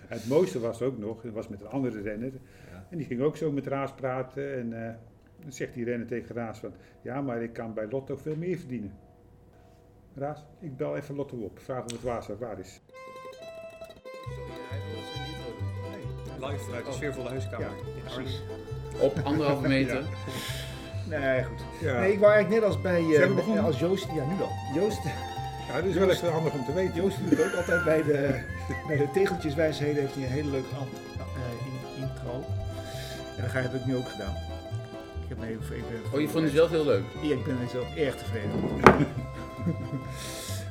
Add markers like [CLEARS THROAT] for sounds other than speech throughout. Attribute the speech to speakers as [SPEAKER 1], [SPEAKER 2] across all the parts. [SPEAKER 1] Het mooiste was ook nog, dat was met een andere renner.
[SPEAKER 2] Ja.
[SPEAKER 1] En die ging ook zo met Raas praten. En eh, dan zegt die renner tegen Raas van... Ja, maar ik kan bij Lotto veel meer verdienen. Raas, ik bel even Lotto op. Vraag of het waar is. Waar is.
[SPEAKER 2] Live vanuit de sfeervolle huiskamer.
[SPEAKER 1] Ja,
[SPEAKER 2] precies.
[SPEAKER 3] Op
[SPEAKER 4] [LAUGHS]
[SPEAKER 3] anderhalve meter.
[SPEAKER 4] Nee, goed.
[SPEAKER 1] Ja,
[SPEAKER 4] Nee, ik wou eigenlijk net als bij eh,
[SPEAKER 1] hebben begonnen.
[SPEAKER 4] als Joost. Ja, nu al. [LAUGHS] Joost,
[SPEAKER 1] ja dat is wel even handig om te weten.
[SPEAKER 4] Joost doet het ook altijd bij de, bij de tegeltjeswijsheden. Heeft hij een hele leuke an- eh, in- intro. En dat ga- heb ik nu ook gedaan. Ik heb even, even
[SPEAKER 3] Oh, je vond het zelf heel leuk.
[SPEAKER 4] Ja, ik ben er zelf erg tevreden [LAUGHS] over.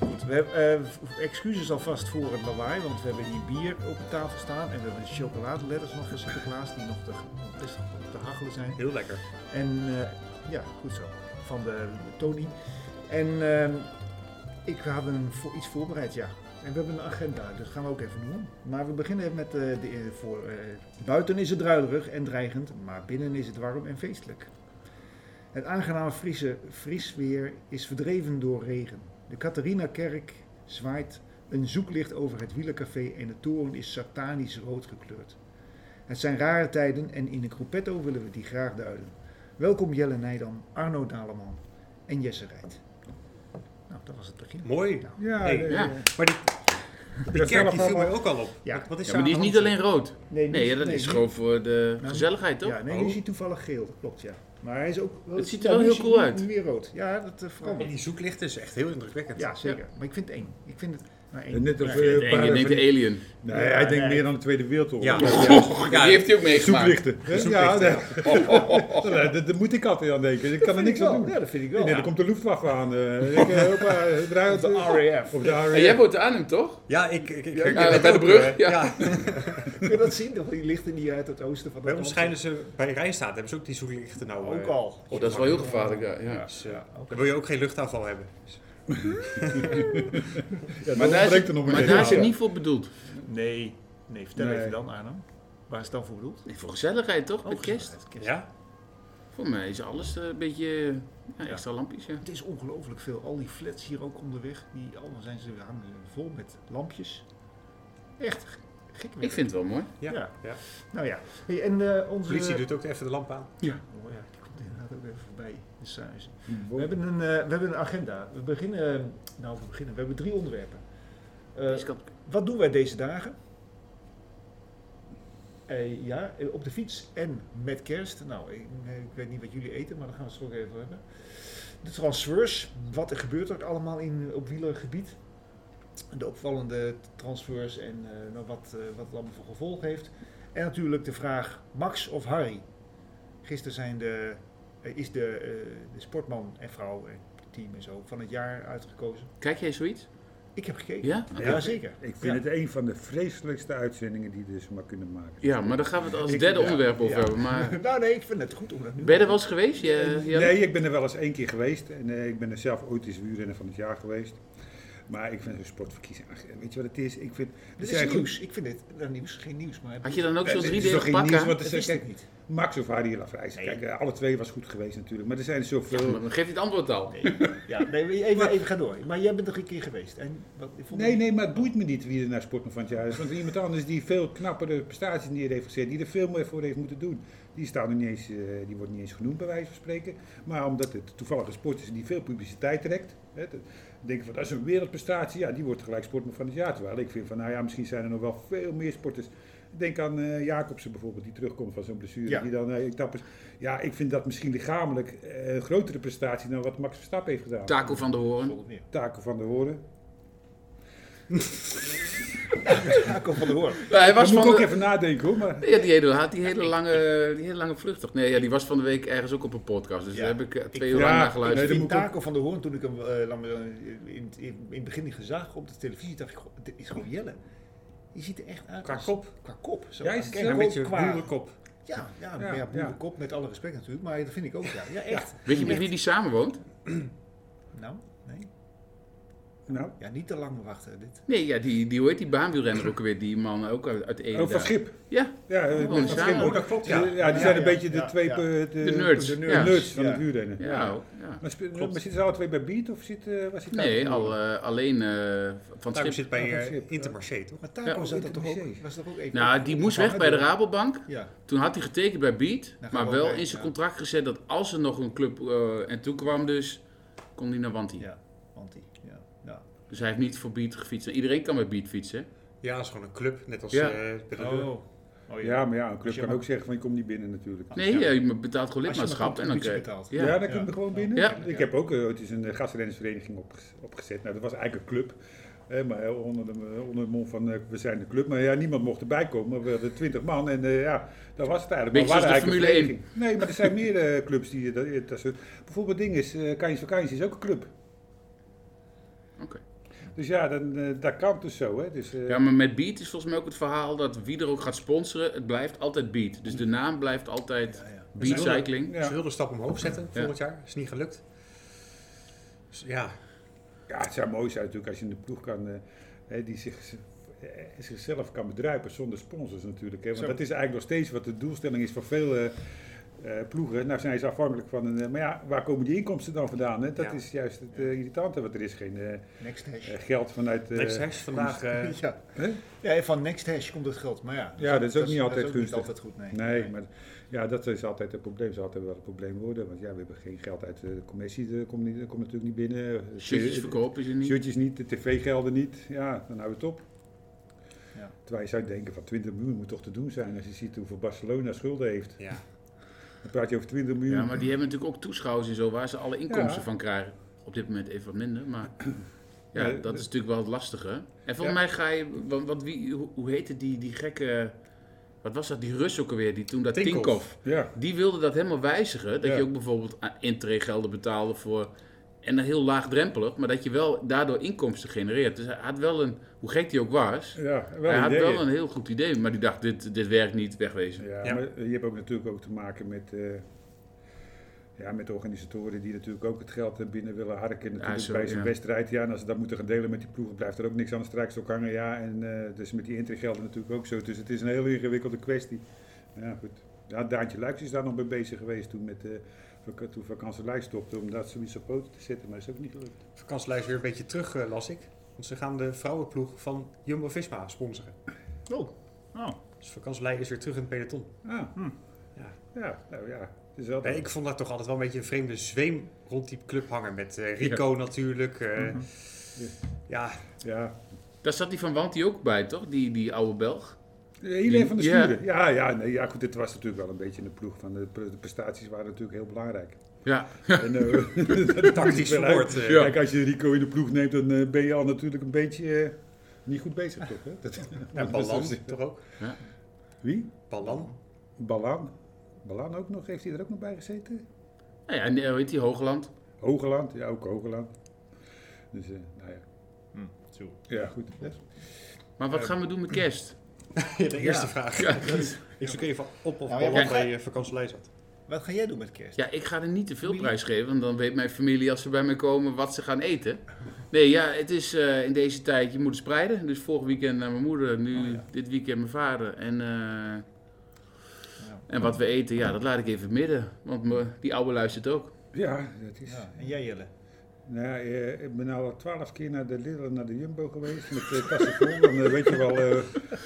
[SPEAKER 4] Goed, we hebben eh, v- excuses alvast voor het lawaai, want we hebben hier bier op de tafel staan en we hebben chocoladeletters nog van Sinterklaas die nog te, nog best nog te hachelen zijn.
[SPEAKER 2] Heel lekker.
[SPEAKER 4] En eh, ja, goed zo, van de Tony. En ehm, ik had een, vo- iets voorbereid, ja. En we hebben een agenda, dus gaan we ook even doen. Maar we beginnen met eh, de, eh, voor, eh, buiten is het druilerig en dreigend, maar binnen is het warm en feestelijk. Het aangename Friese vriesweer is verdreven door regen. De Catharina-kerk zwaait een zoeklicht over het wielencafé en de toren is satanisch rood gekleurd. Het zijn rare tijden en in een groepetto willen we die graag duiden. Welkom Jelle Nijdam, Arno Daleman en Jesse Rijt. Nou, dat was het begin.
[SPEAKER 2] Mooi.
[SPEAKER 4] Nou,
[SPEAKER 1] Ja,
[SPEAKER 2] Hey.
[SPEAKER 1] nee,
[SPEAKER 3] Ja.
[SPEAKER 1] nee.
[SPEAKER 2] Maar die, die
[SPEAKER 1] is wel
[SPEAKER 2] kerk die
[SPEAKER 1] een
[SPEAKER 2] viel mij
[SPEAKER 1] verhaal.
[SPEAKER 2] ook al op.
[SPEAKER 4] Ja.
[SPEAKER 2] Wat, wat is
[SPEAKER 3] Ja, maar die is niet alleen rood. Nee, ja, dat
[SPEAKER 4] nee,
[SPEAKER 3] is
[SPEAKER 4] nu-
[SPEAKER 3] gewoon voor de
[SPEAKER 4] Nou,
[SPEAKER 3] gezelligheid, toch?
[SPEAKER 4] Ja, nee, nu is hij toevallig geel, klopt ja. Maar hij is ook... wel-
[SPEAKER 3] Oh. Het ziet er
[SPEAKER 4] ja,
[SPEAKER 3] wel
[SPEAKER 4] nu
[SPEAKER 3] heel
[SPEAKER 4] is
[SPEAKER 3] cool
[SPEAKER 4] hij
[SPEAKER 3] uit.
[SPEAKER 4] nu weer rood. Ja, dat eh, verandert.
[SPEAKER 2] Die zoeklichten is echt heel indrukwekkend.
[SPEAKER 4] Ja, zeker. Maar ik vind het eng. Ik vind het... Nou, eng.
[SPEAKER 1] Net als,
[SPEAKER 4] Ja.
[SPEAKER 1] eh,
[SPEAKER 3] Eng,
[SPEAKER 1] paar
[SPEAKER 3] je denkt
[SPEAKER 1] van
[SPEAKER 3] de
[SPEAKER 1] die-
[SPEAKER 4] [LAUGHS]
[SPEAKER 3] alien. Oh,
[SPEAKER 1] Nee, hij denkt
[SPEAKER 4] Nee.
[SPEAKER 1] meer aan de Tweede Wereldoorlog.
[SPEAKER 2] Ja.
[SPEAKER 3] Die heeft hij ook meegemaakt.
[SPEAKER 1] Zoeklichten. hè? Ja,
[SPEAKER 2] zoeklichten,
[SPEAKER 1] nee, [LAUGHS] dat- dat moet ik altijd aan denken. Ik kan er
[SPEAKER 4] Vind
[SPEAKER 1] niks
[SPEAKER 4] ik wel.
[SPEAKER 1] aan doen.
[SPEAKER 4] Ja, dat vind ik
[SPEAKER 1] Nee,
[SPEAKER 4] wel. [LAUGHS]
[SPEAKER 1] dan komt de Luftwaffe aan. eh, ik, eh, hoppa, eruit.
[SPEAKER 4] De RAF.
[SPEAKER 1] Op de
[SPEAKER 3] En jij
[SPEAKER 1] RAF.
[SPEAKER 3] woont aan hem, toch?
[SPEAKER 2] Ja, ik, ik, ik
[SPEAKER 3] Ja,
[SPEAKER 2] herken het
[SPEAKER 3] bij de
[SPEAKER 2] ook,
[SPEAKER 3] brug,
[SPEAKER 2] eh,
[SPEAKER 3] ja.
[SPEAKER 4] Kun je dat zien? Dat Die lichten die uit het oosten van
[SPEAKER 2] Bij
[SPEAKER 4] dat
[SPEAKER 2] ons schijnen ze, bij Rijnstaat hebben ze ook die zoeklichten nou.
[SPEAKER 4] Ook
[SPEAKER 2] eh,
[SPEAKER 4] al.
[SPEAKER 3] Oh, dat is wel heel gevaarlijk, ja. ja.
[SPEAKER 2] Dus, eh,
[SPEAKER 4] oké.
[SPEAKER 2] Dan wil je ook geen luchtaanval hebben.
[SPEAKER 1] Ja,
[SPEAKER 3] Maar
[SPEAKER 1] maar
[SPEAKER 3] daar is,
[SPEAKER 1] breekt
[SPEAKER 3] het,
[SPEAKER 1] er nog
[SPEAKER 3] maar
[SPEAKER 1] een
[SPEAKER 3] daar is het
[SPEAKER 1] in.
[SPEAKER 3] niet voor bedoeld.
[SPEAKER 4] Nee. Nee, vertel
[SPEAKER 1] Nee.
[SPEAKER 4] even dan Arno. Waar is het dan voor bedoeld?
[SPEAKER 3] Nee, voor gezelligheid, toch? Met kerst.
[SPEAKER 4] Oh, gezelligheid, kerst.
[SPEAKER 2] Ja?
[SPEAKER 3] Voor mij is alles eh, een beetje eh, ja, extra lampjes, ja.
[SPEAKER 4] Het is ongelooflijk veel. Al die flats hier ook onderweg, die allemaal zijn ze hangen vol met lampjes. Echt g- gek.
[SPEAKER 3] Ik
[SPEAKER 4] werk.
[SPEAKER 3] vind het wel mooi.
[SPEAKER 2] Ja.
[SPEAKER 4] Ja.
[SPEAKER 2] ja.
[SPEAKER 4] Nou ja. Hey, en eh,
[SPEAKER 2] De
[SPEAKER 4] onze
[SPEAKER 2] politie doet ook even de lamp aan.
[SPEAKER 4] Oh ja, die komt inderdaad ook even voorbij. De saus. We hebben een, eh, we hebben een agenda. We beginnen. Nou, we beginnen. We hebben drie onderwerpen. Eh,
[SPEAKER 3] Is kap-
[SPEAKER 4] wat doen wij deze dagen? Eh, ja, eh, op de fiets en met kerst. Nou, ik, eh, ik weet niet wat jullie eten, maar daar gaan we het zo ook even over hebben. De transfers. Wat er gebeurt er allemaal in, op wielergebied? De opvallende transfers en eh, nou, wat, eh, wat het allemaal voor gevolg heeft. En natuurlijk de vraag Max of Harry. Gisteren zijn de, eh, is de, eh, de sportman en vrouw en team en zo van het jaar uitgekozen.
[SPEAKER 3] Kijk jij zoiets?
[SPEAKER 4] Ik heb gekeken.
[SPEAKER 3] Ja?
[SPEAKER 4] Ja, zeker.
[SPEAKER 1] Ik
[SPEAKER 4] Ja.
[SPEAKER 1] vind het een van de vreselijkste uitzendingen die er ze maar kunnen maken.
[SPEAKER 3] Ja, maar daar gaan we het als
[SPEAKER 4] Ik-
[SPEAKER 3] derde
[SPEAKER 4] ja,
[SPEAKER 3] onderwerp over
[SPEAKER 4] ja.
[SPEAKER 3] hebben. Maar
[SPEAKER 4] [LAUGHS] nou nee, ik vind het goed om dat nu
[SPEAKER 3] ben je er wel eens geweest? Je, je-
[SPEAKER 1] Nee, ik ben er wel eens één keer geweest. En eh, ik ben er zelf ooit eens wielrenner van het jaar geweest. Maar ik vind een sportverkiezing. ach, weet je wat het is? Ik vind. er
[SPEAKER 4] Dit is
[SPEAKER 1] zijn goed-
[SPEAKER 4] nieuws. Ik vind dit nou, nieuws, geen nieuws, maar...
[SPEAKER 3] Had je dan ook zo'n
[SPEAKER 1] Het is
[SPEAKER 3] drie
[SPEAKER 1] toch
[SPEAKER 3] d
[SPEAKER 1] geen nieuws,
[SPEAKER 3] pakken?
[SPEAKER 1] want
[SPEAKER 4] dat
[SPEAKER 1] het
[SPEAKER 4] wist
[SPEAKER 1] is,
[SPEAKER 4] ik
[SPEAKER 1] kijk,
[SPEAKER 4] niet.
[SPEAKER 1] Max of Harry Lafrijs. Kijk, eh, alle twee was goed geweest natuurlijk. Maar er zijn zoveel.
[SPEAKER 3] Dan geef je het antwoord al.
[SPEAKER 4] Ja, nee, maar even, even ga door. Maar jij bent er een keer geweest. En wat, ik vond-
[SPEAKER 1] Nee, nee, maar het boeit me niet wie er naar sportman van het jaar is. Want iemand anders die veel knappere prestaties neer heeft gezet, die er veel meer voor heeft moeten doen, die, staat er niet eens, eh, die wordt niet eens genoemd bij wijze van spreken. Maar omdat het toevallig een sport is die veel publiciteit trekt, hè, dat- denken van dat is een wereldprestatie, ja, die wordt gelijk sportman van het jaar. Terwijl ik vind van, nou ja, misschien zijn er nog wel veel meer sporters. Denk aan eh, Jacobsen bijvoorbeeld, die terugkomt van zo'n blessure.
[SPEAKER 4] Ja.
[SPEAKER 1] Die dan eh, etappes. Ja, ik vind dat misschien lichamelijk eh, een grotere prestatie dan wat Max Verstappen heeft gedaan.
[SPEAKER 3] Taco van de Hoorn.
[SPEAKER 4] [LAUGHS] Volgende keer.
[SPEAKER 1] Taken van de horen.
[SPEAKER 4] Ja, ik kom van de hoor.
[SPEAKER 3] Ja, hij
[SPEAKER 1] Daar
[SPEAKER 3] was
[SPEAKER 1] moet ik
[SPEAKER 3] van
[SPEAKER 1] ook
[SPEAKER 3] de,
[SPEAKER 1] even nadenken hoor. Maar...
[SPEAKER 3] ja, die hele, had die hele lange, die hele lange vlucht toch? Nee, ja, die was van de week ergens ook op een podcast. Dus
[SPEAKER 4] Ja.
[SPEAKER 3] daar heb ik eh, twee
[SPEAKER 4] Ik-
[SPEAKER 3] uur lang
[SPEAKER 1] Ja,
[SPEAKER 3] naar geluisterd.
[SPEAKER 1] nee, dan
[SPEAKER 4] Ik vind
[SPEAKER 1] moet ik ook-
[SPEAKER 4] Taco van de Hoorn, toen ik hem eh, laat me zeggen, in, in, in het begin niet gezag op de televisie, dacht ik, goh, dit is gewoon Jelle. Je ziet er echt uit.
[SPEAKER 2] Qua
[SPEAKER 4] als-
[SPEAKER 2] kop.
[SPEAKER 4] Qua kop. Zo.
[SPEAKER 1] Ja, hij is
[SPEAKER 4] Kijk,
[SPEAKER 1] zelf
[SPEAKER 2] Ja, een
[SPEAKER 4] ook
[SPEAKER 2] beetje
[SPEAKER 4] qua-
[SPEAKER 2] boerenkop.
[SPEAKER 4] Ja, ja,
[SPEAKER 1] Ja,
[SPEAKER 4] maar ja,
[SPEAKER 1] ja.
[SPEAKER 4] boerenkop, met alle respect natuurlijk, maar dat vind ik ook, ja. Ja, echt.
[SPEAKER 3] Weet je met wie die samenwoont?
[SPEAKER 4] Nou, nee.
[SPEAKER 1] Nou,
[SPEAKER 4] Ja, niet te lang wachten. Dit.
[SPEAKER 3] Nee, ja, die, die, hoe heet die baanwielrenner ook weer? Die man ook uit, uit Ede.
[SPEAKER 1] oh, van
[SPEAKER 3] daar.
[SPEAKER 1] Schip.
[SPEAKER 3] Ja,
[SPEAKER 1] Ja, eh,
[SPEAKER 3] Oh,
[SPEAKER 1] van
[SPEAKER 3] ja.
[SPEAKER 1] Schip
[SPEAKER 2] Oh,
[SPEAKER 1] ook.
[SPEAKER 2] dat klopt,
[SPEAKER 1] Ja,
[SPEAKER 2] ja.
[SPEAKER 1] die zijn
[SPEAKER 4] Ja,
[SPEAKER 1] een
[SPEAKER 4] ja,
[SPEAKER 1] beetje de
[SPEAKER 4] ja,
[SPEAKER 1] twee...
[SPEAKER 4] ja.
[SPEAKER 1] eh,
[SPEAKER 3] de nerds.
[SPEAKER 4] de nerds.
[SPEAKER 1] De
[SPEAKER 3] Ja,
[SPEAKER 1] nerds van
[SPEAKER 4] Ja.
[SPEAKER 1] het huurrennen.
[SPEAKER 3] ja.
[SPEAKER 4] Ja.
[SPEAKER 3] ja.
[SPEAKER 1] Maar, spe-
[SPEAKER 2] Klopt.
[SPEAKER 1] maar zitten ze alle twee bij Beat of zit, eh waar zit
[SPEAKER 3] Nee,
[SPEAKER 1] dat?
[SPEAKER 3] al, eh, alleen eh, van het
[SPEAKER 2] Taco
[SPEAKER 3] schip.
[SPEAKER 2] zit bij
[SPEAKER 1] Ja, van
[SPEAKER 2] eh,
[SPEAKER 1] Schip, ja.
[SPEAKER 2] Intermarché, toch?
[SPEAKER 4] Maar Taco
[SPEAKER 3] Ja.
[SPEAKER 4] zat er toch ook,
[SPEAKER 1] Intermarché.
[SPEAKER 4] was er ook even
[SPEAKER 3] Nou, die moest weg bij de Rabobank.
[SPEAKER 4] Ja,
[SPEAKER 3] Toen had hij getekend bij Beat,
[SPEAKER 4] Dan gaan
[SPEAKER 3] maar
[SPEAKER 4] we
[SPEAKER 3] wel
[SPEAKER 4] ook mee,
[SPEAKER 3] in zijn
[SPEAKER 4] ja.
[SPEAKER 3] contract gezet dat als er nog een club eh, en toen kwam dus, kon hij naar Wanty.
[SPEAKER 4] ja, anti. Ja. Ja.
[SPEAKER 3] Dus hij heeft niet voor Beat gefietst. En Iedereen kan bij Beat fietsen.
[SPEAKER 2] Ja, dat is gewoon een club, net als
[SPEAKER 3] Ja.
[SPEAKER 2] eh, bij de deur.
[SPEAKER 4] Oh,
[SPEAKER 1] Ja, maar ja, een club
[SPEAKER 4] Als je
[SPEAKER 1] kan
[SPEAKER 4] maar-
[SPEAKER 1] ook zeggen van je komt niet binnen natuurlijk.
[SPEAKER 3] Nee,
[SPEAKER 4] Ja.
[SPEAKER 3] je betaalt gewoon
[SPEAKER 4] Als je maar
[SPEAKER 3] lidmaatschap en dan
[SPEAKER 4] contributie
[SPEAKER 3] krijg
[SPEAKER 4] betaalt.
[SPEAKER 1] Ja,
[SPEAKER 3] Ja.
[SPEAKER 1] daar kunnen we gewoon binnen.
[SPEAKER 3] Ja.
[SPEAKER 1] Ik heb ook, eh, het is een eh, gastrennersvereniging opges- opgezet. Nou, dat was eigenlijk een club. Eh, maar eh, onder de, onder de mond van eh, we zijn de club. Maar ja, niemand mocht erbij komen. We hadden twintig man en eh, ja, dat was het eigenlijk.
[SPEAKER 3] Beetje
[SPEAKER 1] we
[SPEAKER 3] zoals de
[SPEAKER 1] waren
[SPEAKER 3] Formule
[SPEAKER 1] een vereniging. Nee, maar er zijn [LAUGHS] meer eh, clubs die eh, dat, eh, dat soort. Bijvoorbeeld ding is, eh Kajns Vakantie is ook een club.
[SPEAKER 3] Oké.
[SPEAKER 1] Dus ja, dan, eh, dat kan dus zo. Hè. Dus, eh,
[SPEAKER 3] Ja, maar met Beat is volgens mij ook het verhaal dat wie er ook gaat sponsoren, het blijft altijd Beat. Dus de naam blijft altijd
[SPEAKER 4] Ja, ja.
[SPEAKER 3] Beat Cycling.
[SPEAKER 1] ja.
[SPEAKER 2] Ze wilden een stap omhoog zetten volgend jaar. Is niet gelukt. Dus ja,
[SPEAKER 1] Ja, het zou mooi zijn natuurlijk als je een ploeg kan eh, hè, die zich, eh, zichzelf kan bedruipen zonder sponsors natuurlijk. Hè? Want
[SPEAKER 4] Zo.
[SPEAKER 1] dat is eigenlijk nog steeds wat de doelstelling is van veel eh, eh, ploegen. Nou zijn ze afhankelijk van een. eh, maar ja, waar komen die inkomsten dan vandaan? Hè? Dat
[SPEAKER 2] Ja.
[SPEAKER 1] is juist het eh, irritante, want er is geen eh, eh,
[SPEAKER 4] Next hash.
[SPEAKER 1] geld vanuit. eh,
[SPEAKER 2] Next Hash vandaag. [LAUGHS] eh,
[SPEAKER 4] [LAUGHS] ja.
[SPEAKER 1] hè?
[SPEAKER 4] ja, van next hash komt het geld. Maar ja,
[SPEAKER 1] Ja, dat is ook niet altijd
[SPEAKER 4] niet
[SPEAKER 1] gunstig.
[SPEAKER 4] altijd goed, nee.
[SPEAKER 1] Nee, maar ja, dat is altijd het probleem. Zal altijd wel het probleem worden. Want ja, we hebben geen geld uit de commissie. Dat komt, niet, dat komt natuurlijk niet binnen. Eh,
[SPEAKER 3] Shirtjes verkopen ze niet.
[SPEAKER 1] Shirtjes niet, de tv-gelden niet. Ja, dan hou je het op.
[SPEAKER 4] Ja.
[SPEAKER 1] Terwijl je zou denken van 20 miljoen moet toch te doen zijn als je ziet hoeveel Barcelona schulden heeft.
[SPEAKER 2] ja.
[SPEAKER 1] Dan praat je over 20 miljoen.
[SPEAKER 3] Ja, maar die hebben natuurlijk ook toeschouwers en zo waar ze alle inkomsten
[SPEAKER 1] Ja.
[SPEAKER 3] van krijgen. Op dit moment even wat minder, maar ja,
[SPEAKER 1] Nee,
[SPEAKER 3] dat is natuurlijk wel het lastige. En volgens
[SPEAKER 1] Ja.
[SPEAKER 3] mij ga je, want, want wie, hoe, hoe heette die, die gekke, wat was dat, die Rus ook alweer, die toen dat
[SPEAKER 2] Tinkoff.
[SPEAKER 3] Tinkoff,
[SPEAKER 1] Ja,
[SPEAKER 3] die wilde dat helemaal wijzigen. Dat
[SPEAKER 1] Ja.
[SPEAKER 3] je ook bijvoorbeeld aan intreegelden betaalde voor, en heel laagdrempelig, maar dat je wel daardoor inkomsten genereert. Dus hij had wel een, hoe gek die ook was,
[SPEAKER 1] ja wel
[SPEAKER 3] hij had
[SPEAKER 1] ideeën.
[SPEAKER 3] wel een heel goed idee, maar die dacht, dit, dit werkt niet, wegwezen.
[SPEAKER 1] Ja,
[SPEAKER 2] Ja.
[SPEAKER 1] maar je hebt ook natuurlijk ook te maken met, eh, ja, met de organisatoren die natuurlijk ook het geld eh, binnen willen harken. Natuurlijk
[SPEAKER 3] zo,
[SPEAKER 1] bij zo'n
[SPEAKER 3] ja.
[SPEAKER 1] wedstrijd. Ja, en als ze dat moeten gaan delen met die ploegen, blijft er ook niks aan de strijkstok hangen. Ja, en eh, dus met die intrigelden natuurlijk ook zo. Dus het is een hele ingewikkelde kwestie. Ja, goed. Ja, Daantje Luijks is daar nog mee bezig geweest toen, met, eh vak- toen vakantie Luijks stopte om dat zoiets op poten te zetten, maar dat is ook niet gelukt.
[SPEAKER 2] Vakantielijst weer een beetje terug, eh, las ik. Want ze gaan de vrouwenploeg van Jumbo-Visma sponsoren.
[SPEAKER 4] Oh, oh.
[SPEAKER 2] Dus vakantielei is weer terug in het peloton.
[SPEAKER 1] Ah,
[SPEAKER 4] Hm.
[SPEAKER 2] Ja.
[SPEAKER 1] ja, nou ja. Het is wel
[SPEAKER 2] Nee, ik vond dat toch altijd wel een beetje een vreemde zweem rond die club hangen. Met eh, Rico natuurlijk. eh, Ja,
[SPEAKER 1] ja.
[SPEAKER 3] Daar zat die van Wanty ook bij, toch? Die, die oude Belg.
[SPEAKER 1] Helene Eh, van de
[SPEAKER 3] Ja.
[SPEAKER 1] Sturen. Ja, ja, nee, ja, goed, dit was natuurlijk wel een beetje een ploeg. Van de, pre- de prestaties waren natuurlijk heel belangrijk.
[SPEAKER 3] [LAUGHS] Ja,
[SPEAKER 1] En, eh, [LAUGHS]
[SPEAKER 2] tactisch
[SPEAKER 1] wel
[SPEAKER 2] verwoord.
[SPEAKER 1] uit.
[SPEAKER 2] eh.
[SPEAKER 3] Ja.
[SPEAKER 1] Kijk, als je Rico in de ploeg neemt, dan eh, ben je al natuurlijk een beetje eh, niet goed bezig, toch? Hè? Dat-
[SPEAKER 2] Ja, Ballan toch ook?
[SPEAKER 1] Wie?
[SPEAKER 2] Ballan.
[SPEAKER 1] Balan. Balan ook nog? Heeft hij er ook nog bij gezeten?
[SPEAKER 3] Nou ja, en eh, hoe heet die, Hoogland?
[SPEAKER 1] Hogeland, ja, ook Hogeland. Dus, eh, nou ja.
[SPEAKER 4] Hm, zo.
[SPEAKER 1] Ja, goed.
[SPEAKER 3] Maar wat gaan we doen met kerst?
[SPEAKER 2] de eerste
[SPEAKER 4] Ja.
[SPEAKER 2] vraag. Ik zoek even op of
[SPEAKER 4] Nou, ja,
[SPEAKER 2] Ballan
[SPEAKER 4] maar-
[SPEAKER 2] bij eh, vakantielei zat.
[SPEAKER 4] Wat ga jij doen met kerst?
[SPEAKER 3] Ja, ik ga er niet te veel prijs geven, want dan weet mijn familie als ze bij mij komen wat ze gaan eten. Nee, ja, het is eh, in deze tijd, je moet spreiden. Dus vorig weekend naar mijn moeder, nu
[SPEAKER 4] Oh, ja.
[SPEAKER 3] dit weekend mijn vader. En, eh,
[SPEAKER 4] Ja.
[SPEAKER 3] en wat we eten, ja, dat laat ik even midden. Want me, die oude luistert
[SPEAKER 1] Dus
[SPEAKER 3] ook.
[SPEAKER 1] Ja, dat is...
[SPEAKER 4] Ja, En jij Jelle?
[SPEAKER 1] Nou, ja, eh, ik ben al twaalf keer naar de Lidl en naar de Jumbo geweest met eh, tassen vol. Dan eh, weet je wel eh,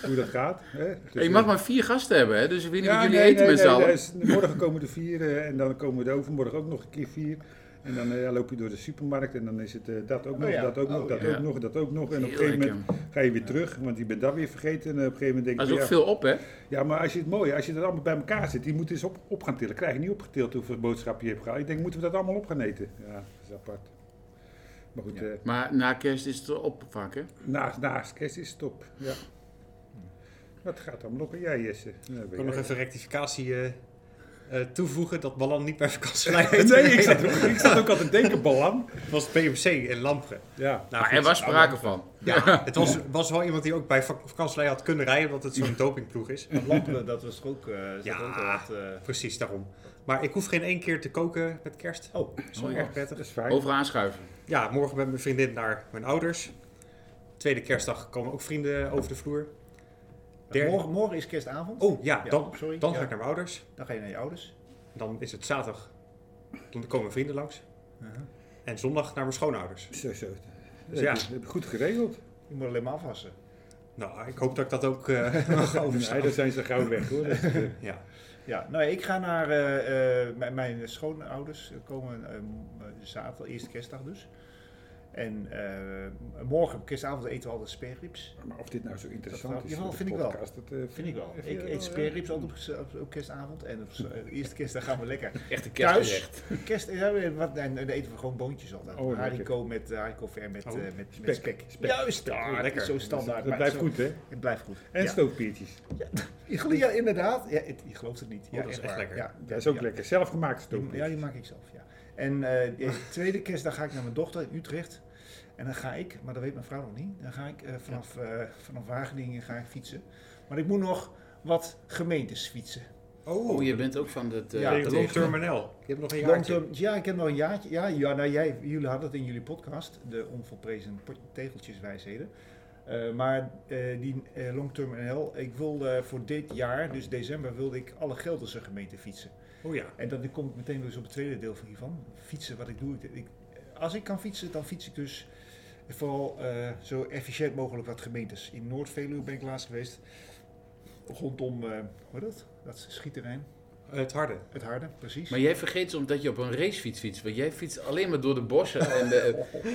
[SPEAKER 1] hoe dat gaat. Hè? Dus, eh,
[SPEAKER 3] En je mag maar vier gasten hebben, hè? dus ik weet niet
[SPEAKER 1] Ja,
[SPEAKER 3] wat jullie
[SPEAKER 1] nee,
[SPEAKER 3] eten
[SPEAKER 1] nee,
[SPEAKER 3] met z'n
[SPEAKER 1] nee,
[SPEAKER 3] allen.
[SPEAKER 1] daar is- Morgen komen er vier eh, en dan komen er overmorgen ook nog een keer vier. En dan eh, loop je door de supermarkt en dan is het eh, dat ook
[SPEAKER 4] Oh
[SPEAKER 1] nog,
[SPEAKER 4] ja.
[SPEAKER 1] dat ook
[SPEAKER 4] Oh
[SPEAKER 1] nog, dat
[SPEAKER 3] ja.
[SPEAKER 1] ook nog, dat ook nog. En op een
[SPEAKER 3] Heel
[SPEAKER 1] gegeven
[SPEAKER 3] lekker.
[SPEAKER 1] moment ga je weer terug, want je bent dat weer vergeten. En op een gegeven moment denk
[SPEAKER 3] Dat
[SPEAKER 1] je,
[SPEAKER 3] is ook
[SPEAKER 1] ja,
[SPEAKER 3] veel op, hè?
[SPEAKER 1] ja, maar als je het mooie, als je dat allemaal bij elkaar zit, die moet eens op, op gaan tillen. Krijg je niet opgetild hoeveel boodschap je hebt gehaald. Ik denk, moeten we dat allemaal op gaan eten? Ja, dat is apart. Maar goed,
[SPEAKER 4] Ja.
[SPEAKER 1] eh,
[SPEAKER 3] Maar na kerst is het op vaak, hè?
[SPEAKER 1] Naast, naast kerst is het op. Ja. Dat gaat dan lokken. Jij, Jesse. Ja,
[SPEAKER 2] Ik
[SPEAKER 1] ben
[SPEAKER 2] wil nog
[SPEAKER 1] jij.
[SPEAKER 2] even rectificatie eh, eh, toevoegen dat Balan niet bij vakantie lijkt.
[SPEAKER 1] [LAUGHS] Nee,
[SPEAKER 2] [LAUGHS]
[SPEAKER 1] ik zat, ook- ik zat ook altijd te denken, Balan.
[SPEAKER 2] Het was BMC in Lampre.
[SPEAKER 1] Ja.
[SPEAKER 2] Nou,
[SPEAKER 3] Maar
[SPEAKER 2] goed,
[SPEAKER 3] er was
[SPEAKER 2] nou,
[SPEAKER 3] sprake van.
[SPEAKER 2] Ja, het was, was wel iemand die ook bij vak- vakantie had kunnen rijden, omdat het zo'n dopingploeg is.
[SPEAKER 5] Want lampen, dat was toch ook, eh, zat
[SPEAKER 2] Ja.
[SPEAKER 5] ook al wat... eh,
[SPEAKER 2] Precies, daarom. Maar ik hoef geen één keer te koken met kerst.
[SPEAKER 5] oh,
[SPEAKER 2] Zo
[SPEAKER 3] Oh, ja.
[SPEAKER 2] erg prettig.
[SPEAKER 1] Dat is fijn.
[SPEAKER 3] Over aanschuiven.
[SPEAKER 2] Ja, morgen met mijn vriendin naar mijn ouders. Tweede kerstdag komen ook vrienden over de vloer. Derde-
[SPEAKER 4] Morgen, morgen is kerstavond.
[SPEAKER 2] Oh ja,
[SPEAKER 4] Ja,
[SPEAKER 2] dan,
[SPEAKER 4] sorry.
[SPEAKER 2] dan
[SPEAKER 4] Ja.
[SPEAKER 2] ga ik naar mijn ouders.
[SPEAKER 4] Dan ga je naar je ouders.
[SPEAKER 2] Dan is het zaterdag. Dan komen vrienden langs.
[SPEAKER 4] Uh-huh.
[SPEAKER 2] En zondag naar mijn schoonouders.
[SPEAKER 1] Zo, zo.
[SPEAKER 2] Dus
[SPEAKER 1] Dus
[SPEAKER 2] ja.
[SPEAKER 1] ja. heb je goed
[SPEAKER 4] [LAUGHS]
[SPEAKER 1] geregeld.
[SPEAKER 4] Je moet alleen maar afwassen.
[SPEAKER 2] Nou, ik hoop dat ik dat ook eh,
[SPEAKER 1] [LAUGHS]
[SPEAKER 2] mag overstaan.
[SPEAKER 1] [LAUGHS]
[SPEAKER 4] nou.
[SPEAKER 1] Nee, dat zijn ze gauw weg hoor. Dat is, eh,
[SPEAKER 2] Ja.
[SPEAKER 4] Ja, nou ja, ik ga naar eh, eh, mijn- mijn schoonouders. komen eh, zaterdag, eerste kerstdag dus. En eh, morgen, kerstavond, eten we altijd speerrips.
[SPEAKER 1] maar of dit nou zo interessant
[SPEAKER 4] Dat-
[SPEAKER 1] is.
[SPEAKER 4] jawel,
[SPEAKER 1] voor de
[SPEAKER 4] vind ik wel.
[SPEAKER 1] podcast, dat, eh,
[SPEAKER 4] Vind ik wel.
[SPEAKER 1] Vind je
[SPEAKER 4] Ik
[SPEAKER 1] wel,
[SPEAKER 4] eet
[SPEAKER 1] ja.
[SPEAKER 4] speerrips altijd op, z- op- op kerstavond. En op z- eh, eerste kerstdag gaan we lekker.
[SPEAKER 3] Echt een
[SPEAKER 4] Thuis,
[SPEAKER 3] kerstgerecht.
[SPEAKER 4] [LAUGHS] kerst, ja, eh, wat, en dan eten we gewoon boontjes altijd.
[SPEAKER 1] Oh, lekker.
[SPEAKER 4] haricot met eh, haricot ver met,
[SPEAKER 2] Oh,
[SPEAKER 4] eh, met,
[SPEAKER 1] spek.
[SPEAKER 4] met spek.
[SPEAKER 1] Spek.
[SPEAKER 4] Juist, ah,
[SPEAKER 2] lekker.
[SPEAKER 4] lekker. Zo standaard.
[SPEAKER 1] dat
[SPEAKER 4] maar
[SPEAKER 1] blijft
[SPEAKER 4] zo-
[SPEAKER 1] goed hè.
[SPEAKER 4] Het blijft goed.
[SPEAKER 1] En
[SPEAKER 4] ja.
[SPEAKER 1] stoofpiertjes.
[SPEAKER 4] Ja, inderdaad. Ja, het, je gelooft het niet. Ja,
[SPEAKER 2] dat is echt
[SPEAKER 4] waar.
[SPEAKER 2] lekker.
[SPEAKER 4] Ja,
[SPEAKER 1] Dat is ook
[SPEAKER 4] ja.
[SPEAKER 1] lekker. Zelfgemaakte
[SPEAKER 4] Die-
[SPEAKER 1] stoofpiertjes.
[SPEAKER 4] ja, die maak ik zelf, ja. En eh, de tweede kerstdag ga ik naar mijn dochter in Utrecht. En dan ga ik, maar dat weet mijn vrouw nog niet, dan ga ik eh, vanaf, eh, vanaf Wageningen ga ik fietsen. Maar ik moet nog wat gemeentes fietsen.
[SPEAKER 2] Oh,
[SPEAKER 3] Oh, je bent ook van het... eh,
[SPEAKER 4] Ja,
[SPEAKER 2] hey,
[SPEAKER 3] het
[SPEAKER 2] long
[SPEAKER 3] regio.
[SPEAKER 2] term NL. Je hebt nog een
[SPEAKER 4] Want,
[SPEAKER 2] jaartje.
[SPEAKER 4] eh, ja, ik heb nog een jaartje. Ja, ja nou, jij, jullie hadden het in jullie podcast, de onvolprezen pot- tegeltjeswijsheden. Eh, maar eh, die eh, Long Term NL, ik wil eh, voor dit jaar, dus december, wilde ik alle Gelderse gemeenten fietsen.
[SPEAKER 2] Oh ja.
[SPEAKER 4] En dan kom ik meteen dus op het tweede deel van hiervan. Fietsen, wat ik doe. Ik, ik- als ik kan fietsen, dan fiets ik dus vooral eh, zo efficiënt mogelijk wat gemeentes. In Noord-Veluwe ben ik laatst geweest. Rondom, eh, hoe heet dat? Dat is schietterrein.
[SPEAKER 2] Het harde.
[SPEAKER 4] Het harde, precies. [LAUGHS]
[SPEAKER 3] Maar jij vergeet soms dat je op een racefiets fietst. Want jij fietst alleen maar door de bossen. En, de,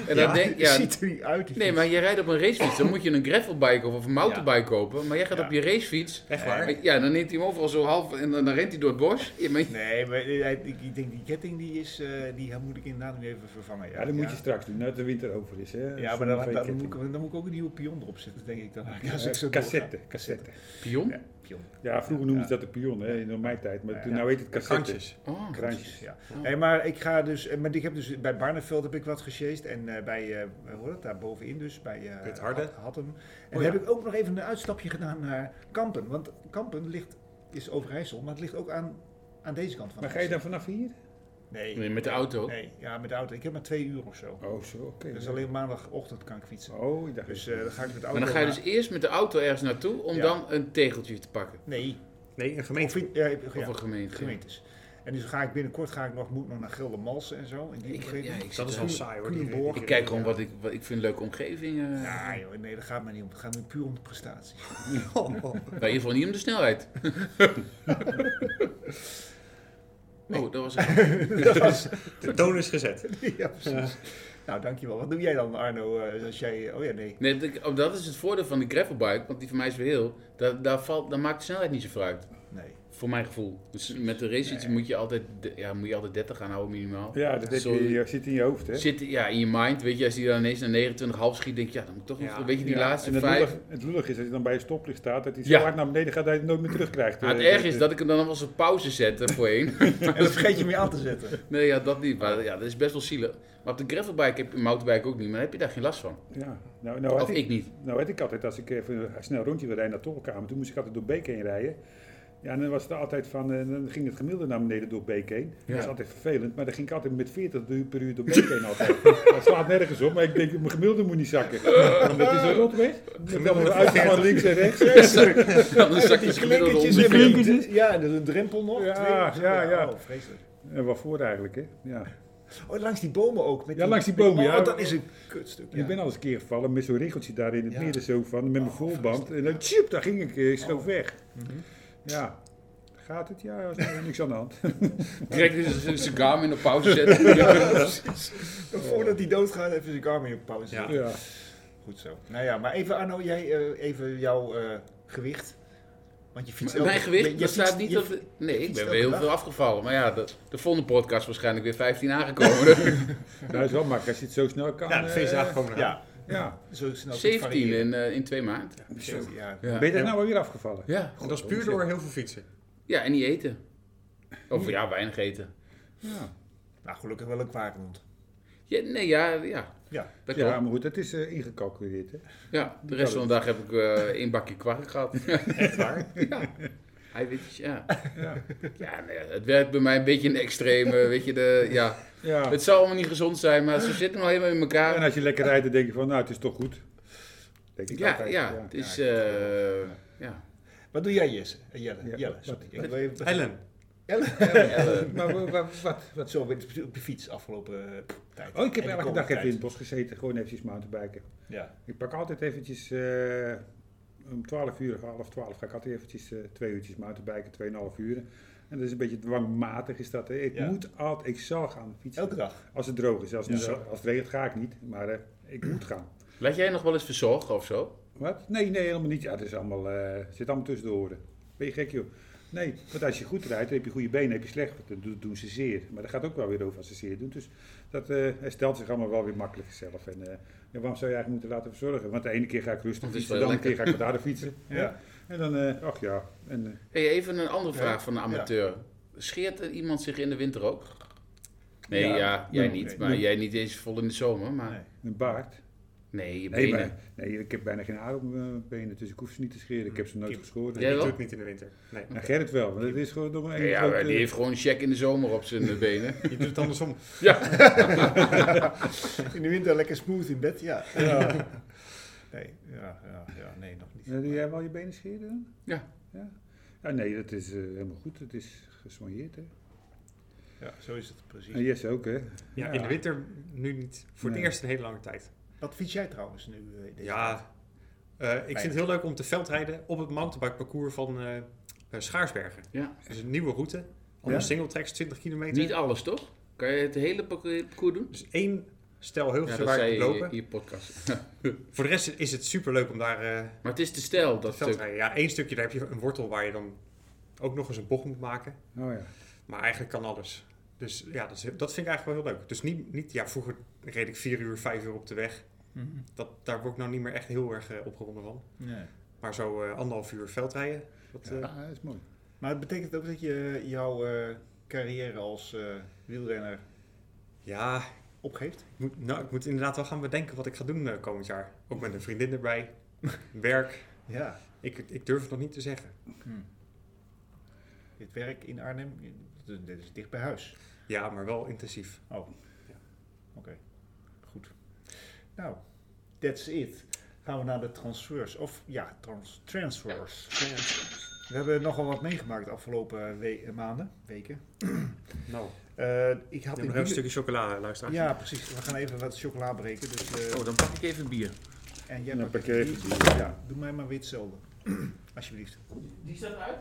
[SPEAKER 3] en
[SPEAKER 4] ja,
[SPEAKER 3] dan denk
[SPEAKER 4] het
[SPEAKER 3] ja,
[SPEAKER 4] ziet er niet uit. die
[SPEAKER 3] Nee,
[SPEAKER 4] fiets.
[SPEAKER 3] maar je rijdt op een racefiets. Dan moet je een gravelbike of, of een mountainbike kopen. Maar jij gaat
[SPEAKER 4] Ja.
[SPEAKER 3] op je racefiets.
[SPEAKER 2] Echt waar?
[SPEAKER 3] Ja, dan neemt hij hem overal zo half en dan, dan rent hij door het bos. Ja, maar-
[SPEAKER 4] Nee, maar eh, ik, ik denk die ketting die is, eh, die moet ik inderdaad nu even vervangen. Ja,
[SPEAKER 1] Ja, dat moet je straks doen, nadat de winter over is. Hè?
[SPEAKER 4] Ja, maar
[SPEAKER 1] Zonder
[SPEAKER 4] dan, dan,
[SPEAKER 1] vetting.
[SPEAKER 4] moet ik, dan moet ik ook een nieuwe pion erop zetten, denk ik dan. Als ik zo
[SPEAKER 1] Eh,
[SPEAKER 4] doorga.
[SPEAKER 1] Cassette, cassette.
[SPEAKER 3] Pion?
[SPEAKER 4] Ja, pion.
[SPEAKER 1] Ja, vroeger noemden ze dat de pion hè, in mijn tijd, maar toen, nou heet het cassette.
[SPEAKER 2] Kantjes.
[SPEAKER 3] Oh.
[SPEAKER 1] Krantjes.
[SPEAKER 4] Ja. Hey, maar ik ga dus, eh, maar ik heb dus bij Barneveld heb ik wat gesjeest en eh, bij, eh, hoe heet dat, daar bovenin dus, bij eh
[SPEAKER 2] Dit Harde. Oh,
[SPEAKER 4] Hat- Hattem. En dan
[SPEAKER 2] ja.
[SPEAKER 4] heb ik ook nog even een uitstapje gedaan naar Kampen, want Kampen ligt, is Overijssel, maar het ligt ook aan, aan deze kant van
[SPEAKER 1] Maar ga je dan
[SPEAKER 4] IJssel.
[SPEAKER 1] vanaf hier?
[SPEAKER 4] Nee,
[SPEAKER 3] Nee, met de auto.
[SPEAKER 4] nee, ja, met de auto. Ik heb maar twee uur of zo.
[SPEAKER 1] Oh, zo, oké.
[SPEAKER 4] Dus alleen maandagochtend kan ik fietsen.
[SPEAKER 1] Oh, ik dacht...
[SPEAKER 4] Dus eh, dan ga ik met de auto
[SPEAKER 3] Maar dan ga je
[SPEAKER 4] naar-
[SPEAKER 3] dus eerst met de auto ergens naartoe om
[SPEAKER 4] Ja.
[SPEAKER 3] dan een tegeltje te pakken.
[SPEAKER 4] Nee,
[SPEAKER 2] Nee, een
[SPEAKER 4] of,
[SPEAKER 2] gemeente.
[SPEAKER 4] in- ja, ik-
[SPEAKER 3] Of
[SPEAKER 4] ja,
[SPEAKER 3] een gemeente.
[SPEAKER 4] gemeentes. En dus ga ik binnenkort ga ik nog, moet nog naar Geldermalsen en zo. En die
[SPEAKER 3] Ik,
[SPEAKER 4] omgeving.
[SPEAKER 3] ja, ik,
[SPEAKER 2] Dat
[SPEAKER 3] zit,
[SPEAKER 2] is
[SPEAKER 3] eh,
[SPEAKER 2] wel saai hoor. die-
[SPEAKER 4] Culemborg.
[SPEAKER 2] die-
[SPEAKER 3] ik kijk gewoon wat ik, wat ik vind leuke omgevingen. eh.
[SPEAKER 4] Ja, joh, nee, daar gaat het mij niet om. Het gaat nu puur om de
[SPEAKER 1] [LAUGHS]
[SPEAKER 4] prestatie.
[SPEAKER 2] [LAUGHS] Oh,
[SPEAKER 3] Nou, in ieder geval niet om de snelheid. Oh, dat was het.
[SPEAKER 4] Dat was-
[SPEAKER 2] De toon is gezet.
[SPEAKER 4] [LAUGHS] ja, precies. Nou, dankjewel. Wat doe jij dan, Arno? eh, Als jij, oh ja, nee.
[SPEAKER 3] Nee, dat ik- oh, dat is het voordeel van de gravelbike, want die van mij is weer heel. Daar, daar, valt, daar maakt de snelheid niet zoveel uit,
[SPEAKER 1] [LAUGHS]
[SPEAKER 4] Nee.
[SPEAKER 3] voor mijn gevoel. Dus met de race iets moet, je altijd, de- ja, moet je altijd 30 gaan houden minimaal.
[SPEAKER 1] Ja, dat heb
[SPEAKER 3] eh, Sorry.
[SPEAKER 1] je, je zit in je hoofd, hè?
[SPEAKER 3] Zit ja, in je mind, weet je, als die dan ineens naar 29 half schiet, denk je, ja, dan moet ik toch nog
[SPEAKER 2] Ja.
[SPEAKER 3] een beetje die
[SPEAKER 1] Ja,
[SPEAKER 3] laatste
[SPEAKER 1] en het
[SPEAKER 3] vijf.
[SPEAKER 1] lullig- het lullig is dat je dan bij een stoplicht staat, dat hij zo
[SPEAKER 3] Ja.
[SPEAKER 1] hard naar beneden gaat dat je het nooit meer terugkrijgt.
[SPEAKER 3] Nou, het
[SPEAKER 1] Eh,
[SPEAKER 3] erg is dat ik hem dan nog wel eens op pauze zet eh,
[SPEAKER 1] [LAUGHS]
[SPEAKER 3] voorheen.
[SPEAKER 4] En dat vergeet je mee aan te zetten.
[SPEAKER 3] nee, ja, dat niet. Maar ja, dat is best wel zielig. Maar op de gravelbike heb je mountainbike ook niet, maar dan heb je daar geen last van.
[SPEAKER 1] Ja, nou, nou, had
[SPEAKER 3] Of
[SPEAKER 1] ik,
[SPEAKER 3] ik niet.
[SPEAKER 1] nou had ik altijd, als ik even een snel rondje wil rijden naar Tolkamer, toen moest ik altijd door Beek heen rijden. Ja, en dan was het altijd van, eh, dan ging het gemiddelde naar beneden door Beek heen. Dat is
[SPEAKER 3] Ja.
[SPEAKER 1] altijd vervelend, maar dan ging ik altijd met 40 uur per uur door Beek heen altijd.
[SPEAKER 3] [LAUGHS]
[SPEAKER 1] Dat slaat nergens op, maar ik denk, mijn gemiddelde moet niet zakken. Want dat is een rotweg. Met allemaal uit van links en rechts.
[SPEAKER 3] Dan zak je
[SPEAKER 4] Die
[SPEAKER 3] het gemiddelde
[SPEAKER 4] klinkertjes
[SPEAKER 3] om.
[SPEAKER 1] Die klinkertjes?
[SPEAKER 4] Ja, en een drempel nog.
[SPEAKER 1] Ja,
[SPEAKER 4] Twee-
[SPEAKER 1] ja, ja.
[SPEAKER 4] Oh, vreselijk.
[SPEAKER 1] En waarvoor eigenlijk, hè? Ja.
[SPEAKER 4] Oh, langs die bomen ook. Met
[SPEAKER 1] Ja, langs die bomen,
[SPEAKER 4] oh,
[SPEAKER 1] ja.
[SPEAKER 4] dat is een kutstuk. Ja.
[SPEAKER 1] Ik ben al eens een keer gevallen met zo'n riggeltje daar in het
[SPEAKER 4] Ja.
[SPEAKER 1] midden zo van, met mijn voorband. En dan tjip, daar ging ik, eh, ik schoof weg.
[SPEAKER 4] Mhm.
[SPEAKER 1] Ja, gaat het? Ja, er is niks aan de hand.
[SPEAKER 3] Direct is een cigar in op pauze zetten.
[SPEAKER 4] Ja, precies. Oh, Voordat die doodgaat, even zijn arm in pauze.
[SPEAKER 2] Ja.
[SPEAKER 1] [LAUGHS] Ja.
[SPEAKER 4] Goed zo. Nou ja, maar even Arno, jij eh, even jouw eh, gewicht. Want je fietst
[SPEAKER 3] Mijn
[SPEAKER 4] elke- je-
[SPEAKER 3] gewicht,
[SPEAKER 4] je
[SPEAKER 3] dat staat
[SPEAKER 4] fietst-
[SPEAKER 3] niet
[SPEAKER 4] je-
[SPEAKER 3] op... Nee, ik
[SPEAKER 4] fietst
[SPEAKER 3] ben
[SPEAKER 4] elke
[SPEAKER 3] weer heel
[SPEAKER 4] dag.
[SPEAKER 3] veel afgevallen. Maar ja, de, de volgende podcast waarschijnlijk weer 15 [LAUGHS] aangekomen.
[SPEAKER 1] Dat is wel makkelijk als je het zo snel kan.
[SPEAKER 2] Ja, de feest is
[SPEAKER 1] eh,
[SPEAKER 2] aangekomen.
[SPEAKER 4] Ja,
[SPEAKER 1] ja.
[SPEAKER 4] zo snel. te
[SPEAKER 3] 17
[SPEAKER 4] variëren.
[SPEAKER 3] in, eh, in twee maanden.
[SPEAKER 4] Zo, Ja,
[SPEAKER 3] Ja.
[SPEAKER 1] Ben je daar nou alweer afgevallen?
[SPEAKER 3] Ja.
[SPEAKER 2] En dat is puur door heel veel fietsen.
[SPEAKER 3] ja, en niet eten. Of ja, weinig eten.
[SPEAKER 1] Ja,
[SPEAKER 4] Nou, gelukkig wel een kwaadmond.
[SPEAKER 3] Ja, nee, ja, ja.
[SPEAKER 4] Ja.
[SPEAKER 3] Dat
[SPEAKER 1] ja
[SPEAKER 3] klopt.
[SPEAKER 1] maar goed, dat is eh, ingecalculeerd. Hè?
[SPEAKER 3] Ja, de rest van de dag heb ik eh één bakje kwark
[SPEAKER 4] [LAUGHS]
[SPEAKER 3] gehad.
[SPEAKER 2] [LAUGHS] Echt waar?
[SPEAKER 3] Hij weet je, ja. Ja, nee, het werkt bij mij een beetje in de extreme, weet je, de, ja.
[SPEAKER 1] Ja.
[SPEAKER 3] Oh. Het zou allemaal niet gezond zijn, maar ze zitten wel helemaal in
[SPEAKER 1] En
[SPEAKER 3] elkaar.
[SPEAKER 1] als je lekker rijdt, dan denk je van, nou, het is toch goed. Denk ik
[SPEAKER 3] Ja,
[SPEAKER 1] altijd,
[SPEAKER 3] ja, het is, eh, ja.
[SPEAKER 4] Wat doe jij, Jesse? Eh, Jelle,
[SPEAKER 1] Ja,
[SPEAKER 4] Jelle,
[SPEAKER 1] wat-
[SPEAKER 4] sorry.
[SPEAKER 1] wat-
[SPEAKER 4] Ik wil even-
[SPEAKER 2] [LAUGHS] Ellen.
[SPEAKER 1] [LAUGHS]
[SPEAKER 4] Ellen. Maar wa- wa- wat, wat zo op je, op je fiets afgelopen eh, tijd?
[SPEAKER 1] Oh, ik heb
[SPEAKER 4] En de
[SPEAKER 1] elke
[SPEAKER 4] komende
[SPEAKER 1] dag even in
[SPEAKER 4] tijd.
[SPEAKER 1] het bos gezeten, gewoon eventjes mountainbiken.
[SPEAKER 4] Ja.
[SPEAKER 1] Ik pak altijd eventjes, eh, om 12 uur, half 12 ga ik altijd eventjes eh, twee uurtjes mountainbiken, 2,5 uur. En dat is een beetje dwangmatig is dat. Hè. Ik
[SPEAKER 4] Ja.
[SPEAKER 1] moet altijd, ik zal gaan fietsen.
[SPEAKER 4] Elke dag.
[SPEAKER 1] Als het droog is, als het,
[SPEAKER 4] Ja.
[SPEAKER 1] zo- als het regent ga ik niet, maar eh, ik moet gaan.
[SPEAKER 3] Laat jij nog wel eens verzorgen of zo?
[SPEAKER 1] Wat? Nee, nee, helemaal niet. Ja, het is allemaal, eh, zit allemaal tussen de oren. Ben je gek, joh? Nee, want als je goed rijdt, dan heb je goede benen, heb je slecht, dan do- doen ze zeer. Maar dat gaat ook wel weer over als ze zeer doen. Dus dat eh, herstelt zich allemaal wel weer makkelijk zelf. En eh, ja, waarom zou je eigenlijk moeten laten verzorgen? Want de ene keer ga ik rustig
[SPEAKER 3] Want het is
[SPEAKER 1] fietsen, de
[SPEAKER 3] wel
[SPEAKER 1] andere keer ga ik wat harder
[SPEAKER 3] [LAUGHS]
[SPEAKER 1] fietsen.
[SPEAKER 4] Ja.
[SPEAKER 1] Ja. En dan, eh, ach ja. En, eh,
[SPEAKER 3] Hey, even een andere
[SPEAKER 4] Ja.
[SPEAKER 3] vraag van een amateur. Scheert er iemand zich in de winter ook? Nee, ja,
[SPEAKER 4] Ja.
[SPEAKER 3] jij
[SPEAKER 4] Nee,
[SPEAKER 3] niet.
[SPEAKER 4] nee.
[SPEAKER 3] Maar
[SPEAKER 1] Nee.
[SPEAKER 3] jij niet eens vol in de zomer. Maar nee,
[SPEAKER 4] Nee.
[SPEAKER 1] een baard.
[SPEAKER 3] je
[SPEAKER 1] Nee,
[SPEAKER 3] benen.
[SPEAKER 1] maar- nee, ik heb bijna geen haar op mijn benen, dus ik hoef ze niet te scheren. Ik heb ze nooit
[SPEAKER 2] Kiem.
[SPEAKER 1] geschoren.
[SPEAKER 3] Jij
[SPEAKER 2] Ik
[SPEAKER 1] En
[SPEAKER 3] wel?
[SPEAKER 2] doe het niet in de winter. Nee.
[SPEAKER 1] Gerrit wel, want dat is gewoon nog maar één
[SPEAKER 3] Nee, eh, ja,
[SPEAKER 1] grote-
[SPEAKER 3] maar die heeft gewoon een check in de zomer op zijn [LAUGHS] eh, benen.
[SPEAKER 2] Je doet het andersom.
[SPEAKER 3] Ja.
[SPEAKER 4] In de winter lekker smooth in bed, ja. [LAUGHS] Nee, ja, ja, ja, nee, nog niet.
[SPEAKER 1] Ja, doe jij wel je benen scheren dan?
[SPEAKER 3] Ja.
[SPEAKER 1] ja. Ja, nee, dat is eh, helemaal goed. Het is gesoigneerd, hè?
[SPEAKER 4] Ja, zo is het
[SPEAKER 1] En
[SPEAKER 4] precies.
[SPEAKER 1] Jesse ook, hè?
[SPEAKER 2] Ja, in de winter nu niet. Voor het
[SPEAKER 1] Nee.
[SPEAKER 2] eerst een hele lange tijd.
[SPEAKER 4] Wat vind jij trouwens nu? eh, in deze tijd?
[SPEAKER 2] Ja, eh, ik vind het heel leuk om te veldrijden op het mountainbikeparcours van eh, eh, Schaarsbergen.
[SPEAKER 3] Ja.
[SPEAKER 2] Dus een nieuwe route, allemaal singletracks, 20 kilometer.
[SPEAKER 3] Niet alles, toch? Kan je het hele parcours parcours doen?
[SPEAKER 2] dus één stel heel
[SPEAKER 3] Ja,
[SPEAKER 2] veel
[SPEAKER 3] dat
[SPEAKER 2] waar
[SPEAKER 3] zei
[SPEAKER 2] je
[SPEAKER 3] je
[SPEAKER 2] kunt lopen.
[SPEAKER 3] in je podcast. [LAUGHS]
[SPEAKER 2] Voor de rest is het super leuk om daar eh
[SPEAKER 3] Maar het is de stijl,
[SPEAKER 2] te
[SPEAKER 3] dat eh, stuk.
[SPEAKER 2] veldrijden. Ja, één stukje, daar heb je een wortel waar je dan ook nog eens een bocht moet maken.
[SPEAKER 1] Oh ja.
[SPEAKER 2] Maar eigenlijk kan alles. Dus ja, dat, is, dat vind ik eigenlijk wel heel leuk. Dus niet, niet ja, vroeger reed ik vier uur, vijf uur op de weg.
[SPEAKER 4] Mhm.
[SPEAKER 2] Dat, daar word ik nou niet meer echt heel erg eh, opgewonden van.
[SPEAKER 4] Nee.
[SPEAKER 2] Maar zo eh, anderhalf uur veldrijden, dat,
[SPEAKER 1] Ja,
[SPEAKER 2] eh,
[SPEAKER 1] dat is mooi.
[SPEAKER 4] Maar het betekent ook dat je jouw eh, carrière als eh, wielrenner
[SPEAKER 2] ja,
[SPEAKER 4] opgeeft?
[SPEAKER 2] Ik moet, nou, ik moet inderdaad wel gaan bedenken wat ik ga doen eh, komend jaar. Ook met een vriendin erbij. Werk.
[SPEAKER 4] Ja.
[SPEAKER 2] Ik, ik durf het nog niet te zeggen.
[SPEAKER 4] Dit werk in Arnhem, dit dit is dicht bij huis.
[SPEAKER 2] Ja, maar wel intensief.
[SPEAKER 4] Oh,
[SPEAKER 2] Ja.
[SPEAKER 4] ja. Oké, goed. Nou, that's it. Gaan we naar de transfers. Of ja, trans transfers. We hebben nogal wat meegemaakt de afgelopen we- maanden, weken.
[SPEAKER 2] Nou,
[SPEAKER 4] Eh, ik had in
[SPEAKER 2] neem nog een
[SPEAKER 4] juli-
[SPEAKER 2] stukje chocola, eh, luisteraar.
[SPEAKER 4] Ja, precies. We gaan even wat chocola breken. Dus, eh,
[SPEAKER 3] Oh, dan pak ik even bier.
[SPEAKER 4] en jij
[SPEAKER 1] dan
[SPEAKER 4] pakt
[SPEAKER 1] pak je
[SPEAKER 4] die.
[SPEAKER 1] even die.
[SPEAKER 4] Ja, doe mij maar weer hetzelfde. [CLEARS THROAT] Alsjeblieft.
[SPEAKER 3] Die staat uit?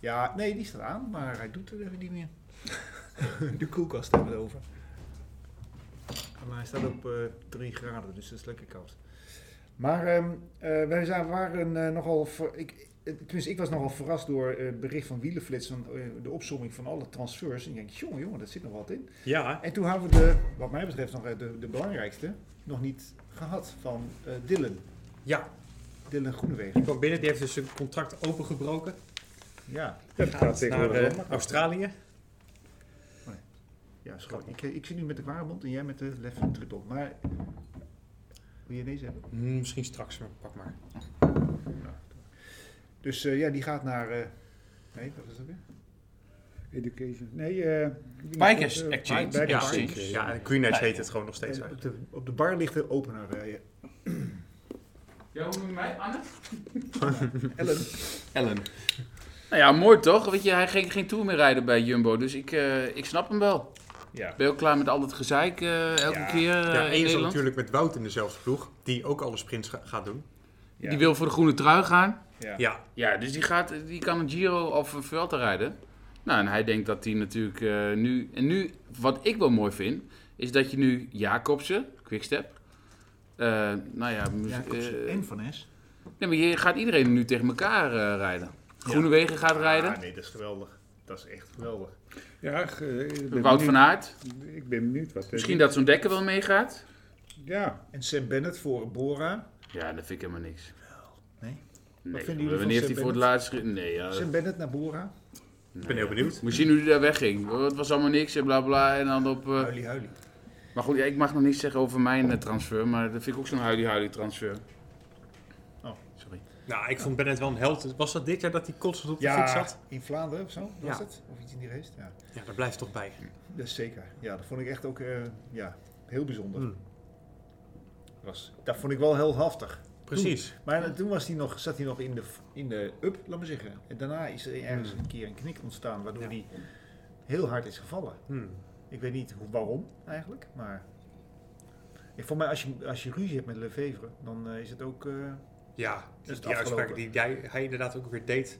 [SPEAKER 4] Ja, nee, die staat aan, maar hij doet het even niet meer. [LAUGHS] de koelkast hebben we het over. Maar hij staat op eh 3 graden, dus dat is lekker koud. Maar ehm, eh, wij zijn, waren eh, nogal. ver- ik, eh, tenminste, ik was nogal verrast door eh, het bericht van Wielenflits. Van, eh, de opzomming van alle transfers. En ik denk, jongen, jongen, dat zit nog wat in.
[SPEAKER 2] Ja,
[SPEAKER 4] En toen hadden we de, wat mij betreft, nog eh, de, de belangrijkste nog niet gehad van eh Dylan.
[SPEAKER 2] ja.
[SPEAKER 4] Dylan
[SPEAKER 2] Die
[SPEAKER 4] Groenewegen.
[SPEAKER 2] kwam binnen, die heeft dus een contract opengebroken.
[SPEAKER 4] Ja,
[SPEAKER 1] Ja, dat gaat
[SPEAKER 2] naar
[SPEAKER 1] tegenwoordig
[SPEAKER 2] eh,
[SPEAKER 1] wel makkelijk.
[SPEAKER 2] Australië.
[SPEAKER 4] ja schat. Ik, ik zit nu met de ware mond en jij met de left triple. Maar wil je deze hebben?
[SPEAKER 2] Hm, misschien straks, maar pak maar.
[SPEAKER 4] Dus eh, ja, die gaat naar. eh, nee, wat is dat weer?
[SPEAKER 1] Education. Nee, eh
[SPEAKER 3] Bikers
[SPEAKER 1] eh,
[SPEAKER 3] Exchange.
[SPEAKER 1] Bikers
[SPEAKER 3] Ja,
[SPEAKER 1] Exchange,
[SPEAKER 3] precies.
[SPEAKER 1] ja.
[SPEAKER 2] Ja, en Green Edge heet het gewoon nog steeds
[SPEAKER 4] En
[SPEAKER 2] uit.
[SPEAKER 4] op, de, op de bar ligt de opener. eh,
[SPEAKER 3] Ja, hoe noem je mij? Anne?
[SPEAKER 4] Ellen.
[SPEAKER 3] Ellen. Nou ja, mooi toch? Weet je, hij ging geen tour meer rijden bij Jumbo, dus ik, eh, ik snap hem wel.
[SPEAKER 4] Ja.
[SPEAKER 3] Ben je ook klaar met al dat gezeik eh, elke
[SPEAKER 4] Ja.
[SPEAKER 3] keer eh,
[SPEAKER 2] Ja,
[SPEAKER 3] in
[SPEAKER 2] één is dan
[SPEAKER 3] Nederland?
[SPEAKER 2] natuurlijk met Wout in dezelfde ploeg, die ook alle sprints ga- gaat doen.
[SPEAKER 4] Ja.
[SPEAKER 3] Die wil voor de groene trui gaan.
[SPEAKER 4] Ja.
[SPEAKER 2] Ja,
[SPEAKER 3] Ja, dus die, gaat, die kan een Giro of een Vuelta rijden. Nou, en hij denkt dat hij natuurlijk eh, nu... En nu, wat ik wel mooi vind, is dat je nu Jacobsen, Quickstep... eh nou ja, mu- eh,
[SPEAKER 4] en Van S.
[SPEAKER 3] nee, maar je gaat iedereen nu tegen elkaar eh, rijden. Groenewegen gaat rijden.
[SPEAKER 4] Ah, nee, dat is geweldig. Dat is echt geweldig.
[SPEAKER 1] Ja, ge- ik ben
[SPEAKER 3] Wout van
[SPEAKER 1] benieuwd-
[SPEAKER 3] Aert.
[SPEAKER 1] Ik ben benieuwd wat. eh,
[SPEAKER 3] Misschien dat zo'n dekker wel meegaat.
[SPEAKER 1] Ja,
[SPEAKER 4] En Sam Bennett voor Bora.
[SPEAKER 3] Ja, dat vind ik helemaal niks.
[SPEAKER 4] Nee?
[SPEAKER 3] Nee,
[SPEAKER 4] vinden jullie van
[SPEAKER 3] wanneer heeft
[SPEAKER 4] Sam
[SPEAKER 3] hij voor het laatst... ge- Nee, ja.
[SPEAKER 4] Sam Bennett naar Bora.
[SPEAKER 2] Ik ben heel benieuwd.
[SPEAKER 3] Moet je zien hoe die daar wegging. Oh, Het was allemaal niks en bla bla. En dan op. eh,
[SPEAKER 5] Huilie, huilie.
[SPEAKER 3] Maar goed, ja, ik mag nog niets zeggen over mijn eh, transfer. Maar dat vind ik ook zo'n huilie-huilie transfer.
[SPEAKER 4] Oh.
[SPEAKER 3] sorry.
[SPEAKER 2] Nou, ik vond Bennett wel een held. Was dat dit jaar dat hij constant op de fiets
[SPEAKER 4] Ja,
[SPEAKER 2] zat?
[SPEAKER 4] in Vlaanderen of zo was
[SPEAKER 2] Ja.
[SPEAKER 4] het? Of iets in die race? Ja,
[SPEAKER 2] Ja, daar blijft toch bij.
[SPEAKER 4] dat is zeker. Ja, dat vond ik echt ook eh, ja, heel bijzonder.
[SPEAKER 2] Hmm.
[SPEAKER 4] Was, dat vond ik wel heel haftig.
[SPEAKER 2] Precies.
[SPEAKER 4] Maar toen was die nog, zat hij nog in de, in de up, laat maar zeggen. En daarna is er ergens een keer een knik ontstaan, waardoor
[SPEAKER 2] Ja.
[SPEAKER 4] hij heel hard is gevallen.
[SPEAKER 2] Hmm.
[SPEAKER 4] Ik weet niet hoe, waarom eigenlijk, maar... Ik vond mij, als je, als je ruzie hebt met Lefevre, dan eh, is het ook... eh,
[SPEAKER 2] Ja,
[SPEAKER 4] het
[SPEAKER 2] die uitspraak
[SPEAKER 4] afgelopen?
[SPEAKER 2] die hij, hij inderdaad ook weer deed.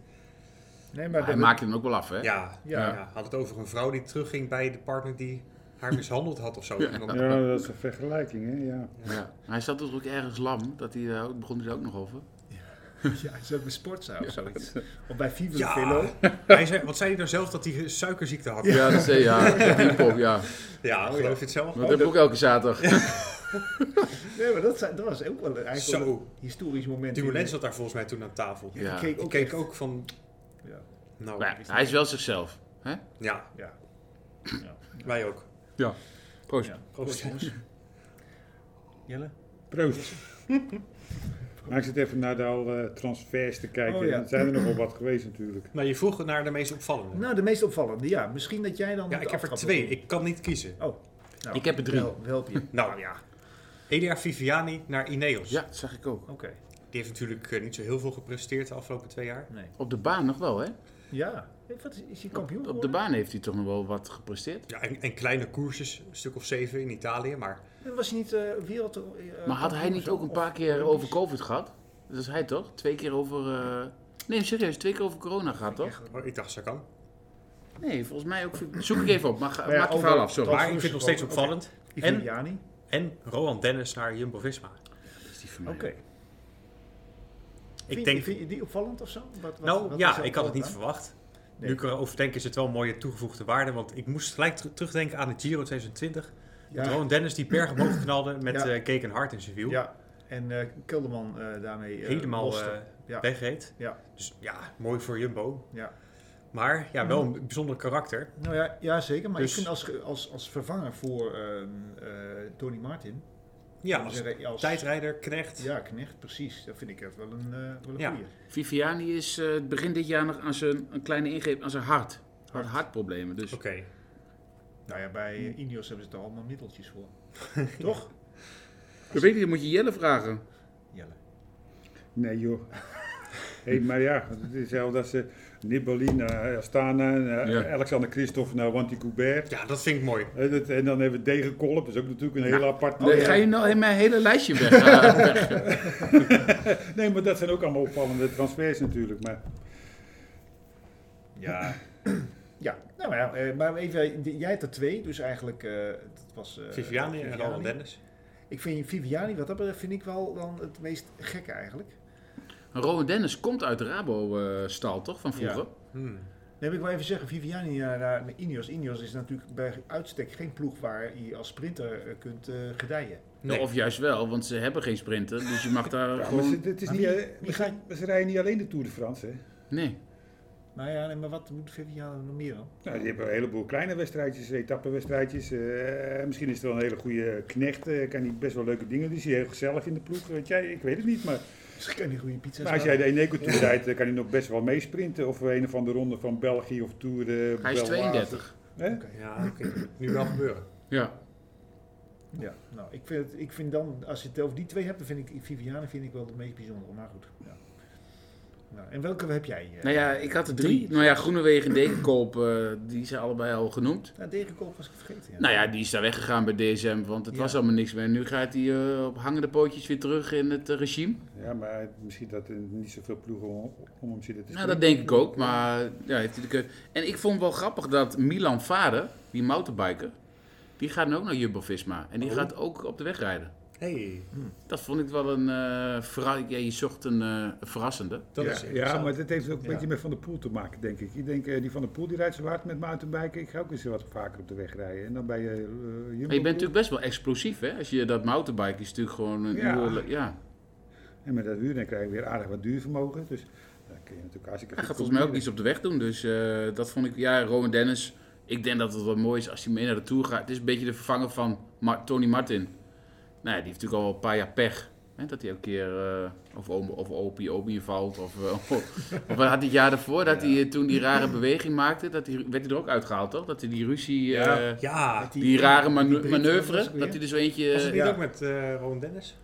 [SPEAKER 4] Nee,
[SPEAKER 3] Maar hij
[SPEAKER 4] dat-
[SPEAKER 3] [LAUGHS] maakt hem ook wel af, hè?
[SPEAKER 2] Ja,
[SPEAKER 4] Ja.
[SPEAKER 2] ja. had het over een vrouw die terugging bij de partner die haar mishandeld had of zo. En dan-
[SPEAKER 1] Ja, dat is een vergelijking, hè? Ja.
[SPEAKER 3] Ja. Hij zat dus ook ergens lam. Dat hij, daar ook begon hij daar ook nog over.
[SPEAKER 4] Ja, hij zat bij Sportza of
[SPEAKER 3] Ja.
[SPEAKER 4] zoiets. Of bij Viva
[SPEAKER 2] Ja.
[SPEAKER 4] Velo.
[SPEAKER 2] Hij zei, wat zei hij nou zelf dat hij suikerziekte had?
[SPEAKER 3] Ja, dat zei [LAUGHS] ja. Pinkpop, ja.
[SPEAKER 2] Ja, geloof je het zelf?
[SPEAKER 3] Dat heb ik ook elke zaterdag.
[SPEAKER 4] Nee, maar dat, zijn- dat was ook wel eigenlijk wel
[SPEAKER 2] Zo,
[SPEAKER 4] een historisch moment. in
[SPEAKER 2] Dumoulin
[SPEAKER 4] de-
[SPEAKER 2] zat daar volgens mij toen aan tafel.
[SPEAKER 3] Ja.
[SPEAKER 4] Ik keek
[SPEAKER 2] Ik
[SPEAKER 4] ook,
[SPEAKER 2] keek
[SPEAKER 4] echt-
[SPEAKER 2] ook van,
[SPEAKER 4] Ja.
[SPEAKER 2] nou,
[SPEAKER 3] Maar ja, hij is wel zichzelf.
[SPEAKER 2] ja,
[SPEAKER 4] Ja. Ja.
[SPEAKER 2] wij ook.
[SPEAKER 3] Proost.
[SPEAKER 4] Ja.
[SPEAKER 2] Proost.
[SPEAKER 4] jongens. Jelle?
[SPEAKER 1] Proost.
[SPEAKER 3] [LAUGHS]
[SPEAKER 1] Maar ik zit even naar de al eh, transfers te kijken.
[SPEAKER 4] Oh, ja.
[SPEAKER 1] Er zijn er nogal wat geweest natuurlijk.
[SPEAKER 2] Maar je vroeg naar de meest opvallende.
[SPEAKER 4] Nou, de meest opvallende, ja. Misschien dat jij dan...
[SPEAKER 2] ja,
[SPEAKER 4] de
[SPEAKER 2] ik heb er
[SPEAKER 4] aftrap
[SPEAKER 2] twee.
[SPEAKER 4] doet.
[SPEAKER 2] Ik kan niet kiezen.
[SPEAKER 4] Nou,
[SPEAKER 3] Ik heb er drie.
[SPEAKER 4] wel- wel Help je.
[SPEAKER 2] [LAUGHS]
[SPEAKER 4] Oké.
[SPEAKER 2] Nou ja, Elia Viviani naar Ineos.
[SPEAKER 3] Ja, dat zag ik ook.
[SPEAKER 2] Die heeft natuurlijk eh, niet zo heel veel gepresteerd de afgelopen twee jaar.
[SPEAKER 4] Nee.
[SPEAKER 3] Op de baan nog wel, hè?
[SPEAKER 4] Ja. Hey, Wat is, is hij kampioen
[SPEAKER 3] Op de
[SPEAKER 4] baan.
[SPEAKER 3] baan heeft hij toch nog wel wat gepresteerd.
[SPEAKER 2] Ja, en, en kleine koersjes, een stuk of zeven in Italië. Maar
[SPEAKER 4] Was hij niet eh wereld... eh,
[SPEAKER 3] Maar had hij
[SPEAKER 4] kampioen of
[SPEAKER 3] niet
[SPEAKER 4] zo?
[SPEAKER 3] ook een
[SPEAKER 4] Of
[SPEAKER 3] paar keer
[SPEAKER 4] Olympisch?
[SPEAKER 3] over COVID gehad? Dat is hij toch? Twee keer over. eh, Nee, serieus, twee keer over corona gehad, toch?
[SPEAKER 2] oh, ik dacht, ze kan.
[SPEAKER 3] Nee, volgens mij ook. Zoek ik even op, maar oh, ga-
[SPEAKER 4] Maar ja,
[SPEAKER 3] maak je
[SPEAKER 4] over-
[SPEAKER 3] verhaal af, sorry.
[SPEAKER 4] dat-
[SPEAKER 2] Maar ik vind het nog steeds opvallend. En,
[SPEAKER 4] Viviani?
[SPEAKER 2] en Rohan Dennis naar Jumbo-Visma.
[SPEAKER 4] Oké.
[SPEAKER 2] Ik
[SPEAKER 4] Vind-
[SPEAKER 2] denk...
[SPEAKER 4] Vind je die opvallend of zo? Wat, wat,
[SPEAKER 2] Nou
[SPEAKER 4] wat
[SPEAKER 2] ja,
[SPEAKER 4] is er
[SPEAKER 2] ik had het niet
[SPEAKER 4] opvallend
[SPEAKER 2] verwacht.
[SPEAKER 4] Nee.
[SPEAKER 2] Nu ik erover denk is het wel een mooie toegevoegde waarde. Want ik moest gelijk ter- terugdenken aan het Giro 2020.
[SPEAKER 4] aan?
[SPEAKER 2] Met Rowan Dennis die berg omhoog knalde met
[SPEAKER 4] Ja.
[SPEAKER 2] eh Cake en Hart in zijn wiel.
[SPEAKER 4] Ja, en eh Kelderman eh, daarmee eh,
[SPEAKER 2] Helemaal
[SPEAKER 4] loste.
[SPEAKER 2] eh,
[SPEAKER 4] ja.
[SPEAKER 2] wegreed.
[SPEAKER 4] Ja.
[SPEAKER 2] Dus ja, mooi voor Jumbo.
[SPEAKER 4] Ja.
[SPEAKER 2] Maar ja, wel een bijzonder karakter.
[SPEAKER 4] Nou ja, ja zeker. Maar ik
[SPEAKER 2] Dus-
[SPEAKER 4] vind als, ge- als, als vervanger voor ehm, eh, Tony Martin...
[SPEAKER 2] Ja,
[SPEAKER 4] dan
[SPEAKER 2] als
[SPEAKER 4] zeg ik, als-
[SPEAKER 2] tijdrijder, knecht.
[SPEAKER 4] Ja, Knecht, precies. Dat vind ik echt wel een, eh wel een
[SPEAKER 2] Ja.
[SPEAKER 4] goeie.
[SPEAKER 3] Viviani is eh, begin dit jaar nog aan zijn een kleine ingreep aan zijn hart. Hart.
[SPEAKER 4] Hart.
[SPEAKER 3] Hartproblemen. Dus
[SPEAKER 2] Oké.
[SPEAKER 4] Nou ja, bij
[SPEAKER 2] Hm.
[SPEAKER 4] eh, Ineos hebben ze er allemaal middeltjes
[SPEAKER 2] [LAUGHS]
[SPEAKER 4] voor. Toch?
[SPEAKER 3] dat weet ik, niet, moet je Jelle vragen.
[SPEAKER 4] Jelle.
[SPEAKER 1] Nee joh. [LAUGHS] Hey, maar ja, het is zelfs dat ze Nibali naar Astana, naar
[SPEAKER 3] Ja.
[SPEAKER 1] Alexander Christophe naar Wanty Coubert.
[SPEAKER 2] Ja, dat vind ik mooi.
[SPEAKER 1] Eh, dat- En dan hebben we Degenkolb, dat is ook natuurlijk een hele apart.
[SPEAKER 3] Nee,
[SPEAKER 1] Nee,
[SPEAKER 3] Ga je nou in mijn hele lijstje [LAUGHS] weg? eh, weg.
[SPEAKER 1] nee, maar dat zijn ook allemaal opvallende transfers natuurlijk. Maar
[SPEAKER 4] Ja. ja, nou ja, eh, maar even, eh, jij hebt er twee, dus eigenlijk, eh, het was... eh,
[SPEAKER 2] [LAUGHS] Viviani en Rowan Dennis.
[SPEAKER 4] Ik vind Viviani, wat dat betreft, vind ik wel dan het meest gekke eigenlijk.
[SPEAKER 3] Rowan Dennis komt uit de Rabo-stal, toch? Van vroeger?
[SPEAKER 2] Hmm.
[SPEAKER 4] Dan heb ik wel even zeggen, Viviani naar, naar Ineos. Ineos is natuurlijk bij uitstek geen ploeg waar je als sprinter eh, kunt eh, gedijen.
[SPEAKER 2] Nee.
[SPEAKER 3] Of juist wel, want ze hebben geen sprinter. Dus je mag daar
[SPEAKER 1] Ja, maar
[SPEAKER 3] gewoon...
[SPEAKER 1] ze, het is
[SPEAKER 4] Maar
[SPEAKER 1] niet,
[SPEAKER 4] wie-
[SPEAKER 1] eh,
[SPEAKER 4] wie
[SPEAKER 1] ze-
[SPEAKER 4] ga
[SPEAKER 1] ze rijden niet alleen de Tour de France. Hè?
[SPEAKER 3] Nee.
[SPEAKER 4] Nou ja, nee, maar wat moet Viviani nog meer dan? [LAUGHS]
[SPEAKER 1] Nou, die hebben een heleboel kleine wedstrijdjes, etappenwedstrijdjes. eh, misschien is er wel een hele goede knecht. eh, kan die best wel leuke dingen. Die is hij heel gezellig in de ploeg. Weet jij, ik weet het niet. Maar,
[SPEAKER 4] Misschien kan hij goede pizza's
[SPEAKER 1] maar als jij de Eneco Tour rijdt, eh, kan hij nog best wel meesprinten. Of een of andere ronde van België of Tour. eh,
[SPEAKER 3] Hij is
[SPEAKER 1] Belwaar.
[SPEAKER 3] 32.
[SPEAKER 1] Hè?
[SPEAKER 2] Ja, oké. dat moet Nu wel gebeuren.
[SPEAKER 3] Ja.
[SPEAKER 4] Ja, nou, ik vind, het- ik vind dan, als je het over die twee hebt, dan vind ik Viviani vind ik wel het meest bijzondere. Maar goed, ja. Nou, en welke heb jij? eh?
[SPEAKER 3] Nou ja, ik had er drie. Nou ja, Groenewegen en Dekenkoop, eh, die zijn allebei al genoemd.
[SPEAKER 4] Nou, Degenkolb was ik vergeten. Ja.
[SPEAKER 3] Nou ja, die is daar weggegaan bij DSM, want het
[SPEAKER 4] Ja.
[SPEAKER 3] was allemaal niks meer. Nu gaat hij eh, op hangende pootjes weer terug in het eh, regime.
[SPEAKER 1] Ja, maar misschien dat er niet zoveel ploegen om, om hem zitten te
[SPEAKER 3] Nou,
[SPEAKER 1] springen.
[SPEAKER 3] dat denk ik ook, maar ja, heeft hij de keuze. En ik vond wel grappig dat Milan Vader, die mountainbiker, die gaat nu ook naar Jumbo-Visma. En die
[SPEAKER 2] Oh.
[SPEAKER 3] gaat ook op de weg rijden.
[SPEAKER 2] Hey,
[SPEAKER 3] Dat vond ik wel een eh verra- ja, je zocht een eh, verrassende.
[SPEAKER 2] dat
[SPEAKER 1] ja,
[SPEAKER 2] is
[SPEAKER 1] ja,
[SPEAKER 2] interessant.
[SPEAKER 1] maar dat heeft ook een
[SPEAKER 4] Ja.
[SPEAKER 1] beetje met Van der Poel te maken, denk ik. Ik denk, eh, die Van der Poel die rijdt zo hard met mountainbiken. Ik ga ook eens wat vaker op de weg rijden. En dan bij eh, eh Jumbo.
[SPEAKER 3] Maar je bent natuurlijk best wel explosief, hè? Als je dat mountainbiken is natuurlijk gewoon een
[SPEAKER 1] Ja.
[SPEAKER 3] nieuwe... Ja.
[SPEAKER 1] En met dat huur dan krijg je weer aardig wat duurvermogen. Dus eh, Dat kun je natuurlijk hartstikke
[SPEAKER 3] Hij
[SPEAKER 1] goed
[SPEAKER 3] gaat volgens mij ook
[SPEAKER 1] combineren.
[SPEAKER 3] iets op de weg doen. Dus eh, dat vond ik, ja, Rowan Dennis. Ik denk dat het wel mooi is als hij mee naar de Tour gaat. Het is een beetje de vervanger van Ma- Tony Martin. Nou ja, die heeft natuurlijk al een paar jaar pech. Hè, dat hij elke keer eh, of, om- of opie opie valt. Of, eh, [LAUGHS] of wat had hij het jaar daarvoor? Dat hij eh, toen die rare beweging maakte. Dat hij, werd hij er ook uitgehaald, toch? Dat hij die ruzie... eh,
[SPEAKER 2] Ja,
[SPEAKER 3] Die, rare manu- manoeuvre, dat hij er zo eentje...
[SPEAKER 2] was het niet
[SPEAKER 4] Ja.
[SPEAKER 2] ook met eh Ron Dennis?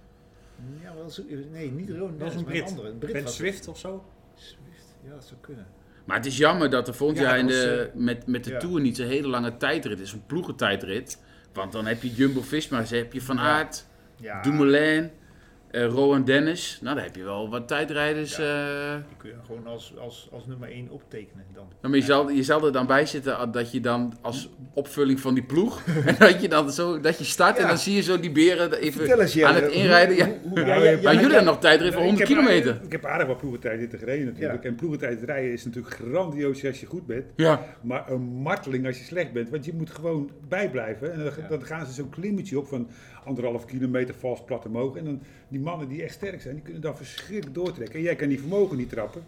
[SPEAKER 4] Ja, wel zo, nee, niet Rowan.
[SPEAKER 2] Dat was een
[SPEAKER 4] maar
[SPEAKER 2] Brit.
[SPEAKER 4] andere. Een Brit
[SPEAKER 2] Ben
[SPEAKER 4] was-
[SPEAKER 2] Swift of zo?
[SPEAKER 4] Swift. Ja, dat zou kunnen.
[SPEAKER 3] Maar het is jammer dat er volgend
[SPEAKER 2] Ja,
[SPEAKER 3] jaar in
[SPEAKER 2] dat was,
[SPEAKER 3] de, met, met de
[SPEAKER 4] ja.
[SPEAKER 3] Tour niet zo'n hele lange tijdrit is. Een ploegentijdrit. Want dan heb je Jumbo-Visma, ze heb je Van Aert,
[SPEAKER 4] Ja,
[SPEAKER 3] Dumoulin, eh, Rowan Dennis. Nou, daar heb je wel wat tijdrijders. eh.
[SPEAKER 4] die kun je gewoon als, als, als nummer 1 optekenen dan.
[SPEAKER 3] Nou, maar je zal, je zal er dan bij zitten ah, dat je dan als opvulling van die ploeg... en dat je dan zo, dat je start en
[SPEAKER 4] Ja.
[SPEAKER 3] dan zie je zo die beren even...
[SPEAKER 4] eens,
[SPEAKER 3] aan het inrijden, ja. Maar jullie hebben nog tijdrit van
[SPEAKER 1] Nou, ik
[SPEAKER 3] 100
[SPEAKER 1] heb
[SPEAKER 3] kilometer.
[SPEAKER 1] aardig- Ik heb aardig wat ploegentijdritten gereden natuurlijk.
[SPEAKER 4] Ja.
[SPEAKER 1] En ploegentijdrijden is natuurlijk grandioos als je goed bent.
[SPEAKER 3] Ja.
[SPEAKER 1] Maar een marteling als je slecht bent. Want je moet gewoon bijblijven. En dan,
[SPEAKER 4] Ja.
[SPEAKER 1] dan gaan ze zo'n klimmetje op van anderhalf kilometer vals plat omhoog. En dan die mannen die echt sterk zijn, die kunnen dan verschrikkelijk doortrekken. En jij kan die vermogen niet trappen.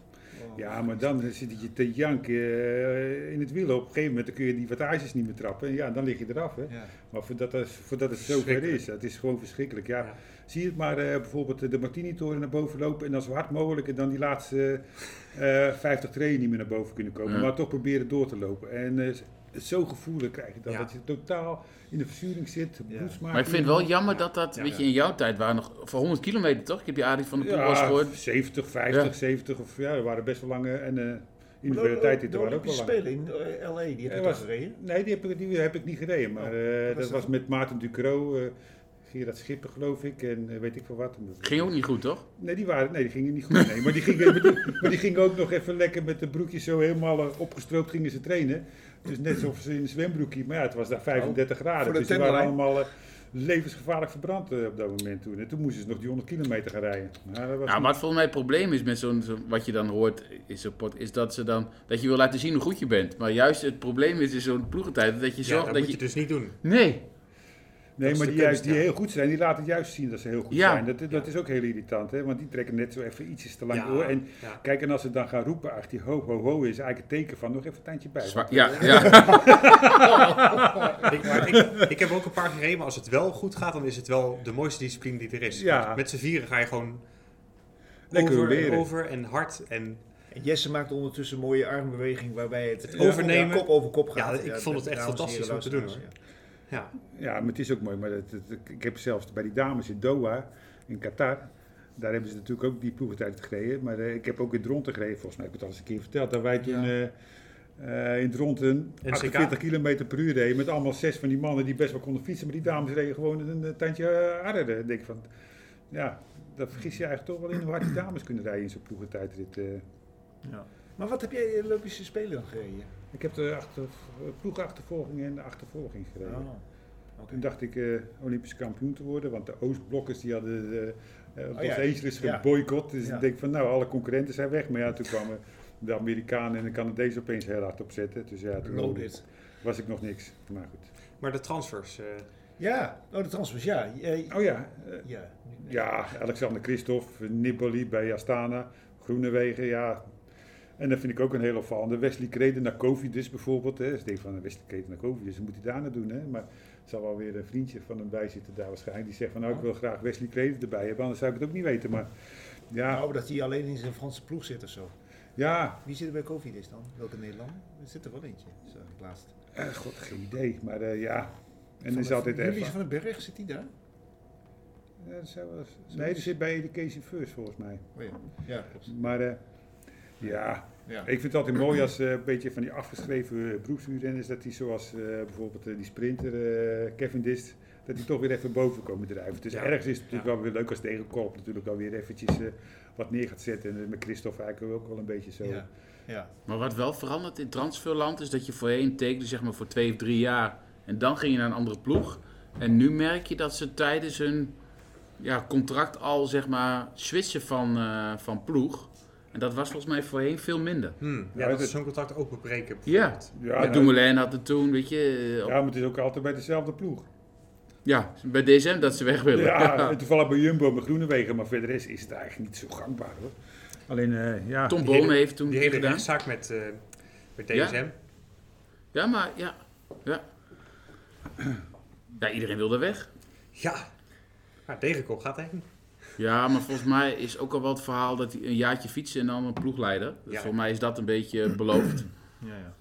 [SPEAKER 1] Ja, maar dan zit je te janken eh, in het wiel. Op een gegeven moment dan kun je die wattages niet meer trappen. En ja, dan lig je eraf. Hè.
[SPEAKER 4] Ja.
[SPEAKER 1] Maar voordat, het- voordat het zover is, het is gewoon verschrikkelijk. Ja.
[SPEAKER 2] Ja.
[SPEAKER 1] Zie het maar eh, bijvoorbeeld de Martini-toren naar boven lopen en dan zo hard mogelijk en dan die laatste eh, eh, 50 treden niet meer naar boven kunnen komen.
[SPEAKER 3] Ja.
[SPEAKER 1] Maar toch proberen door te lopen. En eh, zo gevoelig krijg je dat,
[SPEAKER 2] Ja.
[SPEAKER 1] dat je totaal in de verzuring zit,
[SPEAKER 4] Ja.
[SPEAKER 1] bloedsmaak.
[SPEAKER 3] Maar ik vind het wel jammer dat dat, weet je, in jouw tijd waren nog voor 100 kilometer toch? Ik heb je Arie van de Poel al
[SPEAKER 1] Ja,
[SPEAKER 3] gehoord.
[SPEAKER 1] 70, 50,
[SPEAKER 3] Ja.
[SPEAKER 1] 70 of ja, er waren best wel lange en eh in
[SPEAKER 4] Maar
[SPEAKER 1] de
[SPEAKER 4] de-
[SPEAKER 1] hele tijd dit
[SPEAKER 4] de
[SPEAKER 1] er waren ook wel
[SPEAKER 4] Olympische
[SPEAKER 1] lang.
[SPEAKER 4] Spelen in eh, L.A., die
[SPEAKER 1] Ja,
[SPEAKER 4] heb je toch
[SPEAKER 1] was-
[SPEAKER 4] gereden?
[SPEAKER 1] Nee, die heb, ik, die heb ik niet gereden, maar eh,
[SPEAKER 4] Oh, dat
[SPEAKER 1] dat
[SPEAKER 4] is-
[SPEAKER 1] was met Maarten Ducro, eh Gerard Schipper geloof ik en eh, weet ik veel wat.
[SPEAKER 3] Ging ook niet goed, toch?
[SPEAKER 1] Nee, die, waren, nee, die gingen niet goed. Nee, maar, die gingen, maar, die, maar die gingen ook nog even lekker met de broekjes zo helemaal eh, opgestroopt gingen ze trainen. Dus net alsof ze in een zwembroekje. Maar ja, het was daar 35 graden.
[SPEAKER 4] voor de
[SPEAKER 1] Dus die waren
[SPEAKER 4] tenderlijn.
[SPEAKER 1] allemaal eh, levensgevaarlijk verbrand eh, op dat moment toen. En toen moesten ze nog die 100 kilometer gaan rijden. Maar dat was
[SPEAKER 3] Nou, wat volgens mij het probleem is met zo'n, zo- wat je dan hoort in zo'n pot, is dat ze dan, dat je wil laten zien hoe goed je bent. Maar juist het probleem is in zo'n ploegentijd, dat je
[SPEAKER 2] Ja,
[SPEAKER 3] zorgt
[SPEAKER 2] dat
[SPEAKER 3] dat
[SPEAKER 2] moet
[SPEAKER 3] je...
[SPEAKER 2] je dus niet doen.
[SPEAKER 3] Nee,
[SPEAKER 1] nee,
[SPEAKER 2] is
[SPEAKER 1] maar
[SPEAKER 2] de
[SPEAKER 1] die, juist,
[SPEAKER 2] kunst,
[SPEAKER 1] die
[SPEAKER 2] ja.
[SPEAKER 1] heel goed zijn, die laten juist zien dat ze heel goed
[SPEAKER 3] Ja.
[SPEAKER 1] zijn. Dat, dat is ook heel irritant, hè? want die trekken net zo even ietsjes te lang
[SPEAKER 2] Ja,
[SPEAKER 1] door. En
[SPEAKER 2] ja.
[SPEAKER 1] kijk, en als ze dan gaan roepen, ach, die ho, ho, ho, is eigenlijk een teken van nog even een tandje bij.
[SPEAKER 3] Zwa- ja,
[SPEAKER 2] eh, [LAUGHS]
[SPEAKER 3] ja.
[SPEAKER 2] ik, maar ik, ik heb ook een paar gereden, maar als het wel goed gaat, dan is het wel de mooiste discipline die er is.
[SPEAKER 1] Ja.
[SPEAKER 2] Met z'n vieren ga je gewoon
[SPEAKER 1] Lekker
[SPEAKER 2] over, en
[SPEAKER 1] leren.
[SPEAKER 2] over en hard. En,
[SPEAKER 4] En Jesse maakt ondertussen een mooie armbeweging waarbij het,
[SPEAKER 2] Het overnemen.
[SPEAKER 4] ja, kop over kop
[SPEAKER 2] Ja,
[SPEAKER 4] gaat.
[SPEAKER 2] ik vond het echt
[SPEAKER 4] dames en
[SPEAKER 2] fantastisch
[SPEAKER 4] heren,
[SPEAKER 2] om te doen,
[SPEAKER 4] luisteraars,
[SPEAKER 2] ja.
[SPEAKER 1] Ja, maar het is ook mooi. Maar het- het- ik heb zelfs bij die dames in Doha, in Qatar, daar hebben ze natuurlijk ook die ploegentijd gereden. Maar eh, ik heb ook in Dronten gereden. Volgens mij heb ik het al eens een keer verteld. Dat wij toen eh, eh, in Dronten
[SPEAKER 2] NCK.
[SPEAKER 1] 48 km per uur reden. Met allemaal zes van die mannen die best wel konden fietsen. Maar die dames reden gewoon een eh, tandje eh, harder. Ik denk van, ja, daar vergis je eigenlijk toch wel in hoe hard die dames kunnen rijden in zo'n ploegentijdrit. eh.
[SPEAKER 4] ja. Ja. Maar wat heb jij in de Olympische Spelen dan gereden?
[SPEAKER 1] Ik heb de achter, eh, ploegachtervolging en de achtervolging gereden.
[SPEAKER 4] Oh.
[SPEAKER 1] Toen dacht ik eh, Olympisch kampioen te worden, want de Oostblokkers die hadden de, eh Los
[SPEAKER 4] Oh ja,
[SPEAKER 1] Angeles
[SPEAKER 4] ja.
[SPEAKER 1] geboycott. Dus
[SPEAKER 4] Ja.
[SPEAKER 1] ik denk van nou, alle concurrenten zijn weg. Maar ja, toen kwamen de Amerikanen en de Canadezen opeens heel hard opzetten. Dus ja, toen
[SPEAKER 4] Loaded.
[SPEAKER 1] was ik nog niks. Maar goed.
[SPEAKER 2] Maar de transfers. eh,
[SPEAKER 4] Ja, oh, de transfers, ja. Eh,
[SPEAKER 1] Oh ja, eh,
[SPEAKER 4] ja.
[SPEAKER 1] ja Alexander Christophe, Nibali bij Astana, Groenewegen, ja. En dat vind ik ook een heel opvallende. Wesley Kreden naar Covidus bijvoorbeeld. Hè. Dus ik denk van Wesley Kreden naar Covidus, wat moet hij daar nou doen? Hè? Maar er zal wel weer een vriendje van hem bij zitten daar waarschijnlijk. Die zegt van nou, ik wil graag Wesley Kreden erbij hebben, anders zou ik het ook niet weten. Maar ja,
[SPEAKER 4] Nou, dat hij alleen in zijn Franse ploeg zit of zo.
[SPEAKER 1] ja
[SPEAKER 4] Wie zit er bij COVID is dan? Welke Nederlander? Er zit er wel eentje, zag ik laatst.
[SPEAKER 1] eh, god, geen idee. Maar eh, ja, en
[SPEAKER 4] Van
[SPEAKER 1] er is
[SPEAKER 4] de-
[SPEAKER 1] altijd
[SPEAKER 4] Julius
[SPEAKER 1] erg.
[SPEAKER 4] van den Berg, zit die daar?
[SPEAKER 1] Ja, dat zou wel eens- Nee, die zit bij Education First volgens mij.
[SPEAKER 4] Oh ja, ja klopt.
[SPEAKER 1] Maar eh, ja,
[SPEAKER 4] Ja.
[SPEAKER 1] Ik vind het altijd mooi als eh, een beetje van die afgeschreven beroepswielrenners, dat die zoals eh, bijvoorbeeld eh, die sprinter eh, Kevin Dist, dat die toch weer even boven komen drijven. Dus
[SPEAKER 2] Ja.
[SPEAKER 1] ergens is het natuurlijk
[SPEAKER 2] Ja.
[SPEAKER 1] wel weer leuk als tegenkorp natuurlijk wel weer eventjes eh, wat neer gaat zetten. En eh, met Christophe eigenlijk ook wel een beetje zo.
[SPEAKER 4] Ja. ja.
[SPEAKER 3] Maar wat wel verandert in transferland is dat je voorheen tekende zeg maar voor twee of drie jaar en dan ging je naar een andere ploeg. En nu merk je dat ze tijdens hun ja, contract al zeg maar switchen van, eh, van ploeg. En dat was volgens mij voorheen veel minder.
[SPEAKER 2] hmm, ja,
[SPEAKER 1] Ja,
[SPEAKER 2] dat
[SPEAKER 1] het-
[SPEAKER 2] is zo'n contract ook bebreken.
[SPEAKER 3] Ja,
[SPEAKER 1] Ja,
[SPEAKER 3] ja,
[SPEAKER 1] nou,
[SPEAKER 3] Dumoulin had het toen, weet je. eh, op-
[SPEAKER 1] ja, maar het is ook altijd bij dezelfde ploeg.
[SPEAKER 3] Ja, bij DSM dat ze weg willen.
[SPEAKER 1] Ja, en toevallig bij Jumbo met Groenewegen, maar verder is, is het eigenlijk niet zo gangbaar hoor. Alleen, eh, ja.
[SPEAKER 3] Tom
[SPEAKER 2] die hele-
[SPEAKER 3] Bonen heeft toen
[SPEAKER 2] Die hele
[SPEAKER 3] gedaan.
[SPEAKER 2] rechtszaak met, eh, met DSM.
[SPEAKER 3] Ja? Ja, maar ja. Ja. ja, iedereen wilde weg.
[SPEAKER 2] Ja. Maar Degenkop gaat heen.
[SPEAKER 3] Ja, maar volgens mij is ook al wel het verhaal dat hij een jaartje fietsen en dan een ploegleider. Dus
[SPEAKER 2] Ja.
[SPEAKER 3] volgens mij is dat een beetje beloofd.
[SPEAKER 4] Ja, ja.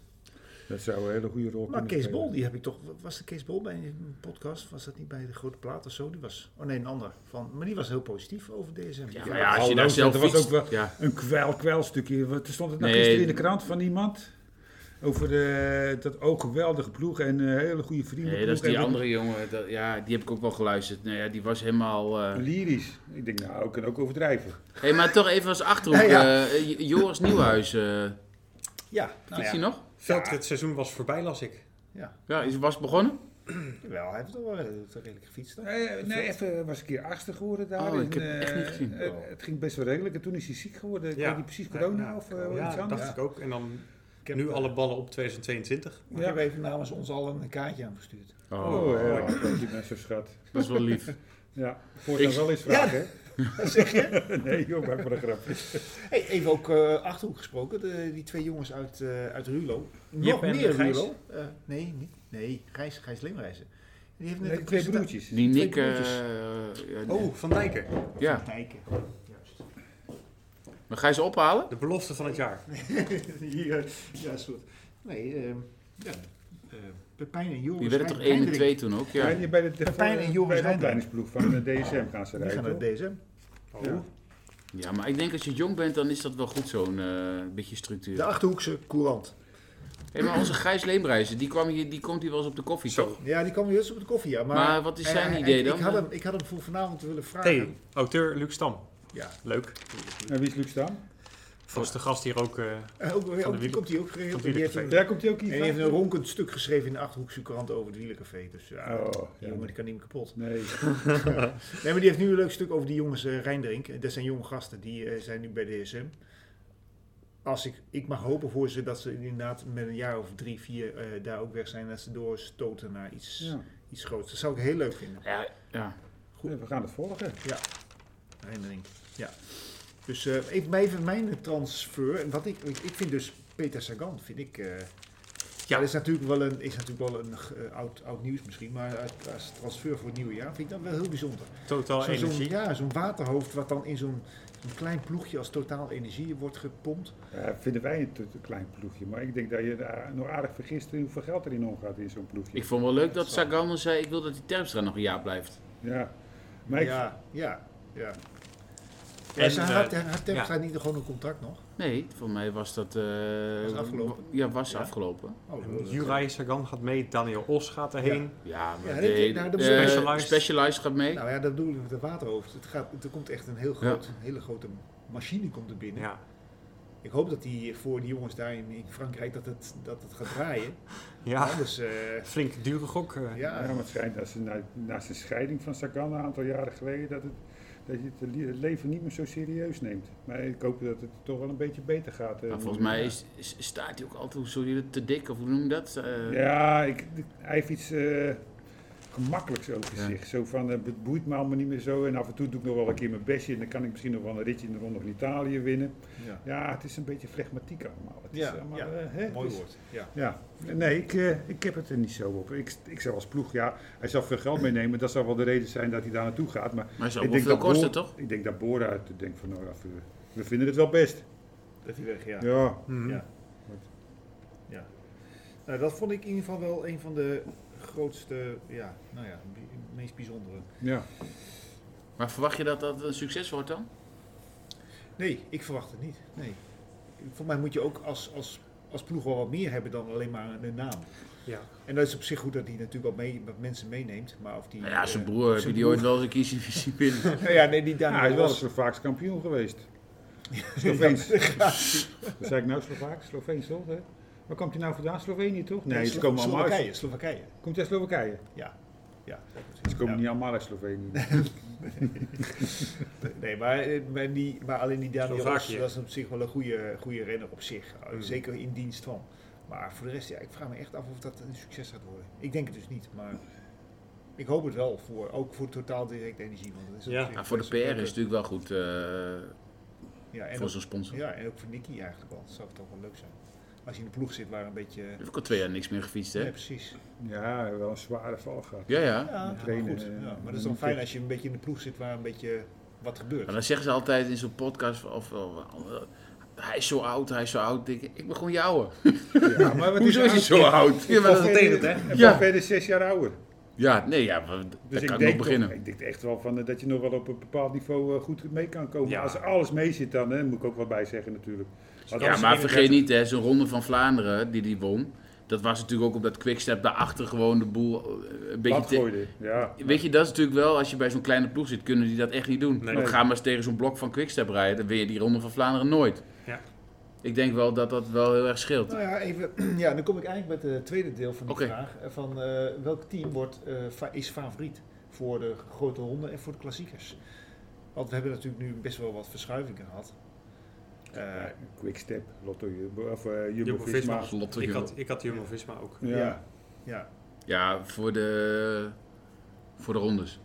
[SPEAKER 1] Dat zou een hele goede rol
[SPEAKER 4] Maar
[SPEAKER 1] kunnen
[SPEAKER 4] Kees
[SPEAKER 1] spelen.
[SPEAKER 4] Bol, die heb ik toch. Was de Kees Bol bij een podcast? Was dat niet bij de grote plaat of zo? Die was. Oh nee, een ander. Van, maar die was heel positief over DSM.
[SPEAKER 3] Ja,
[SPEAKER 1] Ja,
[SPEAKER 3] maar ja, als je
[SPEAKER 1] hallo,
[SPEAKER 3] daar zelf
[SPEAKER 1] dat was
[SPEAKER 3] fietst...
[SPEAKER 1] ook wel-
[SPEAKER 3] ja.
[SPEAKER 1] Een kwel, kwelstukje. Wat stond het nou
[SPEAKER 3] Nee.
[SPEAKER 1] gisteren in de krant van iemand? Over eh, dat ook geweldige ploeg en eh, hele goede vrienden.
[SPEAKER 3] Nee, dat is
[SPEAKER 1] ploeg
[SPEAKER 3] die
[SPEAKER 1] en wat-
[SPEAKER 3] andere jongen. dat- ja, die heb ik ook wel geluisterd. Nou ja, die was helemaal... eh,
[SPEAKER 1] Lyrisch. Ik denk, nou, ik kan ook overdrijven.
[SPEAKER 3] Hé, maar toch even als achterhoek.
[SPEAKER 4] Ja, ja.
[SPEAKER 3] eh, eh, Joris Nieuwhuis, eh
[SPEAKER 4] Ja, nou
[SPEAKER 3] fiets
[SPEAKER 4] ja.
[SPEAKER 3] je nog?
[SPEAKER 2] Veldritseizoen was voorbij, las ik.
[SPEAKER 4] ja.
[SPEAKER 3] Ja, is was begonnen?
[SPEAKER 4] Jawel, hij heeft toch wel eh, redelijk gefietst. hè?
[SPEAKER 1] Nee, nee, even was een keer achtste geworden daar.
[SPEAKER 3] Oh, ik
[SPEAKER 1] En,
[SPEAKER 3] heb
[SPEAKER 1] eh,
[SPEAKER 3] het echt niet gezien.
[SPEAKER 1] eh, het ging best wel redelijk. En toen is hij ziek geworden. Ik
[SPEAKER 2] Ja.
[SPEAKER 1] weet niet precies corona
[SPEAKER 2] Ja,
[SPEAKER 1] of eh,
[SPEAKER 2] ja,
[SPEAKER 1] iets
[SPEAKER 2] dat
[SPEAKER 1] anders.
[SPEAKER 2] dacht ik ook. En dan
[SPEAKER 4] Ik heb,
[SPEAKER 2] nu
[SPEAKER 4] eh,
[SPEAKER 2] alle ballen op 2022.
[SPEAKER 4] Ik heb even namens ons allen een kaartje aan verstuurd.
[SPEAKER 1] Oh, ja, die mensen schat.
[SPEAKER 3] dat is wel lief.
[SPEAKER 1] Ja, voortaan
[SPEAKER 3] Ik-
[SPEAKER 1] wel eens vragen,
[SPEAKER 3] [LAUGHS]
[SPEAKER 1] hè? [LAUGHS] nee, joh, maak maar een grapje.
[SPEAKER 4] Hey, even ook eh, Achterhoek gesproken, de, die twee jongens uit, eh, uit Rulo. Nog
[SPEAKER 5] Jip en
[SPEAKER 4] meer
[SPEAKER 5] Gijs.
[SPEAKER 4] Rulo. Eh, nee, niet. Nee, Gijs, Gijs Leemreizen. Die heeft net
[SPEAKER 1] Nee,
[SPEAKER 4] een
[SPEAKER 1] twee
[SPEAKER 4] presenta-
[SPEAKER 1] broertjes.
[SPEAKER 3] Die
[SPEAKER 4] Twee
[SPEAKER 3] Nick... eh,
[SPEAKER 4] broertjes.
[SPEAKER 3] ja, die-
[SPEAKER 2] Oh, Van Dijken.
[SPEAKER 3] ja,
[SPEAKER 4] Kijken. Juist. [LAUGHS]
[SPEAKER 3] maar ga je ze ophalen?
[SPEAKER 2] De belofte van het jaar.
[SPEAKER 4] Hier, eh, ja, soort. Nee, ehm, ja. eh, Pepijn en Joris.
[SPEAKER 3] Die werden toch
[SPEAKER 4] Hein-
[SPEAKER 3] 1 en
[SPEAKER 4] Hendrik.
[SPEAKER 3] 2 toen ook? Ja.
[SPEAKER 1] Ja. die bij de, de,
[SPEAKER 4] Pepijn en
[SPEAKER 1] bij
[SPEAKER 4] Joris
[SPEAKER 1] de
[SPEAKER 4] Hendrik.
[SPEAKER 1] opleidingsploeg van eh, de DSM gaan ze
[SPEAKER 4] Die gaan
[SPEAKER 1] rijden.
[SPEAKER 4] naar
[SPEAKER 1] toch?
[SPEAKER 4] deze.
[SPEAKER 2] Oh.
[SPEAKER 1] Ja.
[SPEAKER 3] Ja, maar ik denk als je jong bent, dan is dat wel goed, zo'n eh, beetje structuur.
[SPEAKER 4] De Achterhoekse Courant.
[SPEAKER 3] Hé, maar onze Gijs Leemreizen, die, kwam hier, die komt hier wel eens op de koffie,
[SPEAKER 2] Zo.
[SPEAKER 3] toch?
[SPEAKER 4] Ja, die kwam juist op de koffie, ja. Maar,
[SPEAKER 3] Maar wat is
[SPEAKER 4] eh,
[SPEAKER 3] zijn
[SPEAKER 4] eh,
[SPEAKER 3] idee
[SPEAKER 4] ik,
[SPEAKER 3] dan?
[SPEAKER 4] Ik had, hem, ik had hem voor vanavond willen vragen.
[SPEAKER 2] Thee, auteur Luc Stam.
[SPEAKER 4] Ja.
[SPEAKER 2] Leuk.
[SPEAKER 1] En wie is Luc Stam?
[SPEAKER 2] Vaste gast hier ook. eh,
[SPEAKER 4] Eh, ook, ook,
[SPEAKER 2] de wielen-
[SPEAKER 4] komt hij ook geregeld. Die heeft
[SPEAKER 2] wielercafé.
[SPEAKER 4] een
[SPEAKER 1] Daar komt hij ook
[SPEAKER 4] En
[SPEAKER 1] hier
[SPEAKER 4] hij heeft
[SPEAKER 1] van?
[SPEAKER 4] een ronkend stuk geschreven in de Achterhoekse krant over het wielencafé. Dus ja,
[SPEAKER 1] Oh,
[SPEAKER 4] die
[SPEAKER 1] ja.
[SPEAKER 4] jongen die kan niet meer kapot.
[SPEAKER 1] Nee.
[SPEAKER 4] Nee, maar die heeft nu een leuk stuk over die jongens eh Rijndrink. Dat zijn jonge gasten, die eh, zijn nu bij DSM. Als ik, ik mag hopen voor ze dat ze inderdaad met een jaar of drie, vier eh, daar ook weg zijn. Dat ze doorstoten naar iets,
[SPEAKER 1] Ja.
[SPEAKER 4] iets groots. Dat zou ik heel leuk vinden.
[SPEAKER 3] Ja, ja.
[SPEAKER 1] Goed, we gaan het volgen.
[SPEAKER 4] Rijndrink, ja. Dus eh even, maar even mijn transfer. En Wat ik, ik, ik vind dus Peter Sagan, vind ik... eh, ja, dat is natuurlijk wel een, is natuurlijk wel een eh, oud, oud nieuws misschien, maar uit- als transfer voor het nieuwe jaar vind ik dat wel heel bijzonder.
[SPEAKER 2] Totaal
[SPEAKER 4] Zo'n- zo'n-
[SPEAKER 2] Oh, energie.
[SPEAKER 4] ja, zo'n waterhoofd wat dan in zo'n zo'n klein ploegje als totaal energie wordt gepompt.
[SPEAKER 1] Ja, vinden wij het een klein ploegje, maar ik denk dat je daar nog aardig vergist in hoeveel geld erin omgaat in zo'n ploegje.
[SPEAKER 3] Ik vond wel leuk dat Sagan dan zei, ik wil dat die Terpstra nog een jaar blijft.
[SPEAKER 1] Ja, maar ik,
[SPEAKER 4] Ja, ja, ja.
[SPEAKER 2] En,
[SPEAKER 4] En, ze had,
[SPEAKER 2] eh,
[SPEAKER 4] had Terpstra niet gewoon een contract nog?
[SPEAKER 3] Nee, voor mij was dat... eh,
[SPEAKER 4] Was afgelopen?
[SPEAKER 3] Ja, was
[SPEAKER 4] Ja.
[SPEAKER 3] afgelopen.
[SPEAKER 4] Oh, dat-
[SPEAKER 2] Juraj Sagan gaat mee. Daniel Os gaat erheen.
[SPEAKER 3] Ja, maar
[SPEAKER 4] Ja,
[SPEAKER 3] de
[SPEAKER 4] dat-
[SPEAKER 3] hele-
[SPEAKER 4] daar- dat
[SPEAKER 3] eh,
[SPEAKER 4] moet-
[SPEAKER 2] Specialized.
[SPEAKER 3] Specialized gaat mee.
[SPEAKER 4] Nou ja, dat bedoel ik met de waterhoofd. Het gaat, er komt echt een heel groot, hele grote machine komt er binnen.
[SPEAKER 2] Ja.
[SPEAKER 4] Ik hoop dat die voor die jongens daar in, in Frankrijk dat het, dat het gaat draaien.
[SPEAKER 2] [LAUGHS] ja.
[SPEAKER 4] Anders, eh,
[SPEAKER 2] Flink dure gok. eh.
[SPEAKER 1] ja,
[SPEAKER 4] ja,
[SPEAKER 1] maar het schijnt dat ze na, na zijn scheiding van Sagan een aantal jaren geleden, dat, het, dat je het li- het leven niet meer zo serieus neemt. Maar ik hoop dat het toch wel een beetje beter gaat. eh,
[SPEAKER 3] Maar
[SPEAKER 1] nu.
[SPEAKER 3] volgens mij is, is- staat hij ook altijd, hoe zul je dat, te dik, of hoe noem je dat? Eh,
[SPEAKER 1] Ja, ik, ik- hij heeft iets eh, gemakkelijks over
[SPEAKER 3] Ja.
[SPEAKER 1] zich. Zo van, eh, het boeit me allemaal niet meer zo. En af en toe doe ik nog wel een keer mijn bestje. En dan kan ik misschien nog wel een ritje in de Ronde van Italië winnen.
[SPEAKER 4] ja.
[SPEAKER 1] Ja, het is een beetje flegmatiek allemaal. Het
[SPEAKER 4] Ja,
[SPEAKER 1] is allemaal
[SPEAKER 4] ja.
[SPEAKER 1] eh, hè,
[SPEAKER 4] mooi
[SPEAKER 1] dus-
[SPEAKER 4] woord. Ja.
[SPEAKER 1] Ja, nee, ik, eh, ik heb het er niet zo op. Ik, ik zou als ploeg, ja, hij zal veel geld meenemen. Dat zal wel de reden zijn dat hij daar naartoe gaat. Maar
[SPEAKER 3] maar het zou
[SPEAKER 1] ik
[SPEAKER 3] ook wel
[SPEAKER 1] denk,
[SPEAKER 3] veel
[SPEAKER 1] dat
[SPEAKER 3] kosten,
[SPEAKER 1] Boer-
[SPEAKER 3] toch?
[SPEAKER 1] ik denk dat Bora uit denkt van, nou ja, we- we vinden het wel best.
[SPEAKER 4] Dat hij weg, ja.
[SPEAKER 1] Ja, ja.
[SPEAKER 2] Mhm.
[SPEAKER 4] Ja. Nou, dat vond ik in ieder geval wel een van de grootste, ja, nou ja, bi- meest bijzondere.
[SPEAKER 3] Maar verwacht je dat dat een succes wordt dan?
[SPEAKER 4] Nee, ik verwacht het niet. Nee. Voor mij moet je ook als, als, als ploeg wel wat meer hebben dan alleen maar een naam.
[SPEAKER 2] Ja.
[SPEAKER 4] En dat is op zich goed dat hij natuurlijk wel mee, wat mensen meeneemt. Maar of die,
[SPEAKER 3] Nou ja, zijn
[SPEAKER 4] eh,
[SPEAKER 3] broer, heb je
[SPEAKER 4] zijn
[SPEAKER 3] die
[SPEAKER 4] broer-
[SPEAKER 3] ooit wel eens een [LAUGHS] kiezen binnen?
[SPEAKER 4] Nou ja, nee, die
[SPEAKER 1] Ja, hij
[SPEAKER 4] Daniel
[SPEAKER 1] is wel
[SPEAKER 4] Ros.
[SPEAKER 1] Slovaaks kampioen [LAUGHS] geweest. Sloveens. [LAUGHS] Wat zei ik nou Slovaaks? Sloveens toch? Hè? Waar komt hij nou vandaan? Slovenië toch? Nee, ze
[SPEAKER 4] Slo-
[SPEAKER 1] komen allemaal uit.
[SPEAKER 4] Slowakije, Slowakije.
[SPEAKER 1] Komt hij uit Slowakije?
[SPEAKER 4] Ja. Ja,
[SPEAKER 1] Ze komen
[SPEAKER 4] Ja.
[SPEAKER 1] niet allemaal uit Slovenië.
[SPEAKER 4] Nee, maar, eh, maar, die, maar alleen die Daniel Ros,
[SPEAKER 2] Slovakië.
[SPEAKER 4] dat is op zich wel een goede, goede renner op zich. Uh,
[SPEAKER 2] Mm.
[SPEAKER 4] Zeker in dienst van. Maar voor de rest, ja, ik vraag me echt af of dat een succes gaat worden. Ik denk het dus niet, maar ik hoop het wel. Voor, ook voor totaal direct energie. Want dat is op
[SPEAKER 2] Ja.
[SPEAKER 4] zich
[SPEAKER 3] Ja, Nou, voor de PR
[SPEAKER 4] best wel
[SPEAKER 3] is het natuurlijk wel goed. eh,
[SPEAKER 4] Ja, en
[SPEAKER 3] voor
[SPEAKER 4] ook,
[SPEAKER 3] zo'n sponsor.
[SPEAKER 4] ja, en ook voor Nicky eigenlijk wel. Dat zou toch wel leuk zijn. Als je in de ploeg zit waar een beetje...
[SPEAKER 3] Heb ik al twee jaar niks meer gefietst, hè?
[SPEAKER 4] Ja, precies.
[SPEAKER 1] [LAUGHS] Ja, wel een zware val gehad.
[SPEAKER 3] Ja, ja.
[SPEAKER 4] Ja, maar
[SPEAKER 1] trainen,
[SPEAKER 4] goed.
[SPEAKER 1] eh,
[SPEAKER 4] Ja, maar dat
[SPEAKER 1] en
[SPEAKER 4] is dan
[SPEAKER 1] niet
[SPEAKER 4] fijn
[SPEAKER 1] fit.
[SPEAKER 4] als je een beetje in de ploeg zit waar een beetje wat
[SPEAKER 3] Maar
[SPEAKER 4] gebeurt.
[SPEAKER 3] dan zeggen ze altijd in zo'n podcast of, hij is zo oud, hij is zo oud. Denk ik, ik ben gewoon jouwer.
[SPEAKER 1] Ja, maar wat
[SPEAKER 3] Hoezo is hij
[SPEAKER 1] oud?
[SPEAKER 3] zo oud? Ja, maar
[SPEAKER 1] Van [LAUGHS]
[SPEAKER 3] dat-
[SPEAKER 1] verder-
[SPEAKER 4] tegen het,
[SPEAKER 1] en
[SPEAKER 3] Ja.
[SPEAKER 1] van verder zes jaar ouder.
[SPEAKER 3] ja, nee, ja, maar d-
[SPEAKER 1] Dus
[SPEAKER 3] daar kan
[SPEAKER 1] ik
[SPEAKER 3] ik nog
[SPEAKER 1] denk,
[SPEAKER 3] beginnen.
[SPEAKER 1] toch- ik denk echt wel van, eh, dat je nog wel op een bepaald niveau eh, goed mee kan komen.
[SPEAKER 2] Ja.
[SPEAKER 1] Als alles mee zit dan, hè, moet ik ook wat bij zeggen natuurlijk. Want
[SPEAKER 3] Ja,
[SPEAKER 1] als-
[SPEAKER 3] maar vergeet niet, hè, zo'n ronde van Vlaanderen die die won. Dat was natuurlijk ook op dat quickstep daarachter gewoon de boel eh, een beetje...
[SPEAKER 1] Plat
[SPEAKER 3] te-
[SPEAKER 1] gooide. Ja.
[SPEAKER 3] Weet je, dat is natuurlijk wel, als je bij zo'n kleine ploeg zit, kunnen die dat echt niet doen.
[SPEAKER 2] Nee.
[SPEAKER 3] Dan ga maar eens tegen zo'n blok van quickstep rijden, dan win je die ronde van Vlaanderen nooit.
[SPEAKER 2] Ja.
[SPEAKER 3] Ik denk wel dat dat wel heel erg scheelt.
[SPEAKER 4] Nou ja, even, [CLEARS THROAT] ja, dan kom ik eigenlijk met het tweede deel van de
[SPEAKER 3] Oké.
[SPEAKER 4] vraag. eh, Van, eh, welk team wordt, eh, fa- is favoriet voor de grote honden en voor de klassiekers? Want we hebben natuurlijk nu best wel wat verschuivingen gehad. Eh,
[SPEAKER 1] Ja, Quickstep, Lotto Jumbo, of eh, Jumbo,
[SPEAKER 2] Jumbo-Visma.
[SPEAKER 1] Visma.
[SPEAKER 3] Dat is Lotte
[SPEAKER 2] Ik
[SPEAKER 3] Jumbo.
[SPEAKER 2] had, ik had Jumbo-Visma ook.
[SPEAKER 1] Ja.
[SPEAKER 4] Ja. ja,
[SPEAKER 3] Ja, voor de, voor de rondes.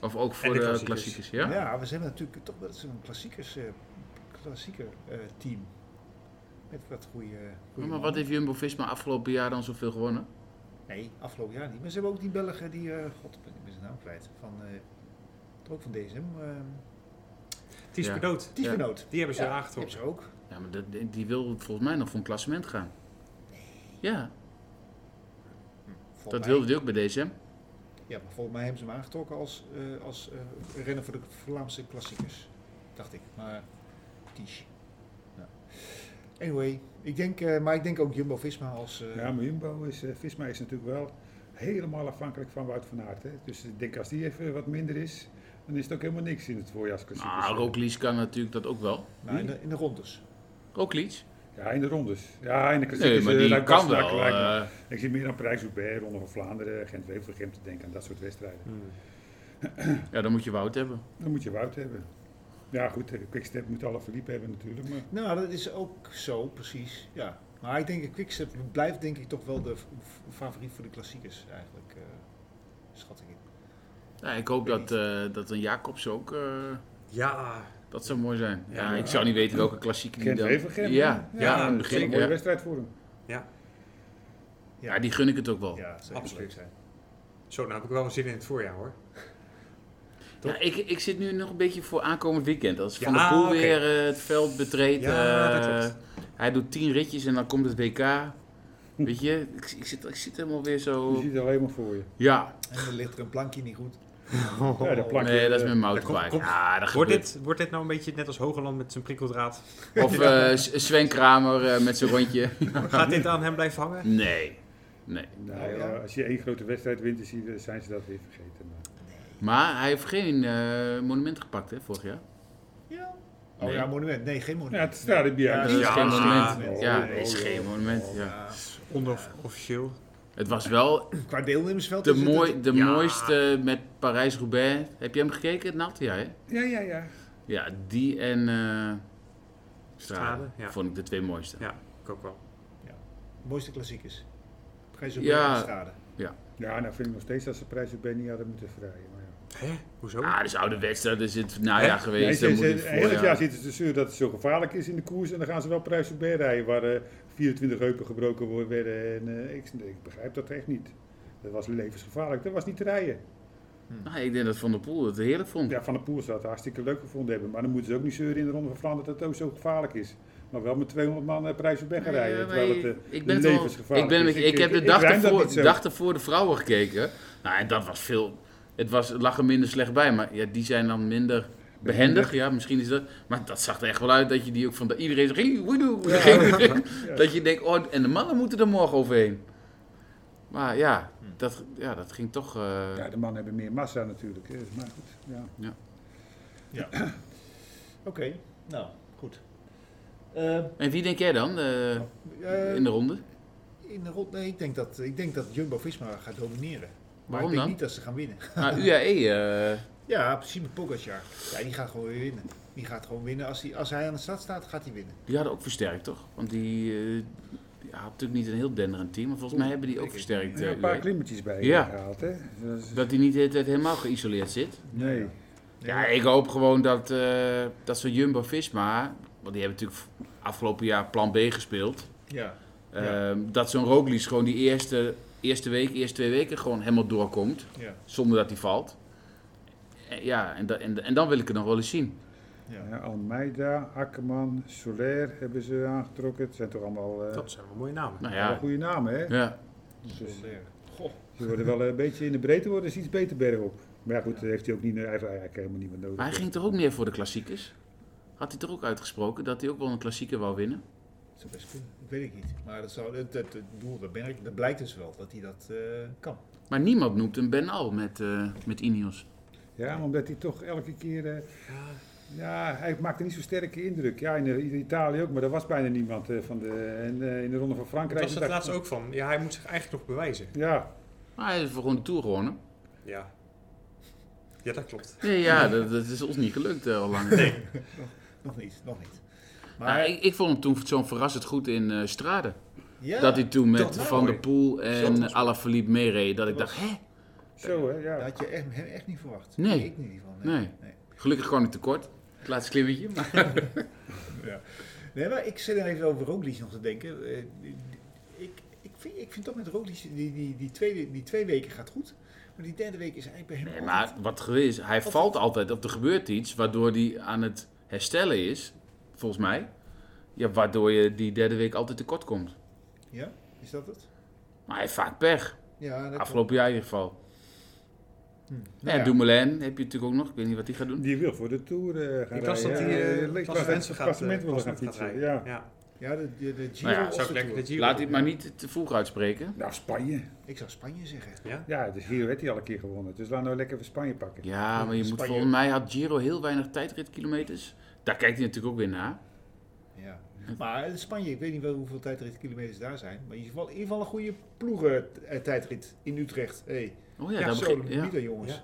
[SPEAKER 3] Of ook voor
[SPEAKER 2] En de
[SPEAKER 3] de klassiekers,
[SPEAKER 2] klassiekers.
[SPEAKER 3] ja?
[SPEAKER 4] Ja, we zijn natuurlijk toch wel zo'n klassiekers, eh, klassieker eh, team. Met wat goede.
[SPEAKER 3] Maar, wat heeft Jumbo-Visma afgelopen jaar dan zoveel gewonnen?
[SPEAKER 4] Nee, afgelopen jaar niet. Maar ze hebben ook die Belgen die. eh, God, ik ben- ik ben zijn naam kwijt. Van. eh ook van DSM. Uh,
[SPEAKER 2] Ties
[SPEAKER 3] Ja.
[SPEAKER 2] Benoot,
[SPEAKER 4] Die Benoot.
[SPEAKER 2] die hebben ze
[SPEAKER 4] Ja, Die hebben
[SPEAKER 2] aangetrokken.
[SPEAKER 4] ze ook.
[SPEAKER 3] Ja, maar dat- die- die wil volgens mij nog voor een klassement gaan. Ja,
[SPEAKER 4] Volgens
[SPEAKER 3] dat
[SPEAKER 4] mij-
[SPEAKER 3] wilde hij ook bij DSM.
[SPEAKER 4] Ja, maar volgens mij hebben ze hem aangetrokken als, eh, als eh, renner voor de Vlaamse klassiekers. Dacht ik. Maar. Ties. Nou. Anyway, ik denk, eh, maar ik denk ook Jumbo Visma als. eh,
[SPEAKER 1] Ja, maar Jumbo is, eh, Visma is natuurlijk wel helemaal afhankelijk van Wout van Aert. Hè? Dus ik denk als die even wat minder is, dan is het ook helemaal niks in het voorjaarsklassiekers.
[SPEAKER 3] Nou, Roglic kan natuurlijk dat ook wel.
[SPEAKER 4] nou, in, de, in de rondes.
[SPEAKER 3] Roglic?
[SPEAKER 1] Ja, in de rondes. Ja, in de
[SPEAKER 3] Nee,
[SPEAKER 2] dus,
[SPEAKER 1] klassiekers.
[SPEAKER 3] maar
[SPEAKER 1] eh,
[SPEAKER 3] die
[SPEAKER 1] lijkt
[SPEAKER 3] kan
[SPEAKER 1] Bastenaken,
[SPEAKER 3] wel.
[SPEAKER 1] lijkt me.
[SPEAKER 3] eh,
[SPEAKER 1] Ik zie meer aan Parijs-Roubaix, Ronde van Vlaanderen, Gent-Wevelgem te denken aan dat soort wedstrijden.
[SPEAKER 2] Hmm.
[SPEAKER 3] ja, dan moet je Wout hebben.
[SPEAKER 1] Dan moet je Wout hebben. Ja, goed, eh, Quickstep moet alle verliep hebben natuurlijk. Maar
[SPEAKER 4] Nou, dat is ook zo, precies. Ja. Maar ik denk, dat Quickstep blijft denk ik toch wel de f- f- favoriet voor de klassiekers eigenlijk. eh, schat ik in.
[SPEAKER 3] Ja, ik hoop dat, eh, dat een Jacobs ook... eh,
[SPEAKER 2] Ja,
[SPEAKER 3] dat zou mooi zijn.
[SPEAKER 2] Ja,
[SPEAKER 3] Ja,
[SPEAKER 2] maar-
[SPEAKER 3] ik zou niet weten welke klassieker die dan...
[SPEAKER 1] Gent-Wevelgem.
[SPEAKER 3] Ja,
[SPEAKER 1] hè?
[SPEAKER 3] ja,
[SPEAKER 1] dat
[SPEAKER 3] in het
[SPEAKER 1] is wel
[SPEAKER 3] begin.
[SPEAKER 1] een mooie
[SPEAKER 3] Ja.
[SPEAKER 1] wedstrijd voor hem.
[SPEAKER 3] Ja, die gun ik het ook wel.
[SPEAKER 4] ja, zou
[SPEAKER 2] Absoluut.
[SPEAKER 4] leuk zijn.
[SPEAKER 2] zo, nou heb ik wel zin in het voorjaar hoor. Toch?
[SPEAKER 3] Ja, ik, ik zit nu nog een beetje voor aankomend weekend. Als Van
[SPEAKER 2] Ja,
[SPEAKER 3] der Poel
[SPEAKER 2] oké.
[SPEAKER 3] weer eh, het veld betreedt.
[SPEAKER 2] Ja, dat
[SPEAKER 3] eh,
[SPEAKER 2] klopt.
[SPEAKER 3] hij doet tien ritjes en dan komt het WK. Weet je, ik, ik, zit, ik zit helemaal weer
[SPEAKER 1] Je
[SPEAKER 3] zo...
[SPEAKER 1] ziet het alleen maar voor je.
[SPEAKER 3] Ja,
[SPEAKER 4] En dan ligt er een plankje niet goed.
[SPEAKER 1] [LAUGHS] Ja, dat plankje,
[SPEAKER 3] nee, dat is
[SPEAKER 1] eh,
[SPEAKER 3] mijn mountainbike.
[SPEAKER 2] komt-
[SPEAKER 3] Ja, dat
[SPEAKER 2] Wordt
[SPEAKER 3] gebeurt.
[SPEAKER 2] dit, wordt dit nou een beetje net als Hogeland met zijn prikkeldraad?
[SPEAKER 3] [LAUGHS] Of eh, S- Sven Kramer eh, met zijn
[SPEAKER 2] [LAUGHS]
[SPEAKER 3] rondje.
[SPEAKER 2] Gaat dit aan hem blijven hangen?
[SPEAKER 3] Nee, nee.
[SPEAKER 1] Nou,
[SPEAKER 4] Ja, ja.
[SPEAKER 1] ja, Als je één grote wedstrijd wint, dan zie je- zijn ze dat weer vergeten. Maar-
[SPEAKER 3] Maar hij heeft geen eh, monument gepakt, hè, vorig jaar.
[SPEAKER 4] Ja. Oh
[SPEAKER 3] Nee.
[SPEAKER 4] ja, monument. Nee, geen
[SPEAKER 1] Ja,
[SPEAKER 4] monument.
[SPEAKER 1] het staat er bij.
[SPEAKER 3] Dat
[SPEAKER 4] Ja,
[SPEAKER 3] is
[SPEAKER 2] ja.
[SPEAKER 3] geen monument.
[SPEAKER 4] Oh,
[SPEAKER 3] ja,
[SPEAKER 1] oh,
[SPEAKER 3] is
[SPEAKER 1] oh,
[SPEAKER 3] geen
[SPEAKER 1] oh.
[SPEAKER 3] monument. Ja.
[SPEAKER 2] Onderofficieel.
[SPEAKER 3] Het was wel
[SPEAKER 4] Qua deelnemersveld
[SPEAKER 3] de,
[SPEAKER 4] is het
[SPEAKER 3] mooi,
[SPEAKER 4] het-
[SPEAKER 3] de
[SPEAKER 2] Ja.
[SPEAKER 3] mooiste met Parijs-Roubaix. Heb je hem gekeken, Nat? Ja, hè?
[SPEAKER 1] Ja, ja, ja.
[SPEAKER 3] Ja, die en eh Strade.
[SPEAKER 2] Strade, ja.
[SPEAKER 3] Vond ik de twee mooiste.
[SPEAKER 2] Ja, ik ook wel.
[SPEAKER 4] mooiste klassiekers. Prijs op
[SPEAKER 3] Ja.
[SPEAKER 4] de straden.
[SPEAKER 1] Ja, nou vind ik nog steeds dat ze prijs op Benny hadden moeten verrijden. Maar ja.
[SPEAKER 2] Hè? Hoezo?
[SPEAKER 3] Ah, dat is ouderwets. Dat is in het najaar
[SPEAKER 2] Hè?
[SPEAKER 1] Nee,
[SPEAKER 3] nou geweest.
[SPEAKER 1] ze-
[SPEAKER 3] dan
[SPEAKER 1] ze-
[SPEAKER 3] moet het
[SPEAKER 1] het hele
[SPEAKER 3] voorjaar.
[SPEAKER 1] jaar zitten ze zeuren dat het zo gevaarlijk is in de koers. En dan gaan ze wel prijs op Benny rijden, waar eh, 24 heupen gebroken worden werden. En eh, ik, ik begrijp dat echt niet. Dat was levensgevaarlijk. Dat was niet te rijden.
[SPEAKER 3] Nou, ik denk dat Van der Poel het heerlijk vond.
[SPEAKER 1] Ja, Van der Poel zou het hartstikke leuk gevonden hebben. Maar dan moeten ze ook niet zeuren in de Ronde van Vlaanderen dat het ook zo gevaarlijk is. Maar wel met 200 man eh, prijs op weg gaan rijden.
[SPEAKER 3] Nee,
[SPEAKER 1] terwijl
[SPEAKER 3] maar
[SPEAKER 1] het eh,
[SPEAKER 3] ik ben het wel-
[SPEAKER 1] levensgevaarlijk
[SPEAKER 3] ik, ben,
[SPEAKER 1] is.
[SPEAKER 3] met- ik heb de
[SPEAKER 1] ik
[SPEAKER 3] dag
[SPEAKER 1] ruim dat
[SPEAKER 3] ervoor,
[SPEAKER 1] niet zo.
[SPEAKER 3] dag ervoor de vrouwen gekeken. Nou, en dat was veel. Het was, het lag er minder slecht bij, maar ja, die zijn dan minder behendig. Ja, misschien is dat. Maar dat zag er echt wel uit dat je die ook van de, iedereen zegt. "Hey, woedoe, [LAUGHS] woedoe." Dat je denkt, oh, en de mannen moeten er morgen overheen. Maar ja, dat, ja, dat ging toch. eh,
[SPEAKER 1] Ja, de mannen hebben meer massa natuurlijk. eh, Maar goed, ja.
[SPEAKER 4] Oké, nou, goed. Eh,
[SPEAKER 3] En wie denk jij dan eh,
[SPEAKER 4] eh,
[SPEAKER 3] in de
[SPEAKER 1] [LAUGHS]
[SPEAKER 3] ronde?
[SPEAKER 4] in de rond, nee, ik denk dat, ik denk dat Jumbo-Visma gaat domineren. Maar
[SPEAKER 3] Waarom
[SPEAKER 4] ik denk
[SPEAKER 3] dan?
[SPEAKER 4] niet dat ze gaan winnen.
[SPEAKER 3] Nou, UAE. eh,
[SPEAKER 4] Ja, precies met Pogacar. Ja, die gaat gewoon weer winnen. Die gaat gewoon winnen. Als, die, als hij aan de stad staat, gaat hij winnen.
[SPEAKER 3] Die hadden ook versterkt, toch? Want die, eh, die had natuurlijk niet een heel denderend team, maar volgens mij hebben die ook versterkt.
[SPEAKER 1] Ja,
[SPEAKER 3] eh,
[SPEAKER 1] een paar
[SPEAKER 3] UAE.
[SPEAKER 1] klimmetjes bij
[SPEAKER 3] Ja.
[SPEAKER 1] gehaald, hè? Dat is-
[SPEAKER 3] dat die niet de hele tijd helemaal geïsoleerd zit.
[SPEAKER 1] nee.
[SPEAKER 4] Nee,
[SPEAKER 3] Ja, ik hoop gewoon dat, eh, dat zo'n Jumbo-Visma, want die hebben natuurlijk afgelopen jaar plan B gespeeld.
[SPEAKER 4] Ja.
[SPEAKER 3] ehm, dat zo'n Roglic gewoon die eerste, eerste week, eerste twee weken gewoon helemaal doorkomt.
[SPEAKER 4] Ja.
[SPEAKER 3] Zonder dat hij valt. Eh, Ja, en, da- en, en dan wil ik het nog wel eens zien.
[SPEAKER 1] Ja, Almeida, Akkerman, Soler hebben ze aangetrokken. Het zijn toch allemaal eh,
[SPEAKER 6] Dat zijn wel mooie namen.
[SPEAKER 3] Nou
[SPEAKER 1] allemaal
[SPEAKER 3] ja,
[SPEAKER 1] goede namen, hè?
[SPEAKER 3] ja.
[SPEAKER 1] Dus,
[SPEAKER 4] eh,
[SPEAKER 1] ze worden wel een beetje in de breedte worden ze iets beter bergop. Maar ja, goed, dat heeft hij ook niet, eigenlijk, eigenlijk helemaal niet meer nodig.
[SPEAKER 3] Maar hij ging toch ook meer voor de klassiekers? Had hij toch ook uitgesproken dat hij ook wel een klassieker wou winnen?
[SPEAKER 4] Dat zou best kunnen. Dat weet ik niet. Maar dat, zou, dat, dat, dat, bedoel, dat, ben ik- dat blijkt dus wel dat hij dat eh, kan.
[SPEAKER 3] Maar niemand noemt een Ben Al met, eh, met Ineos.
[SPEAKER 1] Ja, maar omdat hij toch elke keer... eh, ja, hij maakte niet zo'n sterke indruk. Ja, in, eh, in Italië ook, maar daar was bijna niemand eh, van de... En eh, in de Ronde van
[SPEAKER 2] Daar
[SPEAKER 1] Frankrijk...
[SPEAKER 2] was het
[SPEAKER 1] dacht-
[SPEAKER 2] laatst ook van. Ja, hij moet zich eigenlijk nog bewijzen.
[SPEAKER 1] Ja,
[SPEAKER 3] Maar hij heeft gewoon de Tour gewonnen.
[SPEAKER 2] Ja. Ja, dat klopt.
[SPEAKER 3] Nee, ja, dat, dat is ons niet gelukt eh, al lang.
[SPEAKER 4] Nog niet, nog niet. Maar
[SPEAKER 3] Maar ik, ik vond hem toen zo'n verrassend goed in eh Strade.
[SPEAKER 4] ja,
[SPEAKER 3] dat hij toen met
[SPEAKER 4] dat was
[SPEAKER 3] Van
[SPEAKER 4] mooi.
[SPEAKER 3] der Poel
[SPEAKER 4] Dat
[SPEAKER 3] en
[SPEAKER 4] was-
[SPEAKER 3] Alaphilippe meereed. Dat ik
[SPEAKER 4] Dat
[SPEAKER 3] dacht, hè?
[SPEAKER 1] zo hè,
[SPEAKER 4] dat
[SPEAKER 1] ja.
[SPEAKER 4] had je echt, hem echt niet verwacht.
[SPEAKER 3] Nee.
[SPEAKER 4] Ik niet in ieder geval.
[SPEAKER 3] Nee. Gelukkig kwam ik tekort. Het laatste klimmetje. Maar...
[SPEAKER 4] Nee, maar ik zit er even over Roglic nog te denken. Eh, Ik, ik, vind, ik vind toch met Roglic, die, die, die, tweede, die twee weken gaat goed. Maar die derde week is eigenlijk bij hem
[SPEAKER 3] [LAUGHS] Nee,
[SPEAKER 4] altijd-
[SPEAKER 3] maar wat geweest, hij valt altijd of er gebeurt iets waardoor hij aan het herstellen is, volgens mij. Ja, waardoor je die derde week altijd tekort komt.
[SPEAKER 4] Ja, is dat het?
[SPEAKER 3] Maar hij heeft vaak pech.
[SPEAKER 4] Ja, dat
[SPEAKER 3] Afgelopen jaar in ieder geval.
[SPEAKER 4] Nou
[SPEAKER 3] en Dumoulin heb je natuurlijk ook nog. Ik weet niet wat hij gaat doen.
[SPEAKER 1] Die wil voor de Tour eh, gaan
[SPEAKER 2] Ik las dat
[SPEAKER 1] rijden,
[SPEAKER 2] hij
[SPEAKER 1] hè.
[SPEAKER 2] eh,
[SPEAKER 1] Ik las dat
[SPEAKER 2] klassementsvergaat,
[SPEAKER 1] hij klassement
[SPEAKER 2] eh,
[SPEAKER 1] wil gaan
[SPEAKER 2] klassement
[SPEAKER 1] fietsen,
[SPEAKER 2] rijden.
[SPEAKER 1] ja.
[SPEAKER 2] ja.
[SPEAKER 4] Ja, de, de, de Giro
[SPEAKER 3] Nou ja,
[SPEAKER 4] of
[SPEAKER 2] Zou
[SPEAKER 4] de
[SPEAKER 2] ik lekker
[SPEAKER 4] Tour?
[SPEAKER 2] de Giro
[SPEAKER 3] Laat hij het
[SPEAKER 2] doen,
[SPEAKER 3] maar niet te vroeg uitspreken.
[SPEAKER 1] Nou, Spanje.
[SPEAKER 4] Ik zou Spanje zeggen.
[SPEAKER 2] Ja?
[SPEAKER 1] Ja, dus hier heeft hij al een keer gewonnen. Dus laten we nou lekker voor Spanje pakken.
[SPEAKER 3] Ja, maar je moet,
[SPEAKER 4] Spanje-
[SPEAKER 3] volgens mij had Giro heel weinig tijdritkilometers. Daar kijkt hij natuurlijk ook weer naar.
[SPEAKER 4] Ja.
[SPEAKER 3] Hm.
[SPEAKER 4] Maar eh, Spanje, ik weet niet wel hoeveel tijdritkilometers daar zijn. Maar in ieder geval, in ieder geval een goede ploegentijdrit in Utrecht. Hey.
[SPEAKER 3] Oh ja,
[SPEAKER 4] Ja,
[SPEAKER 3] daar
[SPEAKER 4] zo,
[SPEAKER 3] begin- ja.
[SPEAKER 4] niet dan jongens.
[SPEAKER 2] Ja.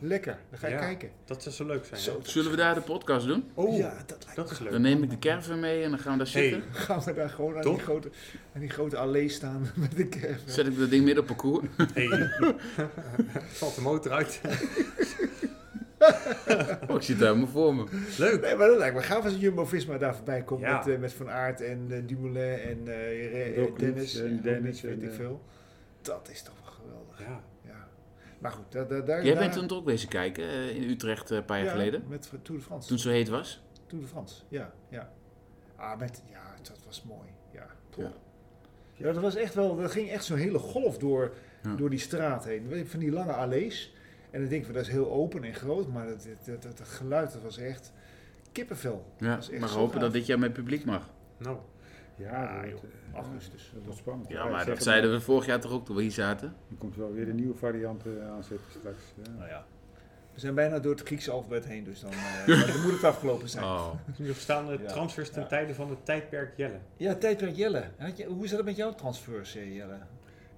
[SPEAKER 4] Lekker, dan ga je
[SPEAKER 2] Ja.
[SPEAKER 4] kijken.
[SPEAKER 2] Dat zou zo leuk zijn.
[SPEAKER 4] Zo.
[SPEAKER 2] hè?
[SPEAKER 3] Zullen we daar de podcast doen?
[SPEAKER 2] Oh,
[SPEAKER 4] Ja, dat lijkt
[SPEAKER 2] dat is leuk.
[SPEAKER 3] Dan neem ik de caravan mee en dan gaan we daar
[SPEAKER 2] Hey,
[SPEAKER 3] zitten.
[SPEAKER 4] Gaan we daar gewoon aan
[SPEAKER 2] Toch?
[SPEAKER 4] die, grote, aan die grote allee staan [LAUGHS] met de caravan.
[SPEAKER 3] Zet ik dat ding midden op
[SPEAKER 4] [LAUGHS]
[SPEAKER 3] parcours.
[SPEAKER 2] hey. [LAUGHS] Valt de motor uit.
[SPEAKER 3] Oh, ik zit daar helemaal voor me.
[SPEAKER 2] leuk.
[SPEAKER 4] Nee, maar dat lijkt me gaaf als Jumbo-Visma daar voorbij komt
[SPEAKER 2] Ja.
[SPEAKER 4] met, eh, met Van Aert en eh, Dumoulin en eh, Re- eh,
[SPEAKER 1] Roglic
[SPEAKER 4] Dennis.
[SPEAKER 1] en
[SPEAKER 4] Roglic,
[SPEAKER 1] Dennis
[SPEAKER 4] weet
[SPEAKER 1] en,
[SPEAKER 4] ik
[SPEAKER 1] eh,
[SPEAKER 4] veel. Dat is toch wel geweldig.
[SPEAKER 2] Ja.
[SPEAKER 4] Ja. Maar goed, daar... daar, daar
[SPEAKER 3] Jij
[SPEAKER 4] daar-
[SPEAKER 3] bent toen toch ook bezig kijken eh, in Utrecht eh, een paar jaar
[SPEAKER 4] ja,
[SPEAKER 3] geleden.
[SPEAKER 4] Met Tour de France.
[SPEAKER 3] Toen het zo heet was.
[SPEAKER 4] Tour de France, ja. ja. Ah, met, ja, dat was mooi. Ja.
[SPEAKER 3] Ja.
[SPEAKER 4] Ja. ja, dat was echt wel, dat ging echt zo'n hele golf door,
[SPEAKER 3] Ja.
[SPEAKER 4] door die straat heen. Weet je, Van die lange allees. En dan denk ik, van, dat is heel open en groot, maar dat, dat, dat, dat geluid, dat was echt kippenvel.
[SPEAKER 3] Ja,
[SPEAKER 4] Dat is echt
[SPEAKER 3] maar
[SPEAKER 4] zo
[SPEAKER 3] hopen
[SPEAKER 4] gaaf.
[SPEAKER 3] dat dit jaar met publiek mag.
[SPEAKER 2] Nou,
[SPEAKER 1] Ja, dat, wordt-
[SPEAKER 4] Augustus.
[SPEAKER 1] dat wordt spannend.
[SPEAKER 3] Ja,
[SPEAKER 1] ik
[SPEAKER 3] maar
[SPEAKER 1] zeg
[SPEAKER 3] dat
[SPEAKER 1] het
[SPEAKER 3] zeiden we vorig jaar toch ook toen we hier zaten.
[SPEAKER 1] Er komt wel weer een nieuwe variant eh, aanzetten straks. Ja.
[SPEAKER 4] Nou ja. We zijn bijna door het Griekse alfabet heen, dus dan, eh, [LAUGHS] dan moet het afgelopen zijn.
[SPEAKER 3] Oh.
[SPEAKER 2] nu staan de
[SPEAKER 4] Ja.
[SPEAKER 2] transfers ten
[SPEAKER 4] Ja.
[SPEAKER 2] tijde van het tijdperk Jelle.
[SPEAKER 4] Ja, tijdperk Jelle. Had je- Hoe is dat met jouw transfers, eh, Jelle?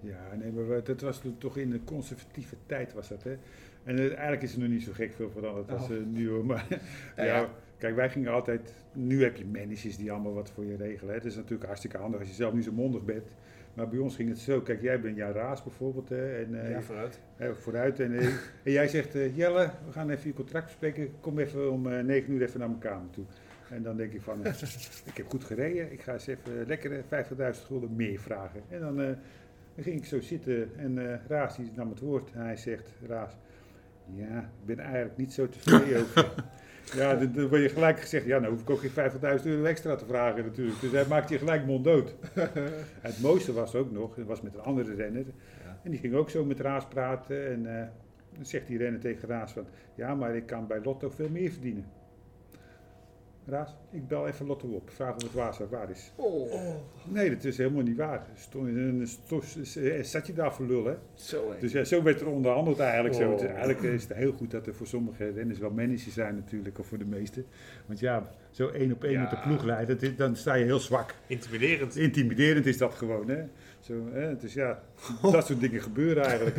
[SPEAKER 1] ja, nee, maar we- dat was toen toch in de conservatieve tijd was dat, hè. En eh, eigenlijk is er nog niet zo gek veel veranderd als
[SPEAKER 4] Oh.
[SPEAKER 1] eh, nu, hoor. Maar ja,
[SPEAKER 4] [LAUGHS] ja.
[SPEAKER 1] kijk, wij gingen altijd... Nu heb je managers die allemaal wat voor je regelen. hè. Het is natuurlijk hartstikke handig als je zelf niet zo mondig bent. Maar bij ons ging het zo. Kijk, jij bent jouw raas bijvoorbeeld, hè. En eh,
[SPEAKER 4] ja, vooruit.
[SPEAKER 1] Hè, vooruit. En, eh, en jij zegt, eh, Jelle, we gaan even je contract bespreken. Kom even om eh, negen 9 uur even naar mijn kamer toe. En dan denk ik van, eh, ik heb goed gereden. Ik ga eens even lekker 50.000 gulden meer vragen. En dan, eh, dan ging ik zo zitten en eh Raas die nam het woord. En hij zegt, Raas, ja, ik ben eigenlijk niet zo tevreden over. je." Ja, dan dan word je gelijk gezegd, ja, nou hoef ik ook geen 50.000 euro extra te vragen natuurlijk. Dus hij maakt je gelijk monddood. En het mooiste was ook nog, het was met een andere renner. En die ging ook zo met Raas praten. En eh, dan zegt die renner tegen Raas van... Ja, maar ik kan bij Lotto veel meer verdienen. Raas, ik bel even Lotto op. Vraag of het waar, is- waar is.
[SPEAKER 4] Oh,
[SPEAKER 1] Nee, dat is helemaal niet waar. Stond, en, zat je daar voor lul, hè?
[SPEAKER 4] zo hè.
[SPEAKER 1] [LAUGHS] Dus ja, zo werd er onderhandeld eigenlijk. Zo.
[SPEAKER 2] Oh.
[SPEAKER 1] Het is- eigenlijk is het heel goed dat er voor sommige renners wel managers zijn natuurlijk. Of voor de meesten. Want ja, zo één op één met de ploeg leiden, dat is- dan sta je heel zwak.
[SPEAKER 2] Intimiderend.
[SPEAKER 1] Intimiderend is dat gewoon, hè? Zo, hè? Dus ja, dat soort dingen gebeuren eigenlijk.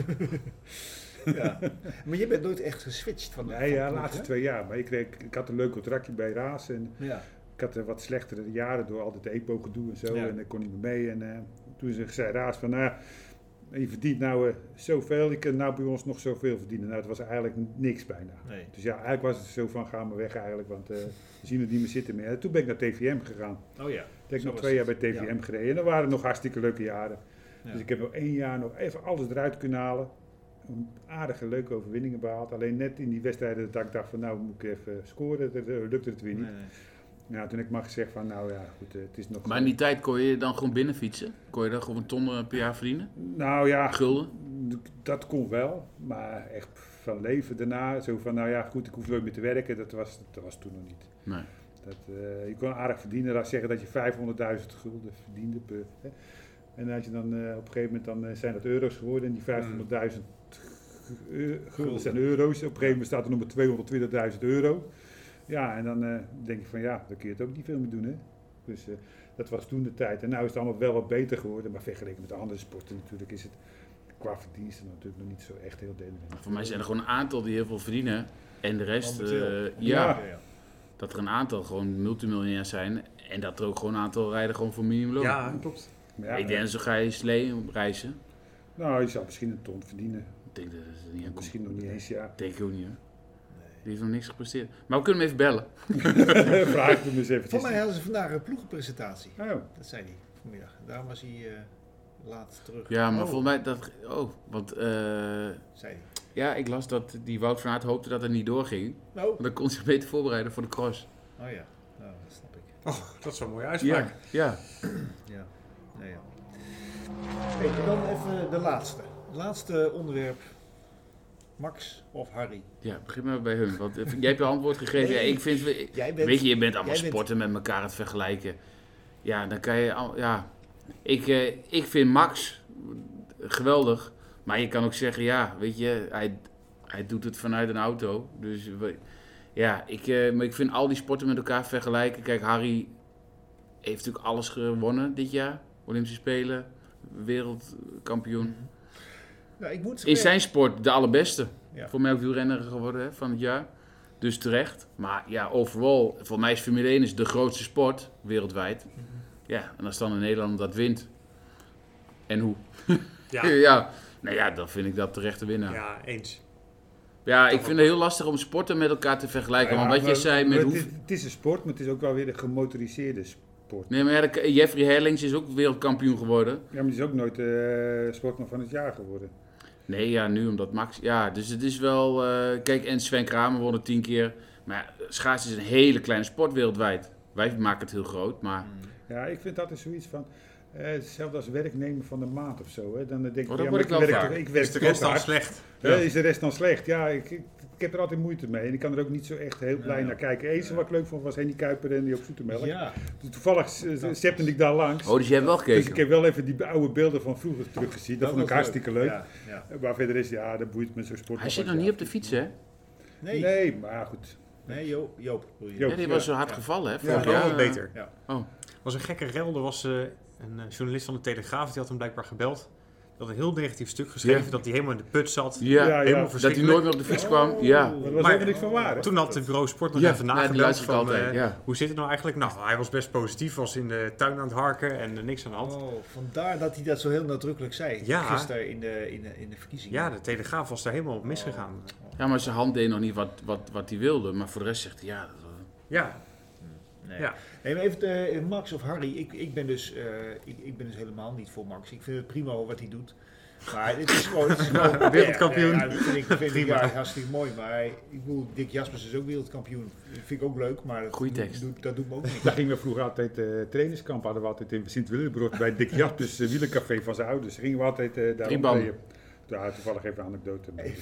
[SPEAKER 4] Ja. Maar je bent nooit echt geswitcht van
[SPEAKER 1] Nee,
[SPEAKER 4] van
[SPEAKER 1] ja, de
[SPEAKER 4] ploeg,
[SPEAKER 1] laatste
[SPEAKER 4] hè?
[SPEAKER 1] twee jaar. Maar ik, kreeg, ik had een leuk contractje bij Raas. En
[SPEAKER 4] Ja.
[SPEAKER 1] ik had eh, wat slechtere jaren door altijd EPO-gedoe en zo.
[SPEAKER 4] Ja.
[SPEAKER 1] En daar kon ik mee mee. En eh, toen ze- zei Raas van, nou, En je verdient nou eh, zoveel, je kunt nou bij ons nog zoveel verdienen. Nou, het was eigenlijk niks bijna.
[SPEAKER 2] Nee.
[SPEAKER 1] Dus ja, eigenlijk was het zo van, ga maar weg eigenlijk, want eh, we zien het niet meer zitten meer. En toen ben ik naar TVM gegaan.
[SPEAKER 2] Oh ja.
[SPEAKER 1] Toen heb ik
[SPEAKER 2] Zo
[SPEAKER 1] nog
[SPEAKER 2] was
[SPEAKER 1] twee jaar bij
[SPEAKER 2] het.
[SPEAKER 1] TVM gereden. En dat waren nog hartstikke leuke jaren.
[SPEAKER 2] Ja.
[SPEAKER 1] Dus ik heb nog één jaar nog even alles eruit kunnen halen. Een aardige, leuke overwinningen behaald. Alleen net in die wedstrijden dat ik dacht van, nou moet ik even scoren. Dat eh, lukte het weer niet.
[SPEAKER 2] Nee, nee.
[SPEAKER 1] Nou, toen heb ik maar gezegd van, nou ja, goed, eh, het is nog...
[SPEAKER 3] Maar in die tijd kon je dan gewoon binnen fietsen? Kon je dan gewoon een ton eh, per jaar verdienen?
[SPEAKER 1] Nou ja,
[SPEAKER 3] Gulden?
[SPEAKER 1] Dat kon wel, maar echt van leven daarna, zo van nou ja, goed, ik hoef nooit meer te werken, dat was, dat was toen nog niet.
[SPEAKER 3] Nee.
[SPEAKER 1] Dat, eh, je kon aardig verdienen, laat zeggen dat je 500.000 gulden verdiende. Per, hè. En als je dan eh, op een gegeven moment dan, eh, zijn dat euro's geworden en die
[SPEAKER 3] Hmm.
[SPEAKER 1] 500.000 eu- gulden zijn euro's. Op een gegeven moment staat er nog maar 220.000 euro. Ja, en dan eh, denk je van ja, dan kun je het ook niet veel meer doen hè. Dus eh, dat was toen de tijd. En nu is het allemaal wel wat beter geworden, maar vergeleken met de andere sporten natuurlijk is het qua verdiensten natuurlijk nog niet zo echt heel delen.
[SPEAKER 3] Nou, Voor mij zijn er gewoon een aantal die heel veel verdienen. En de rest,
[SPEAKER 4] Momenteel.
[SPEAKER 3] eh, ja,
[SPEAKER 1] Ja.
[SPEAKER 3] dat er een aantal gewoon multimiljonair zijn. En dat er ook gewoon een aantal rijden gewoon voor minimumloon.
[SPEAKER 2] Ja, klopt.
[SPEAKER 1] Maar
[SPEAKER 3] ik
[SPEAKER 1] ja,
[SPEAKER 3] denk, zo ga je slee op reizen.
[SPEAKER 1] nou, je zou misschien een ton verdienen.
[SPEAKER 3] Ik denk dat het er niet aan komt.
[SPEAKER 1] Misschien nog niet eens, ja.
[SPEAKER 3] denk ik ook niet hoor. Die heeft nog niks gepresteerd. Maar we kunnen hem even bellen.
[SPEAKER 1] [LAUGHS] Vraag hem eens eventjes.
[SPEAKER 4] Voor mij hadden ze vandaag een ploegenpresentatie.
[SPEAKER 1] Oh,
[SPEAKER 4] Dat zei hij vanmiddag. Daarom was hij eh, laat terug.
[SPEAKER 3] Ja, maar
[SPEAKER 4] Oh,
[SPEAKER 3] volgens mij dat. Oh, want eh,
[SPEAKER 4] Zei hij.
[SPEAKER 3] ja, ik las dat die Wout van Aert hoopte dat het niet doorging.
[SPEAKER 4] Nou.
[SPEAKER 3] Want dan kon ze zich beter voorbereiden voor de cross.
[SPEAKER 4] Oh ja. Nou, dat snap ik.
[SPEAKER 2] Oh, dat is wel een mooie uitspraak.
[SPEAKER 3] ja.
[SPEAKER 4] Ja. Nee, ja. Hey, dan even de laatste. Laatste onderwerp. Max of Harry?
[SPEAKER 3] Ja, begin maar bij hun. Want eh, jij hebt je antwoord gegeven. Ja, ik vind, we-
[SPEAKER 4] Jij bent-
[SPEAKER 3] weet je, je bent allemaal
[SPEAKER 4] jij bent-
[SPEAKER 3] sporten met elkaar aan het vergelijken. Ja, dan kan je... al- Ja, ik, eh, ik vind Max geweldig. Maar je kan ook zeggen, ja, weet je, hij, hij doet het vanuit een auto. Dus we- ja, ik, eh, maar ik vind al die sporten met elkaar vergelijken. Kijk, Harry heeft natuurlijk alles gewonnen dit jaar. Olympische Spelen, wereldkampioen.
[SPEAKER 4] Nou, ik moet
[SPEAKER 3] Is zijn sport de allerbeste.
[SPEAKER 4] Ja.
[SPEAKER 3] Voor mij ook wielrenner geworden hè, van het jaar. Dus terecht. Maar ja, overal, voor mij is Formule 1 is de grootste sport wereldwijd. Ja, en als dan een Nederlander dat wint. En hoe? [LAUGHS] Ja.
[SPEAKER 2] ja.
[SPEAKER 3] Nou ja, dan vind ik dat terecht de winnaar. Ja,
[SPEAKER 2] Ja, eens.
[SPEAKER 3] ik vind het heel lastig om sporten met elkaar te vergelijken.
[SPEAKER 1] Ja,
[SPEAKER 3] want wat
[SPEAKER 1] maar-
[SPEAKER 3] jij zei
[SPEAKER 1] maar
[SPEAKER 3] met
[SPEAKER 1] het,
[SPEAKER 3] hoe...
[SPEAKER 1] is, het is een sport, maar het is ook wel weer een gemotoriseerde sport.
[SPEAKER 3] Nee, maar ja, de- Jeffrey Herlings is ook wereldkampioen geworden.
[SPEAKER 1] Ja, maar die is ook nooit eh, sportman van het jaar geworden.
[SPEAKER 3] Nee, ja, nu omdat Max... Ja, dus het is wel... eh, kijk, en Sven Kramer won het tien keer. Maar ja, schaatsen is een hele kleine sport wereldwijd. Wij maken het heel groot, maar...
[SPEAKER 1] Ja, ik vind dat is zoiets van. eh, hetzelfde als werknemer van de maand of zo. Hè. Dan denk ik,
[SPEAKER 3] dat
[SPEAKER 1] ja,
[SPEAKER 3] word
[SPEAKER 1] maar
[SPEAKER 3] ik wel
[SPEAKER 1] werk,
[SPEAKER 3] vaak.
[SPEAKER 1] toch- ik werk
[SPEAKER 2] Is de
[SPEAKER 1] toch
[SPEAKER 2] rest
[SPEAKER 1] ook
[SPEAKER 2] dan
[SPEAKER 1] hard.
[SPEAKER 2] slecht?
[SPEAKER 1] Ja, Is de rest dan slecht? Ja, ik, ik, ik heb er altijd moeite mee. En ik kan er ook niet zo echt heel blij naar kijken. Eens wat ik leuk vond was Henny Kuiper en die op zoetemelk.
[SPEAKER 4] Ja.
[SPEAKER 1] Dus toevallig eh, zepte ik daar langs.
[SPEAKER 3] Oh, dus jij hebt wel
[SPEAKER 1] dus
[SPEAKER 3] gekeken?
[SPEAKER 1] ik heb wel even die oude beelden van vroeger teruggezien. Dat, vond ik
[SPEAKER 4] was
[SPEAKER 1] hartstikke leuk.
[SPEAKER 4] Ja, ja.
[SPEAKER 1] Eh, Maar verder is, ja, dat boeit me zo'n sport.
[SPEAKER 3] Hij zit nog niet op de fiets, hè?
[SPEAKER 4] Nee, nee.
[SPEAKER 1] Nee, maar goed.
[SPEAKER 4] Jo- Joop. bedoel je?
[SPEAKER 1] Joop.
[SPEAKER 3] Ja, die
[SPEAKER 1] Ja.
[SPEAKER 3] was zo hard gevallen, hè?
[SPEAKER 2] Ja,
[SPEAKER 3] vorig
[SPEAKER 2] wel
[SPEAKER 3] jaar.
[SPEAKER 2] wat beter.
[SPEAKER 4] Ja.
[SPEAKER 3] Oh.
[SPEAKER 2] was een gekke rel. Er was eh, een eh, journalist van de Telegraaf, die had hem blijkbaar gebeld. Die had een heel negatief stuk geschreven,
[SPEAKER 3] Ja.
[SPEAKER 2] dat hij helemaal in de put zat.
[SPEAKER 3] Ja,
[SPEAKER 1] Ja,
[SPEAKER 2] Helemaal
[SPEAKER 3] dat hij
[SPEAKER 2] verschrikkelijk.
[SPEAKER 3] nooit meer op de fiets kwam. Ja.
[SPEAKER 4] Oh.
[SPEAKER 1] Maar dat was
[SPEAKER 2] Maar-
[SPEAKER 1] helemaal niks van waar. hè?
[SPEAKER 2] Toen had het bureau Sport nog
[SPEAKER 3] Ja,
[SPEAKER 2] even
[SPEAKER 3] ja, die
[SPEAKER 2] nagedacht
[SPEAKER 3] luistert
[SPEAKER 2] van,
[SPEAKER 3] altijd,
[SPEAKER 2] eh,
[SPEAKER 3] ja.
[SPEAKER 2] hoe zit het nou eigenlijk? Nou, hij was best positief, was in de tuin aan het harken en eh, niks aan de hand.
[SPEAKER 4] Oh, vandaar dat hij dat zo heel nadrukkelijk zei
[SPEAKER 2] Ja.
[SPEAKER 4] gisteren in de, in, de, in de verkiezingen.
[SPEAKER 2] Ja, de Telegraaf was daar helemaal op misgegaan.
[SPEAKER 3] ja, maar zijn hand deed nog niet wat, wat, wat hij wilde. Maar voor de rest zegt hij, ja... dat-
[SPEAKER 2] Ja,
[SPEAKER 4] Nee.
[SPEAKER 2] Ja.
[SPEAKER 4] Nee, maar even eh, Max of Harry. Ik, ik, ben dus, eh, ik, ik ben dus helemaal niet voor Max. Ik vind het prima wat hij doet. Maar het is
[SPEAKER 2] [LAUGHS]
[SPEAKER 4] gewoon... Het is gewoon
[SPEAKER 2] Wereldkampioen.
[SPEAKER 4] Ja, ja, dat vind ik, vind ik
[SPEAKER 2] Prima.
[SPEAKER 4] ja, hartstikke mooi. Maar hij- ik bedoel, Dick Jaspers is ook wereldkampioen. Dat vind ik ook leuk, maar dat,
[SPEAKER 3] Goeie tekst.
[SPEAKER 4] Doet, dat doet me ook niet.
[SPEAKER 1] Daar gingen we vroeger altijd eh, trainingskamp, hadden we altijd in Sint-Willibrod bij Dick Jaspers uh, wielencafé van zijn ouders. Gingen we altijd eh daar
[SPEAKER 3] Drieband.
[SPEAKER 1] optreden. Ja, toevallig even een anekdote. mee.
[SPEAKER 3] [LAUGHS]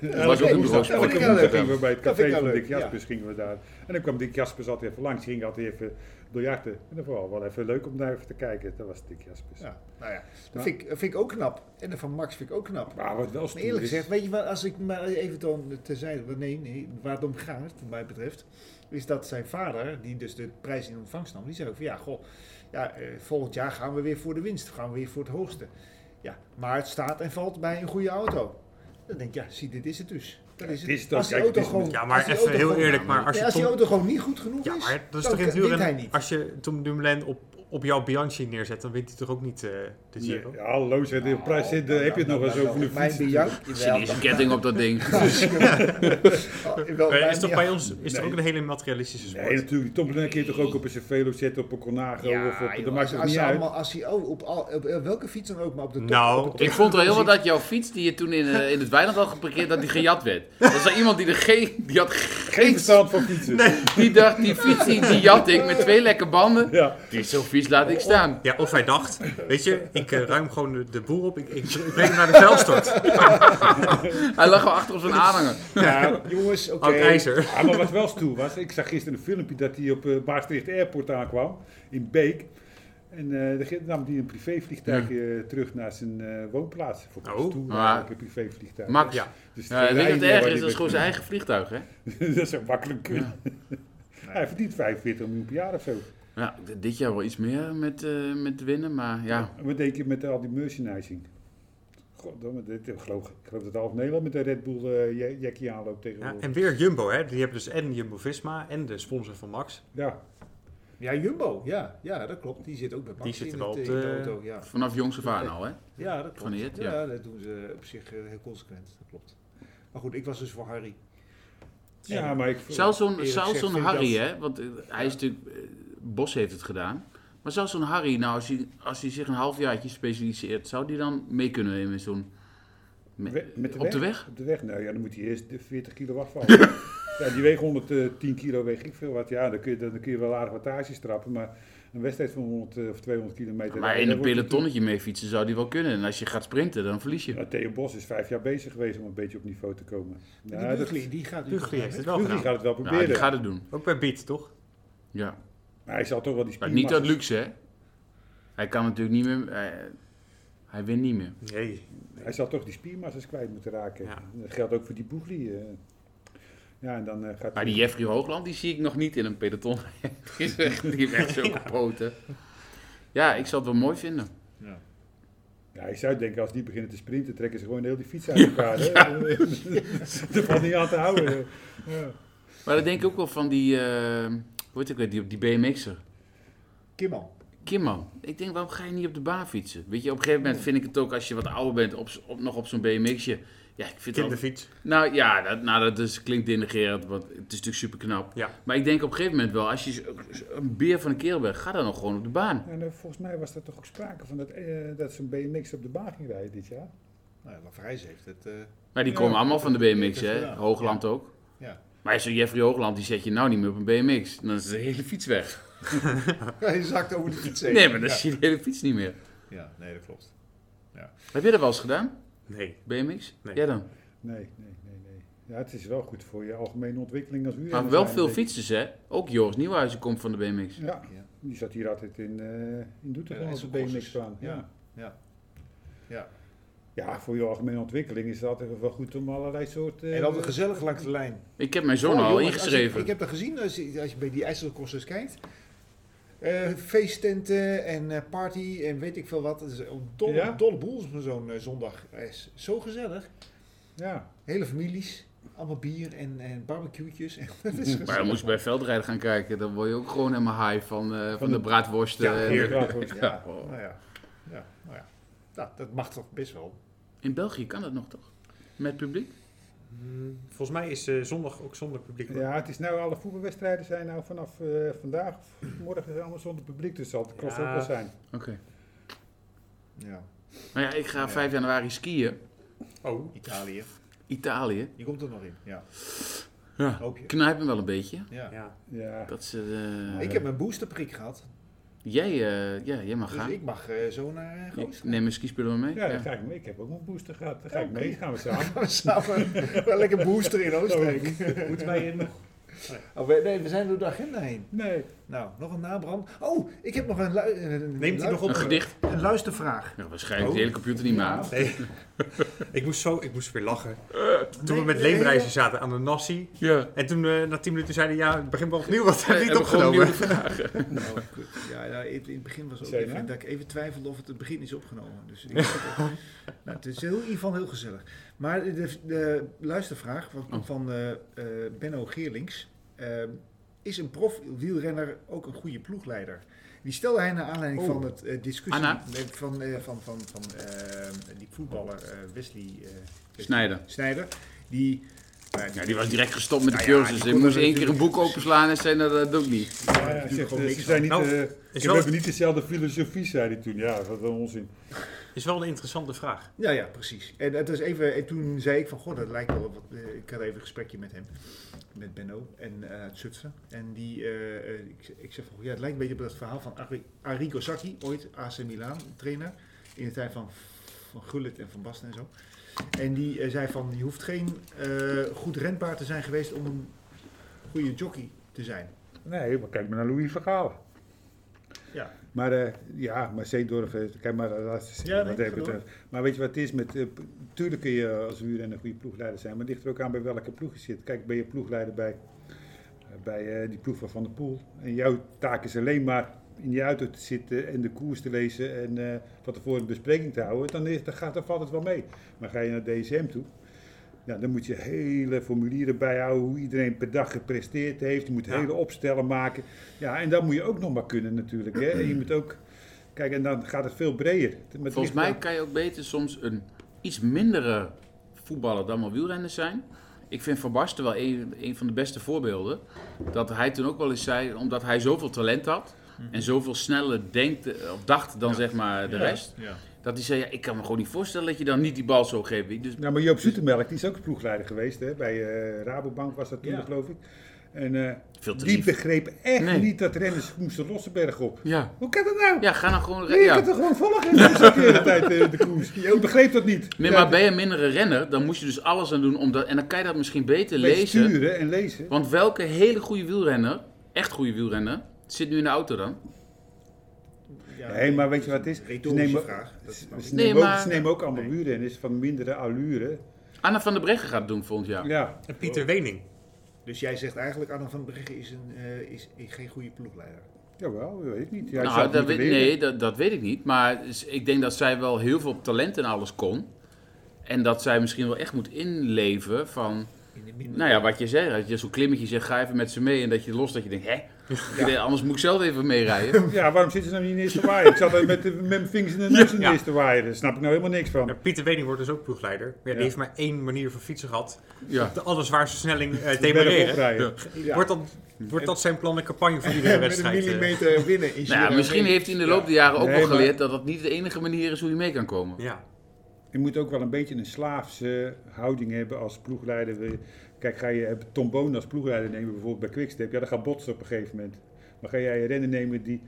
[SPEAKER 3] Dat was ook een bureau
[SPEAKER 4] dat vind
[SPEAKER 1] Elke
[SPEAKER 3] sport.
[SPEAKER 4] ik wel
[SPEAKER 1] woensdag
[SPEAKER 4] leuk.
[SPEAKER 1] gingen we bij het
[SPEAKER 4] Dat vind
[SPEAKER 1] café
[SPEAKER 4] ik wel
[SPEAKER 1] van
[SPEAKER 4] leuk,
[SPEAKER 1] Dick Jaspers gingen we daar. En dan kwam Dick Jaspers altijd even langs, ging altijd even biljarten. En dat was wel even leuk om daar even te kijken. Dat was Dick Jaspers.
[SPEAKER 4] Ja, nou ja,
[SPEAKER 1] Maar-
[SPEAKER 4] dat vind ik, dat vind ik ook knap. En dat van Max vind ik ook knap.
[SPEAKER 1] Maar wat wel
[SPEAKER 4] Maar
[SPEAKER 1] stoer
[SPEAKER 4] eerlijk
[SPEAKER 2] Dus-
[SPEAKER 1] is-
[SPEAKER 4] gezegd, weet je wat, als ik maar even dan terzijde, want nee, nee, waar het om gaat, wat mij betreft, is dat zijn vader, die dus de prijs in ontvangst nam, die zei ook van ja, goh, ja, eh, volgend jaar gaan we weer voor de winst, gaan we weer voor het hoogste. Ja, maar het staat en valt bij een goede auto. Dan denk ik, ja, zie, dit is het dus. Dat is het.
[SPEAKER 1] dit is dan-
[SPEAKER 4] als die
[SPEAKER 1] kijk,
[SPEAKER 4] auto
[SPEAKER 1] dit is-
[SPEAKER 4] gewoon,
[SPEAKER 2] ja
[SPEAKER 4] als
[SPEAKER 2] maar
[SPEAKER 4] die
[SPEAKER 2] even
[SPEAKER 4] auto
[SPEAKER 2] heel
[SPEAKER 4] gewoon-
[SPEAKER 2] eerlijk, maar als
[SPEAKER 4] Nee,
[SPEAKER 2] je
[SPEAKER 4] als die
[SPEAKER 2] Tom-
[SPEAKER 4] auto gewoon niet goed genoeg
[SPEAKER 3] Nou,
[SPEAKER 2] Ja,
[SPEAKER 4] is,
[SPEAKER 2] maar dat is
[SPEAKER 4] dan
[SPEAKER 2] toch in het
[SPEAKER 4] wint hij
[SPEAKER 2] wielrennen,
[SPEAKER 4] niet.
[SPEAKER 2] als je Tom Dumoulin op op jouw Bianchi neerzet, dan wint hij toch ook niet eh, de Giro?
[SPEAKER 1] Ja, hallo, zet de prijs zit, eh, heb je het
[SPEAKER 2] Nou,
[SPEAKER 1] nog eens over een
[SPEAKER 7] Mijn
[SPEAKER 1] fiets.
[SPEAKER 7] Bianchi
[SPEAKER 3] Zit
[SPEAKER 7] wel.
[SPEAKER 3] eens een ketting op dat [LAUGHS] ding.
[SPEAKER 7] wel,
[SPEAKER 2] Maar
[SPEAKER 7] mijn
[SPEAKER 2] Eh, is toch bij ons is toch
[SPEAKER 1] Nee.
[SPEAKER 2] ook een hele materialistische sport?
[SPEAKER 1] Nee, natuurlijk. die Tomlin keer toch ook op een Cervelo zetten, op een Cornago of op... dat
[SPEAKER 7] joh,
[SPEAKER 1] maakt
[SPEAKER 7] als,
[SPEAKER 1] het
[SPEAKER 7] als
[SPEAKER 1] niet
[SPEAKER 7] ze
[SPEAKER 1] uit.
[SPEAKER 7] allemaal, als hij, oh, op, al, op, eh, welke fiets dan ook, maar op de top.
[SPEAKER 2] Nou,
[SPEAKER 7] op de top.
[SPEAKER 3] Ik vond wel heel wat dat jouw fiets die je toen in, eh, in het weiland had geparkeerd, dat die gejat werd. Dat was er iemand die er geen, die had
[SPEAKER 1] Geen
[SPEAKER 3] geen,
[SPEAKER 1] verstand van fietsen.
[SPEAKER 3] die dacht, die fiets die, die jat ik met twee lekke banden.
[SPEAKER 1] Ja.
[SPEAKER 3] Die is zo'n fiets, laat ik staan.
[SPEAKER 2] Ja, of hij dacht, weet je, ik eh, ruim gewoon de, de boer op, ik, ik, ik breng hem naar de [LAUGHS] vuilstort.
[SPEAKER 3] Hij lag al achter op zijn aanhanger.
[SPEAKER 1] Ja,
[SPEAKER 7] Jongens, oké.
[SPEAKER 2] Oud ijzer.
[SPEAKER 1] Ja, maar wat wel stoer was, ik zag gisteren een filmpje dat hij op eh Maastricht Airport aankwam, in Beek. En eh, dan ge- nam hij een privévliegtuig eh, terug naar zijn eh, woonplaats. Voor
[SPEAKER 2] Oh.
[SPEAKER 1] oh. stoer,
[SPEAKER 3] Ah.
[SPEAKER 1] eigenlijk, een privévliegtuig.
[SPEAKER 3] Max.
[SPEAKER 2] Ja.
[SPEAKER 1] Dus
[SPEAKER 3] Ja, weet je wat
[SPEAKER 1] rijden
[SPEAKER 3] erger
[SPEAKER 1] waar
[SPEAKER 3] is?
[SPEAKER 1] hij
[SPEAKER 3] Dat is gewoon
[SPEAKER 1] met-
[SPEAKER 3] zijn eigen vliegtuig, hè?
[SPEAKER 1] [LAUGHS] dat is zo makkelijk kunnen. [LAUGHS] Hij verdient 45 miljoen per jaar of zo.
[SPEAKER 3] Ja, d- dit jaar wel iets meer met, eh, met winnen, maar ja.
[SPEAKER 1] En Wat denk je met al die merchandising? Goddomme, dit, ik, geloof, ik geloof dat half Nederland met de Red Bull eh, ja- jackie aanloopt
[SPEAKER 2] Ja,
[SPEAKER 1] tegenwoordig. Ja,
[SPEAKER 2] en weer Jumbo, hè? Die hebben dus en Jumbo-Visma en de sponsor van Max.
[SPEAKER 4] Ja, Jumbo. Ja, ja, dat klopt. Die zit ook bij Max
[SPEAKER 2] Die zit
[SPEAKER 4] in
[SPEAKER 2] er wel
[SPEAKER 4] het-
[SPEAKER 2] op
[SPEAKER 4] in de
[SPEAKER 2] de-
[SPEAKER 4] auto. Ja.
[SPEAKER 3] Vanaf jongs af aan al, hè?
[SPEAKER 4] ja, dat klopt.
[SPEAKER 3] Van Eert, ja.
[SPEAKER 4] ja. dat doen ze op zich eh, heel consequent. Dat klopt. Maar goed, ik was dus voor Harry.
[SPEAKER 1] ja, maar ik...
[SPEAKER 3] Zou zo'n
[SPEAKER 4] Eerlijk
[SPEAKER 3] zou
[SPEAKER 4] gezegd
[SPEAKER 3] zo'n
[SPEAKER 4] vind ik
[SPEAKER 3] Harry,
[SPEAKER 4] dat-
[SPEAKER 3] hè? Want eh, hij is natuurlijk... eh, Bos heeft het gedaan. Maar zou zo'n Harry, nou, als hij, als hij zich een halfjaartje specialiseert... zou die dan mee kunnen in zo'n... me-
[SPEAKER 1] We- met de
[SPEAKER 3] op de weg?
[SPEAKER 1] Op de weg, nou ja, dan moet hij eerst de 40 kilo
[SPEAKER 3] [LAUGHS]
[SPEAKER 1] afvallen. ja, die weegt 110 kilo, weeg ik veel wat. Ja, dan kun je, dan kun je wel aardig wattages trappen, maar een wedstrijd van 100 of 200 kilometer...
[SPEAKER 3] Maar
[SPEAKER 1] rijden,
[SPEAKER 3] in
[SPEAKER 1] dan
[SPEAKER 3] een
[SPEAKER 1] wordt het-
[SPEAKER 3] pelotonnetje mee fietsen zou die wel kunnen. En als je gaat sprinten, dan verlies je.
[SPEAKER 1] Nou, Theo Bos is vijf jaar bezig geweest om een beetje op niveau te komen.
[SPEAKER 4] Maar
[SPEAKER 1] Nou,
[SPEAKER 4] die
[SPEAKER 1] dat-
[SPEAKER 4] Bugli, die gaat nu
[SPEAKER 2] Bugli heeft het wel
[SPEAKER 1] Bugli
[SPEAKER 2] gedaan.
[SPEAKER 1] gaat het wel
[SPEAKER 3] Ja, Nou,
[SPEAKER 1] proberen.
[SPEAKER 3] die gaat het doen.
[SPEAKER 2] Ook bij Beat, toch?
[SPEAKER 3] Ja.
[SPEAKER 1] Maar hij zal toch wel die
[SPEAKER 3] Maar
[SPEAKER 1] spier
[SPEAKER 3] niet uit luxe, hè? Hij kan natuurlijk niet meer... Hij, hij wint niet meer.
[SPEAKER 2] Nee.
[SPEAKER 1] Hij zal toch die spiermassa's kwijt moeten raken.
[SPEAKER 2] Ja.
[SPEAKER 1] Dat geldt ook voor die Boegli. eh. Ja, en dan eh, gaat
[SPEAKER 3] Maar
[SPEAKER 1] hij-
[SPEAKER 3] die Jeffrey Hoogland, die zie ik nog niet in een peloton. [LAUGHS] die is echt, die heeft echt
[SPEAKER 1] [LAUGHS]
[SPEAKER 3] zo gepoten. Ja, ik zou het wel mooi vinden.
[SPEAKER 1] Ja, ik zou denken, als die beginnen te sprinten, trekken ze gewoon heel die fiets uit elkaar.
[SPEAKER 3] [LAUGHS]
[SPEAKER 1] hè. [LAUGHS] Er valt niet aan te houden. Ja.
[SPEAKER 3] Maar dat denk ik ook wel van die, eh hoe heet ik weer, die op die BMX'er.
[SPEAKER 7] Kimman.
[SPEAKER 3] Kimman, ik denk, waarom ga je niet op de baan fietsen? Weet je, op een gegeven moment vind ik het ook, als je wat ouder bent, op, z- op, nog op zo'n BMX'je. Ja, ik vind het al-
[SPEAKER 2] Kinderfiets.
[SPEAKER 3] Nou ja, dat, nou, dat is, klinkt denigrerend, want het is natuurlijk super knap.
[SPEAKER 2] Ja.
[SPEAKER 3] Maar ik denk op een gegeven moment wel, als je z- z- een beer van een kerel bent, ga dan nog gewoon op de baan.
[SPEAKER 1] En, eh, volgens mij was er toch ook sprake van dat, eh, dat zo'n BMX op de baan ging rijden dit jaar.
[SPEAKER 4] Nou, Lafrijs heeft het. eh, [LAUGHS]
[SPEAKER 3] Maar die
[SPEAKER 1] Ja,
[SPEAKER 3] komen allemaal van de BMX,
[SPEAKER 4] dat is
[SPEAKER 3] hè?
[SPEAKER 4] gedaan.
[SPEAKER 3] Hoogland ook.
[SPEAKER 4] Ja.
[SPEAKER 3] Maar zo'n Jeffrey Hoogland, die zet je nou niet meer op een BMX. Dan is de hele fiets weg.
[SPEAKER 4] Hij zakt over de fiets heen.
[SPEAKER 3] Nee, maar dan
[SPEAKER 4] ja.
[SPEAKER 3] zie je de hele fiets niet meer.
[SPEAKER 4] ja, nee, dat klopt.
[SPEAKER 3] Heb je dat wel eens gedaan,
[SPEAKER 2] Nee.
[SPEAKER 3] BMX?
[SPEAKER 2] Nee.
[SPEAKER 3] Ja dan.
[SPEAKER 1] Nee, nee, nee, nee. Ja, het is wel goed voor je algemene ontwikkeling als u.
[SPEAKER 3] Maar wel veel fietsers, hè? Ook Joris Nieuwhuizen komt van de BMX.
[SPEAKER 1] Ja,
[SPEAKER 4] Ja.
[SPEAKER 1] die zat hier altijd in, eh in Doetinchem
[SPEAKER 4] Ja,
[SPEAKER 1] op de
[SPEAKER 4] is een
[SPEAKER 1] BMX
[SPEAKER 4] cursus.
[SPEAKER 1] baan. Ja.
[SPEAKER 4] Ja. Ja. Ja.
[SPEAKER 1] ja, voor je algemene ontwikkeling is het altijd wel goed om allerlei soorten... eh,
[SPEAKER 4] En altijd gezellig langs de lijn.
[SPEAKER 3] Ik heb mijn zoon
[SPEAKER 4] Oh,
[SPEAKER 3] al
[SPEAKER 4] jongens, als
[SPEAKER 3] ingeschreven.
[SPEAKER 4] je- ik heb dat gezien als je, als je bij die IJsselcrossers kijkt. Eh, feesttenten en eh, party en weet ik veel wat. Het is een dolle,
[SPEAKER 1] Ja?
[SPEAKER 4] dolle boel is zo'n eh, zondag. Eh, is zo gezellig.
[SPEAKER 1] Ja,
[SPEAKER 4] Hele families. Allemaal bier en, en barbecue'tjes. [LAUGHS] En dat is
[SPEAKER 3] Maar dan moest je bij veldrijden gaan kijken. Dan word je ook gewoon helemaal high van, eh, van,
[SPEAKER 1] Van
[SPEAKER 3] de
[SPEAKER 1] de-
[SPEAKER 3] braadworsten. en-
[SPEAKER 2] Ja,
[SPEAKER 1] heel
[SPEAKER 2] heerlijk.
[SPEAKER 1] graag hoor.
[SPEAKER 4] gezellig.
[SPEAKER 3] [LAUGHS] Ja,
[SPEAKER 4] Ja,
[SPEAKER 3] wow.
[SPEAKER 4] nou ja. ja, nou ja. Nou, dat mag toch best wel.
[SPEAKER 3] In België kan dat nog, toch? Met publiek?
[SPEAKER 2] Mm, Volgens mij is eh, zondag ook zonder publiek. hoor.
[SPEAKER 1] Ja, het is nou, alle voetbalwedstrijden zijn nou vanaf eh, vandaag, of morgen zijn allemaal zonder publiek, dus zal het cross
[SPEAKER 2] Ja.
[SPEAKER 1] ook wel zijn.
[SPEAKER 3] Oké.
[SPEAKER 4] Ja.
[SPEAKER 3] Nou ja, ik ga
[SPEAKER 4] Ja.
[SPEAKER 3] 5 januari skiën.
[SPEAKER 2] Oh.
[SPEAKER 4] Italië.
[SPEAKER 3] Italië.
[SPEAKER 4] Die komt er nog in. Ja.
[SPEAKER 3] Ja.
[SPEAKER 4] Hoop je.
[SPEAKER 3] Knijp hem wel een beetje.
[SPEAKER 4] Ja.
[SPEAKER 2] Ja.
[SPEAKER 1] Ja,
[SPEAKER 3] Dat ze, eh,
[SPEAKER 4] Ik heb mijn boosterprik gehad.
[SPEAKER 3] jij, eh, ja, jij mag
[SPEAKER 4] Dus
[SPEAKER 3] gaan.
[SPEAKER 4] ik mag eh, zo naar eh Groot.
[SPEAKER 3] Neem een skispullen maar mee.
[SPEAKER 1] ja,
[SPEAKER 3] Ja.
[SPEAKER 1] dan ga ik mee. Ik heb ook een booster gehad. Dan ga ik
[SPEAKER 4] Oké.
[SPEAKER 1] mee, gaan we samen.
[SPEAKER 4] We samen [LAUGHS] wel lekker booster in Oostenrijk.
[SPEAKER 2] Moeten wij er nog?
[SPEAKER 4] Oh, we, nee, we zijn door de agenda heen.
[SPEAKER 1] Nee,
[SPEAKER 4] Nou, nog een nabrand. Oh, ik heb nog een, lu- een, een-
[SPEAKER 2] Neemt hij
[SPEAKER 4] lu-
[SPEAKER 2] nog
[SPEAKER 3] Een
[SPEAKER 2] op?
[SPEAKER 3] gedicht.
[SPEAKER 4] een luistervraag.
[SPEAKER 3] Ja, waarschijnlijk
[SPEAKER 2] Oh.
[SPEAKER 3] de hele computer niet meer aan.
[SPEAKER 2] Nee. [LAUGHS] ik, moest zo, ik moest weer lachen. Toen
[SPEAKER 4] Nee,
[SPEAKER 2] we met
[SPEAKER 4] nee,
[SPEAKER 2] leemreizen zaten aan de Nassi.
[SPEAKER 3] [LAUGHS] Ja.
[SPEAKER 2] En toen eh, na 10 minuten zeiden ja, het begint wel opnieuw, want hij heeft
[SPEAKER 3] Heb
[SPEAKER 2] niet
[SPEAKER 3] ik gewoon
[SPEAKER 2] opgenomen.
[SPEAKER 3] nieuwe [LAUGHS] vragen.
[SPEAKER 4] Oh, kut. ja, ja, in in het begin was ook
[SPEAKER 1] Zeg
[SPEAKER 4] even
[SPEAKER 1] maar.
[SPEAKER 4] dat ik even twijfelde of het in het begin is opgenomen. Dus ik, [LAUGHS] nou, het is heel, in ieder geval heel gezellig. Maar de, de luistervraag van,
[SPEAKER 3] Oh.
[SPEAKER 4] van eh, eh, Benno Geerlings. eh, is een prof wielrenner ook een goede ploegleider? Die stelde hij naar aanleiding
[SPEAKER 1] Oh.
[SPEAKER 4] van het eh, discussie
[SPEAKER 3] Anna.
[SPEAKER 4] nee, van, eh, van, van, van eh, die voetballer eh, Wesley eh,
[SPEAKER 3] Snijden.
[SPEAKER 4] Snijder. Die, nou,
[SPEAKER 3] Ja, die was direct gestopt met de
[SPEAKER 4] Nou ja,
[SPEAKER 3] cursus.
[SPEAKER 4] die
[SPEAKER 3] Hij moest
[SPEAKER 4] kon
[SPEAKER 3] één
[SPEAKER 4] er
[SPEAKER 3] keer een boek openslaan en zei, nou, dat doe ik niet.
[SPEAKER 1] Ja, hij
[SPEAKER 4] doet
[SPEAKER 1] zegt,
[SPEAKER 4] gewoon
[SPEAKER 1] eh,
[SPEAKER 4] niks
[SPEAKER 1] ze zijn niet,
[SPEAKER 2] Nou,
[SPEAKER 1] eh,
[SPEAKER 2] Is
[SPEAKER 1] we
[SPEAKER 2] wel,
[SPEAKER 1] hebben niet dezelfde filosofie, zei hij toen. Ja, wat een onzin.
[SPEAKER 2] is wel een interessante vraag.
[SPEAKER 4] Ja, ja, precies. En, het was even, en toen zei ik van, god, dat lijkt wel op wat... eh, ik had even een gesprekje met hem, met Benno en eh uit Zutphen. En die, eh, eh, ik, ik zeg van, goh, ja, het lijkt een beetje op dat verhaal van Ari- Arrigo Sacchi, ooit AC Milan trainer. In de tijd van, van Gullit en Van Basten en zo. En die eh, zei van, je hoeft geen eh, goed renbaar te zijn geweest om een goede jockey te zijn.
[SPEAKER 1] Nee, maar kijk maar naar Louis Vergaal.
[SPEAKER 4] Ja.
[SPEAKER 1] Maar eh, ja, maar Zeedorf, eh, kijk maar naar de laatste
[SPEAKER 4] Ja, nee,
[SPEAKER 1] wat hij
[SPEAKER 4] ga door.
[SPEAKER 1] betreft. Maar weet je wat het is? Met, eh, p- tuurlijk kun je eh, als uur en een goede ploegleider zijn, maar het ligt er ook aan bij welke ploeg je zit. Kijk, ben je ploegleider bij, eh, bij eh, die ploeg van Van der Poel. En jouw taak is alleen maar in die auto te zitten en de koers te lezen en eh, van tevoren een bespreking te houden. Dan, is, dan, gaat, dan valt het wel mee. Maar ga je naar DSM toe, ja, dan moet je hele formulieren bijhouden hoe iedereen per dag gepresteerd heeft. Je moet
[SPEAKER 2] Ja.
[SPEAKER 1] hele opstellen maken. Ja, en dat moet je ook nog maar kunnen natuurlijk. Hè. En je moet ook, kijk, en dan gaat het veel breder. Maar het
[SPEAKER 3] Volgens
[SPEAKER 1] ligt
[SPEAKER 3] mij
[SPEAKER 1] aan-
[SPEAKER 3] kan je ook beter soms een iets mindere voetballer dan wel wielrenners zijn. Ik vind Van Basten wel een, een van de beste voorbeelden. Dat hij toen ook wel eens zei, omdat hij zoveel talent had en zoveel sneller denkt, eh, of dacht dan zeg maar de rest.
[SPEAKER 4] Ja.
[SPEAKER 3] Dat hij zei, ja, ik kan me gewoon niet voorstellen dat je dan niet die bal zo geeft. Dus
[SPEAKER 1] Nou, maar Joop Zoetemelk, die is ook ploegleider geweest. Hè? Bij eh, Rabobank was dat toen,
[SPEAKER 4] Ja.
[SPEAKER 1] geloof ik. En eh,
[SPEAKER 3] veel te
[SPEAKER 1] die
[SPEAKER 3] lief.
[SPEAKER 1] begreep echt
[SPEAKER 3] Nee.
[SPEAKER 1] niet dat renners moesten Rossenberg op.
[SPEAKER 3] Ja.
[SPEAKER 1] Hoe kan dat nou?
[SPEAKER 3] ja, ga nou gewoon...
[SPEAKER 1] Nee, je
[SPEAKER 3] Ja.
[SPEAKER 1] kunt toch gewoon volgen? Dat is ook de hele tijd eh, de
[SPEAKER 3] [LAUGHS]
[SPEAKER 1] koers. Die begreep dat niet.
[SPEAKER 3] Nee,
[SPEAKER 1] Ja,
[SPEAKER 3] maar ben je een mindere renner, dan moet je dus alles aan doen om dat... En dan kan je dat misschien beter
[SPEAKER 1] beetje
[SPEAKER 3] lezen.
[SPEAKER 1] Sturen en lezen.
[SPEAKER 3] Want welke hele goede wielrenner, echt goede wielrenner, zit nu in de auto dan?
[SPEAKER 4] Ja,
[SPEAKER 1] Nee, maar weet je wat het is? Ze
[SPEAKER 4] Retorische
[SPEAKER 1] nemen-
[SPEAKER 4] vraag. Dat
[SPEAKER 1] Ze,
[SPEAKER 4] snap ik.
[SPEAKER 1] ze
[SPEAKER 3] Nee,
[SPEAKER 1] nemen ook,
[SPEAKER 3] maar-
[SPEAKER 1] ze nemen ook allemaal wielrenners van mindere allure.
[SPEAKER 3] Anna van der Breggen gaat het doen volgend jaar.
[SPEAKER 1] Ja,
[SPEAKER 2] En Pieter Wening.
[SPEAKER 4] Dus jij zegt eigenlijk, Arno van Brugge is, een, eh, is, is geen goede ploegleider.
[SPEAKER 1] jawel, dat weet ik niet. Ja, ik zou
[SPEAKER 3] nou,
[SPEAKER 1] het
[SPEAKER 3] dat
[SPEAKER 1] moeten
[SPEAKER 3] weet,
[SPEAKER 1] leren.
[SPEAKER 3] nee, dat, dat weet ik niet. Maar s- ik denk dat zij wel heel veel talent en alles kon. En dat zij misschien wel echt moet inleven van...
[SPEAKER 4] In de minder
[SPEAKER 3] Nou ja, wat je zegt, dat je zo'n klimmetje zegt, ga even met ze mee. En dat je los dat je denkt, hè? Anders moet ik zelf even meerijden.
[SPEAKER 1] [LAUGHS] Ja, waarom zitten ze nou niet in de eerste waaier? Ik zat er met, de- met mijn vingers in de neus in de
[SPEAKER 2] Ja.
[SPEAKER 1] eerste waaier. Daar snap ik nou helemaal niks van.
[SPEAKER 2] Ja, Pieter Wening wordt dus ook ploegleider. Maar ja, die
[SPEAKER 1] Ja.
[SPEAKER 2] heeft maar één manier van fietsen gehad.
[SPEAKER 3] Ja.
[SPEAKER 2] De allerzwaarste snelling
[SPEAKER 4] [LAUGHS]
[SPEAKER 2] eh
[SPEAKER 1] De berg
[SPEAKER 2] demareren.
[SPEAKER 1] oprijden.
[SPEAKER 4] Ja.
[SPEAKER 2] Wordt, dat, wordt dat zijn plan en campagne voor iedere
[SPEAKER 4] Met een
[SPEAKER 2] wedstrijd? eh?
[SPEAKER 4] millimeter
[SPEAKER 3] [LAUGHS]
[SPEAKER 4] winnen is
[SPEAKER 3] Nou,
[SPEAKER 4] hier
[SPEAKER 3] ja,
[SPEAKER 4] dan
[SPEAKER 3] misschien
[SPEAKER 4] mee.
[SPEAKER 3] heeft hij in de loop der jaren ook
[SPEAKER 1] Nee,
[SPEAKER 3] wel
[SPEAKER 1] maar-
[SPEAKER 3] geleerd dat dat niet de enige manier is hoe je mee kan komen.
[SPEAKER 2] ja.
[SPEAKER 1] Je moet ook wel een beetje een slaafse houding hebben als ploegleider. We- Kijk, ga je eh, Tom Boon als ploegleider nemen, bijvoorbeeld bij Quickstep. Ja, dat gaat botsen op een gegeven moment. Maar ga jij een renner nemen die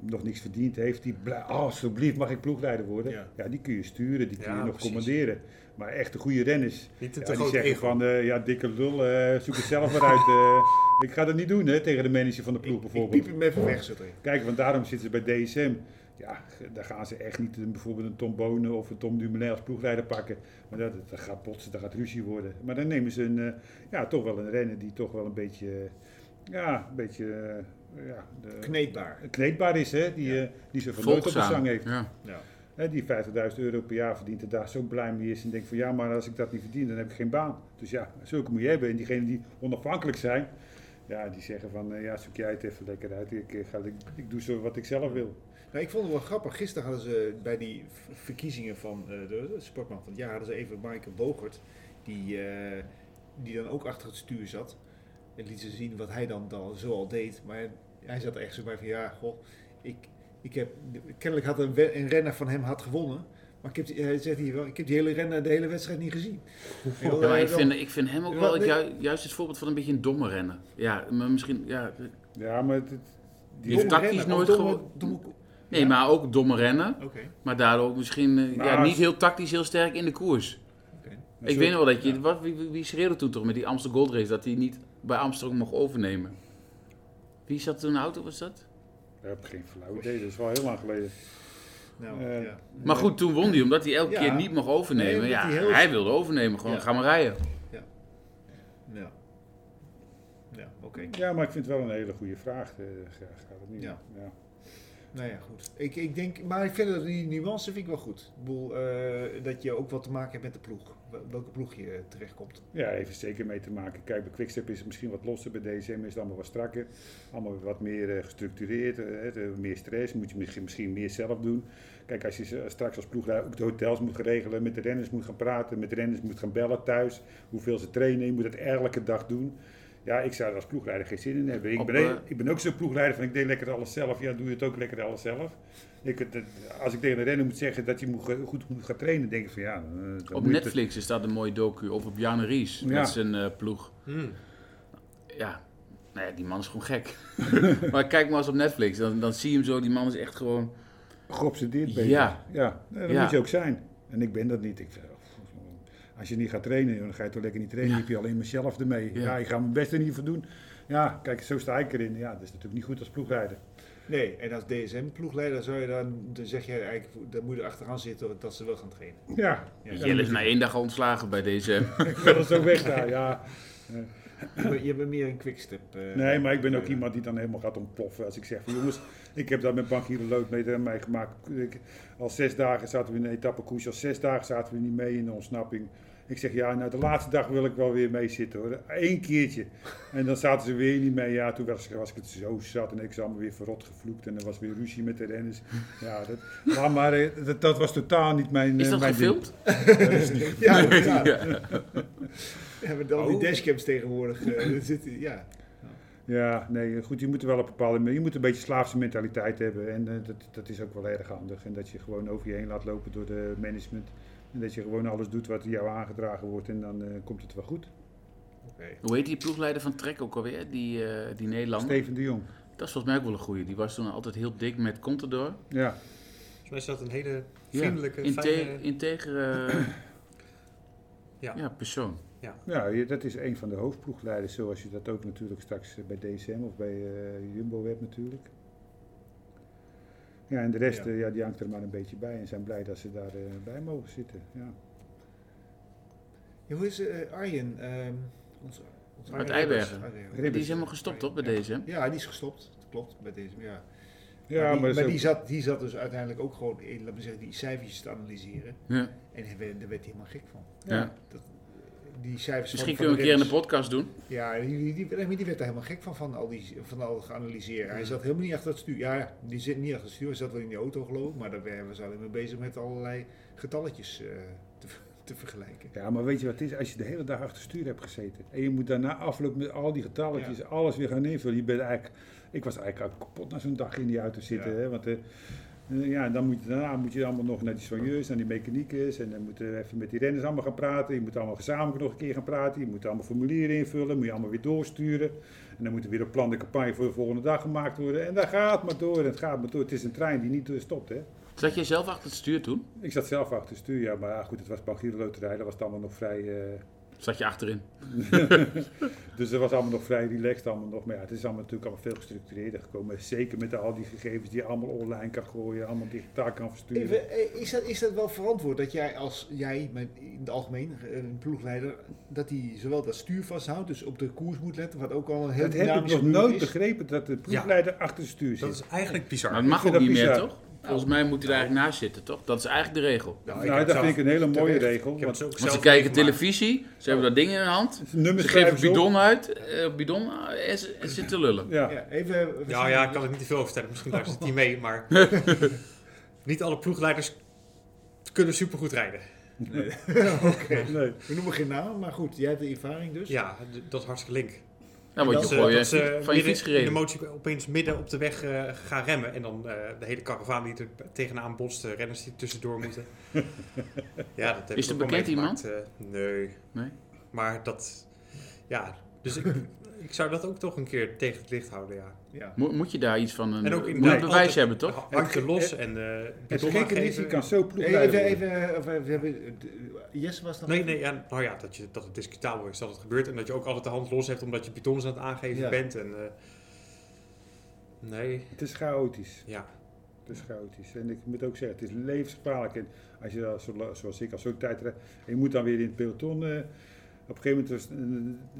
[SPEAKER 1] nog niks verdiend heeft, die blij, oh, alsjeblieft mag ik ploegleider worden. Ja.
[SPEAKER 4] Ja.
[SPEAKER 1] die kun je sturen, die kun
[SPEAKER 2] Ja,
[SPEAKER 1] je nog
[SPEAKER 2] precies.
[SPEAKER 1] commanderen. Maar echt de goede renners,
[SPEAKER 2] Niet te
[SPEAKER 1] ja, die
[SPEAKER 2] groot
[SPEAKER 1] zeggen
[SPEAKER 2] ego.
[SPEAKER 1] van, eh, ja, dikke lul, eh, zoek het zelf maar uit.
[SPEAKER 2] [LAUGHS]
[SPEAKER 1] eh. ik ga dat niet doen, hè, tegen de manager van de ploeg
[SPEAKER 4] Ik
[SPEAKER 1] bijvoorbeeld.
[SPEAKER 4] piep hem even weg, zit erin.
[SPEAKER 1] Kijk, want daarom zitten ze bij DSM. Ja, g- daar gaan ze echt niet een, bijvoorbeeld een Tom Bonen of een Tom Dumoulin als ploegleider pakken. Maar dat, dat gaat botsen, dat gaat ruzie worden. Maar dan nemen ze een, eh, ja, toch wel een renner die toch wel een beetje, eh, ja, een beetje, eh, ja, de-
[SPEAKER 4] Kneedbaar.
[SPEAKER 1] kneedbaar is, hè. Die,
[SPEAKER 4] Ja.
[SPEAKER 1] eh, die zijn van nooit op de
[SPEAKER 3] Volgzaam.
[SPEAKER 1] zang heeft.
[SPEAKER 3] Ja.
[SPEAKER 1] Hè, die 50.000 euro per jaar verdient en daar zo blij mee is. En denkt van ja, maar als ik dat niet verdien, dan heb ik geen baan. Dus ja, zulke moet je hebben. En diegenen die onafhankelijk zijn, ja, die zeggen van eh, ja, zoek jij het even lekker uit. Ik, eh, ga, ik, ik doe zo wat ik zelf wil.
[SPEAKER 4] Nou, ik vond het wel grappig. Gisteren hadden ze bij die v- verkiezingen van eh, de Sportman van het jaar hadden ze even Maaike Bogert, die, eh, die dan ook achter het stuur zat. En liet ze zien wat hij dan, dan zo al deed. Maar hij zat er echt zo bij van ja, goh, ik, ik heb, kennelijk had een, we- een renner van hem had gewonnen. Maar ik heb, die- hij zegt hier wel, ik heb die hele renner de hele wedstrijd niet gezien.
[SPEAKER 1] Oh,
[SPEAKER 4] Heel,
[SPEAKER 3] Ja, maar
[SPEAKER 4] eh,
[SPEAKER 3] ik
[SPEAKER 4] wel-
[SPEAKER 3] vind, ik vind hem ook
[SPEAKER 4] Ja,
[SPEAKER 3] wel het
[SPEAKER 4] nee.
[SPEAKER 3] ju- juist het voorbeeld van een beetje een domme rennen. Ja, maar misschien... Ja,
[SPEAKER 1] Ja, maar het, het-
[SPEAKER 3] die heeft
[SPEAKER 4] domme
[SPEAKER 3] tactisch
[SPEAKER 4] renner,
[SPEAKER 3] nooit
[SPEAKER 4] of domme-
[SPEAKER 3] gewo-
[SPEAKER 4] domme-
[SPEAKER 3] Nee,
[SPEAKER 4] Ja.
[SPEAKER 3] maar ook domme rennen.
[SPEAKER 4] Oké.
[SPEAKER 3] Maar daardoor ook misschien eh, ja,
[SPEAKER 1] Maar-
[SPEAKER 3] niet heel tactisch heel sterk in de koers.
[SPEAKER 4] oké.
[SPEAKER 3] ik weet nog wel dat je... Wat, wie, wie- wie schreeuwde toen toch met die Amsterdam Gold Race dat hij niet bij Amsterdam mocht overnemen? Wie zat toen in de auto, was dat?
[SPEAKER 1] Ik heb geen flauw idee, dat is wel heel lang geleden.
[SPEAKER 4] Nou,
[SPEAKER 1] Eh,
[SPEAKER 4] ja.
[SPEAKER 3] Maar goed, toen won hij omdat hij elke
[SPEAKER 4] Ja.
[SPEAKER 3] keer niet mocht overnemen.
[SPEAKER 4] Nee,
[SPEAKER 3] ja,
[SPEAKER 4] omdat hij heel-
[SPEAKER 3] hij wilde overnemen, gewoon
[SPEAKER 4] Ja.
[SPEAKER 3] ga maar rijden.
[SPEAKER 4] Ja, ja oké.
[SPEAKER 1] Ja, maar ik vind het wel een hele goede vraag. eh, ga- gaat het niet.
[SPEAKER 4] Ja.
[SPEAKER 1] Ja.
[SPEAKER 4] Nou ja, goed. Ik, ik denk, maar ik vind dat die nuance vind ik wel goed. Ik bedoel, eh, dat je ook wat te maken hebt met de ploeg. Wel- Welke ploeg je eh, terechtkomt.
[SPEAKER 1] Ja, even zeker mee te maken. Kijk, bij Quickstep is het misschien wat losser, bij DCM is het allemaal wat strakker. Allemaal wat meer eh, gestructureerd, eh, hè, de- meer stress, moet je misschien, misschien meer zelf doen. Kijk, als je z- eh, straks als ploegleider ook de hotels moet gaan regelen, met de renners moet gaan praten, met de renners moet gaan bellen thuis, hoeveel ze trainen, je moet dat elke dag doen. Ja, ik zou er als ploegleider geen zin in hebben. Ik
[SPEAKER 3] Op,
[SPEAKER 1] ben,
[SPEAKER 3] eh,
[SPEAKER 1] ik ben ook zo'n ploegleider van ik deed lekker alles zelf. Ja, doe je het ook lekker alles zelf. Ik, het- het- als ik tegen de renner moet zeggen dat je moet, ge- goed moet gaan trainen, denk ik van ja... eh, dan moet je
[SPEAKER 3] Op
[SPEAKER 1] het-
[SPEAKER 3] Netflix is dat een mooie docu of op Jan Ries
[SPEAKER 1] Ja.
[SPEAKER 3] met zijn eh, ploeg.
[SPEAKER 2] Hmm.
[SPEAKER 3] Ja, nou ja, die man is gewoon gek. [LAUGHS] maar kijk maar eens op Netflix, dan, dan zie je hem zo. Die man is echt gewoon...
[SPEAKER 1] geobsedeerd ben.
[SPEAKER 3] Ja.
[SPEAKER 1] ja. Nee, dat
[SPEAKER 3] Ja.
[SPEAKER 1] moet je ook zijn. En ik ben dat niet. Ik, vind, als je niet gaat trainen, dan ga je toch lekker niet trainen. Dan heb je alleen mezelf ermee. Ja.
[SPEAKER 3] Ja.
[SPEAKER 1] ik ga mijn best er niet voor doen. Ja, kijk, zo sta ik erin. Ja, dat is natuurlijk niet goed als ploegrijder.
[SPEAKER 4] Nee, en als DSM-ploegleider zou je dan, dan zeg je eigenlijk, dan moet je achteraan zitten dat ze wel gaan
[SPEAKER 1] [LAUGHS]
[SPEAKER 4] trainen.
[SPEAKER 1] Ja,
[SPEAKER 4] Ja,
[SPEAKER 1] ja,
[SPEAKER 3] Jelle is na één dag al ontslagen bij
[SPEAKER 4] [LAUGHS]
[SPEAKER 3] deze.
[SPEAKER 1] ik wil dat zo weg daar. Ja.
[SPEAKER 4] Je bent- Je bent meer een quickstep. eh,
[SPEAKER 1] Nee, maar ik ben ook
[SPEAKER 4] eh,
[SPEAKER 1] iemand die dan helemaal gaat ontploffen. Als ik zeg van jongens, ik heb dat met Bankier de Lood mee, mee gemaakt. Ik- al zes dagen zaten we in een etappekoers, al zes dagen zaten we niet mee in de ontsnapping. Ik zeg ja, nou de laatste dag wil ik wel weer mee zitten hoor. Eén keertje. En dan zaten ze weer niet mee. Ja, toen was, was ik het zo zat en ik ze allemaal weer verrot gevloekt. En er was weer ruzie met de renners. Ja, dat, laat maar eh, dat, dat was totaal niet mijn.
[SPEAKER 3] Is
[SPEAKER 1] eh,
[SPEAKER 3] dat
[SPEAKER 1] mijn ding.
[SPEAKER 3] gefilmd?
[SPEAKER 4] eh, [LAUGHS] Ja,
[SPEAKER 3] [LAUGHS]
[SPEAKER 4] ja.
[SPEAKER 3] Ja.
[SPEAKER 4] ja met al die
[SPEAKER 2] Oh.
[SPEAKER 4] dashcams tegenwoordig. eh, [LAUGHS] er zitten- ja.
[SPEAKER 1] Ja, nee, goed, je moet er wel op bepaalde manier. Je moet een beetje slaafse mentaliteit hebben. En eh, dat, dat is ook wel erg handig. En dat je gewoon over je heen laat lopen door de management. En dat je gewoon alles doet wat jou aangedragen wordt. En dan eh, komt het wel goed.
[SPEAKER 3] Hoe heet die ploegleider van Trek ook alweer? Die, eh, die Nederlander?
[SPEAKER 1] Steven de Jong.
[SPEAKER 3] Dat is volgens mij ook wel een goeie. Die was toen altijd heel dik met Contador.
[SPEAKER 1] Ja,
[SPEAKER 2] Volgens mij is dat een hele
[SPEAKER 3] Ja.
[SPEAKER 2] vriendelijke,
[SPEAKER 3] Inte
[SPEAKER 2] fijne...
[SPEAKER 3] integere ja.
[SPEAKER 2] [CLEARS THROAT] Ja.
[SPEAKER 3] persoon.
[SPEAKER 1] ja je- dat is een van de hoofdploegleiders. Zoals je dat ook natuurlijk straks eh, bij DSM of bij eh, Jumbo hebt natuurlijk. Ja, en de rest,
[SPEAKER 4] Ja.
[SPEAKER 1] ja. ja, die hangt er maar een beetje bij. En zijn blij dat ze daar eh, bij mogen zitten. Ja.
[SPEAKER 4] Ja, hoe is eh, Arjen? ehm, onze, onze
[SPEAKER 3] Uit
[SPEAKER 4] Arjen Ribbers.
[SPEAKER 3] Eibergen.
[SPEAKER 4] Arjen Ribbers.
[SPEAKER 3] Die is helemaal gestopt, toch, bij
[SPEAKER 4] Ja.
[SPEAKER 3] deze?
[SPEAKER 4] Ja, die is gestopt. Dat klopt, bij deze. Ja.
[SPEAKER 1] Ja,
[SPEAKER 4] maar die,
[SPEAKER 1] dat is
[SPEAKER 4] maar
[SPEAKER 1] ook-
[SPEAKER 4] die, zat, die zat dus uiteindelijk ook gewoon, eh, laten we zeggen, die cijfertjes te analyseren.
[SPEAKER 3] Ja.
[SPEAKER 4] En hij werd- daar werd hij helemaal gek van.
[SPEAKER 3] Ja.
[SPEAKER 4] Dat, die cijfers
[SPEAKER 3] Misschien kunnen
[SPEAKER 4] van, van
[SPEAKER 3] we een keer in de
[SPEAKER 4] renners.
[SPEAKER 3] podcast doen.
[SPEAKER 4] Ja, die, die, die, die werd daar helemaal gek van, van al, die, van al geanalyseerd. Hij zat helemaal niet achter het stuur. Ja, die zit niet achter het stuur, hij zat wel in die auto geloof ik. Maar daar waren we alleen maar bezig met allerlei getalletjes eh, te, ver- [LAUGHS] te vergelijken.
[SPEAKER 1] Ja, maar weet je wat het is? Als je de hele dag achter stuur hebt gezeten en je moet daarna afloop met al die getalletjes, alles weer gaan invullen. Je bent eigenlijk, ik was eigenlijk al kapot na zo'n dag in die auto zitten.
[SPEAKER 4] Ja.
[SPEAKER 1] Hè? Want eh, eh, ja, dan moet je, daarna moet je allemaal nog naar die soigneurs, naar die mechaniekers en dan moeten we even met die renners allemaal gaan praten. Je moet allemaal gezamenlijk nog een keer gaan praten. Je moet allemaal formulieren invullen, moet je allemaal weer doorsturen. En dan moet er weer een plan de campagne voor de volgende dag gemaakt worden. En dat gaat maar door en het gaat maar door. Het is een trein die niet eh, stopt, hè?
[SPEAKER 3] Zat jij zelf achter het stuur toen?
[SPEAKER 1] Ik zat zelf achter het stuur, ja, maar ja, goed, het was Bangier Loterij, dat was het allemaal nog vrij... eh,
[SPEAKER 3] Zat je achterin?
[SPEAKER 1] Dus dat was allemaal nog vrij relaxed. Allemaal nog. Maar ja, het is allemaal natuurlijk allemaal veel gestructureerder gekomen. Zeker met al die gegevens die je allemaal online kan gooien, allemaal digitaal kan versturen.
[SPEAKER 4] Even, eh, is, dat, is dat wel verantwoord dat jij als jij met, in het algemeen eh, een ploegleider, dat hij zowel dat stuur vasthoudt, dus op de koers moet letten, wat ook al een heel
[SPEAKER 1] dat heb ik
[SPEAKER 4] dynamische
[SPEAKER 1] nog
[SPEAKER 4] muur
[SPEAKER 1] nooit
[SPEAKER 4] is?
[SPEAKER 1] begrepen dat de ploegleider achter het stuur
[SPEAKER 2] Dat
[SPEAKER 1] zit.
[SPEAKER 2] is eigenlijk bizar.
[SPEAKER 3] Maar dat mag
[SPEAKER 1] vind
[SPEAKER 3] ook
[SPEAKER 1] dat
[SPEAKER 3] niet meer,
[SPEAKER 1] bizar.
[SPEAKER 3] toch? Volgens mij moet hij er eigenlijk naast zitten, toch? Dat is eigenlijk de regel.
[SPEAKER 4] Nou, ik
[SPEAKER 1] nou,
[SPEAKER 4] heb
[SPEAKER 1] dat
[SPEAKER 4] zelf-
[SPEAKER 1] vind ik een hele mooie
[SPEAKER 4] terecht.
[SPEAKER 1] regel.
[SPEAKER 2] Ik heb het
[SPEAKER 1] Want
[SPEAKER 2] ook
[SPEAKER 3] Want
[SPEAKER 2] zelf
[SPEAKER 3] ze kijken
[SPEAKER 2] meegemaakt.
[SPEAKER 3] televisie, ze hebben dat ding in hun hand.
[SPEAKER 1] nummers
[SPEAKER 3] Ze geven een
[SPEAKER 1] schrijven ze op.
[SPEAKER 3] bidon uit, eh, bidon eh, en ze en ze zitten lullen.
[SPEAKER 1] Ja.
[SPEAKER 4] Ja, even, eh,
[SPEAKER 2] Ja, ja, ik kan er niet te veel over vertellen. Misschien luistert hij mee,
[SPEAKER 3] [LAUGHS]
[SPEAKER 2] maar... niet alle ploegleiders kunnen supergoed rijden.
[SPEAKER 1] Nee.
[SPEAKER 4] we noemen geen naam, maar goed, jij hebt de ervaring dus.
[SPEAKER 2] Ja, d- dat is hartstikke link.
[SPEAKER 3] Dan word
[SPEAKER 2] Dat
[SPEAKER 3] je
[SPEAKER 2] ze-
[SPEAKER 3] gewoon
[SPEAKER 2] dat ze
[SPEAKER 3] je- van je
[SPEAKER 2] midden
[SPEAKER 3] fiets
[SPEAKER 2] In de
[SPEAKER 3] gereden.
[SPEAKER 2] motie opeens midden op de weg eh, gaan remmen. En dan eh, de hele karavaan die er tegenaan botst. de renners die er tussendoor
[SPEAKER 3] [LAUGHS]
[SPEAKER 2] moeten. ja, dat heb
[SPEAKER 3] Is
[SPEAKER 2] ik
[SPEAKER 3] er
[SPEAKER 2] ook wel
[SPEAKER 3] bekend
[SPEAKER 2] meegemaakt, eh, nee.
[SPEAKER 3] Nee?
[SPEAKER 2] Maar dat... Ja, dus ik, [LAUGHS] ik zou dat ook toch een keer tegen het licht houden, ja.
[SPEAKER 4] Ja.
[SPEAKER 3] Mo- Moet je daar iets van een,
[SPEAKER 2] En ook
[SPEAKER 3] moet je
[SPEAKER 2] inderdaad
[SPEAKER 3] een bewijs
[SPEAKER 2] altijd-
[SPEAKER 3] hebben, toch?
[SPEAKER 2] Handje
[SPEAKER 1] Het-
[SPEAKER 2] los
[SPEAKER 1] het-
[SPEAKER 2] en eh
[SPEAKER 1] Het
[SPEAKER 2] bidon
[SPEAKER 1] gekke is, je
[SPEAKER 2] aangeven.
[SPEAKER 1] kan zo
[SPEAKER 4] Even, even,
[SPEAKER 1] ploegleider worden.
[SPEAKER 4] eh, of, eh, we hebben, eh, de- Jesse was nog...
[SPEAKER 2] Nee, nee, ja, nou ja, dat, je, dat het discutabel is dat het gebeurt. En dat je ook altijd de hand los hebt omdat je bidons aan het aangeven
[SPEAKER 4] Ja.
[SPEAKER 2] bent. En, eh, nee,
[SPEAKER 1] Het is chaotisch.
[SPEAKER 2] ja.
[SPEAKER 1] Het is chaotisch. En ik moet ook zeggen, het is levensgevaarlijk. En als je, dan zo- zoals ik, als ook tijdrijder, en je moet dan weer in het peloton eh, Op een gegeven moment was,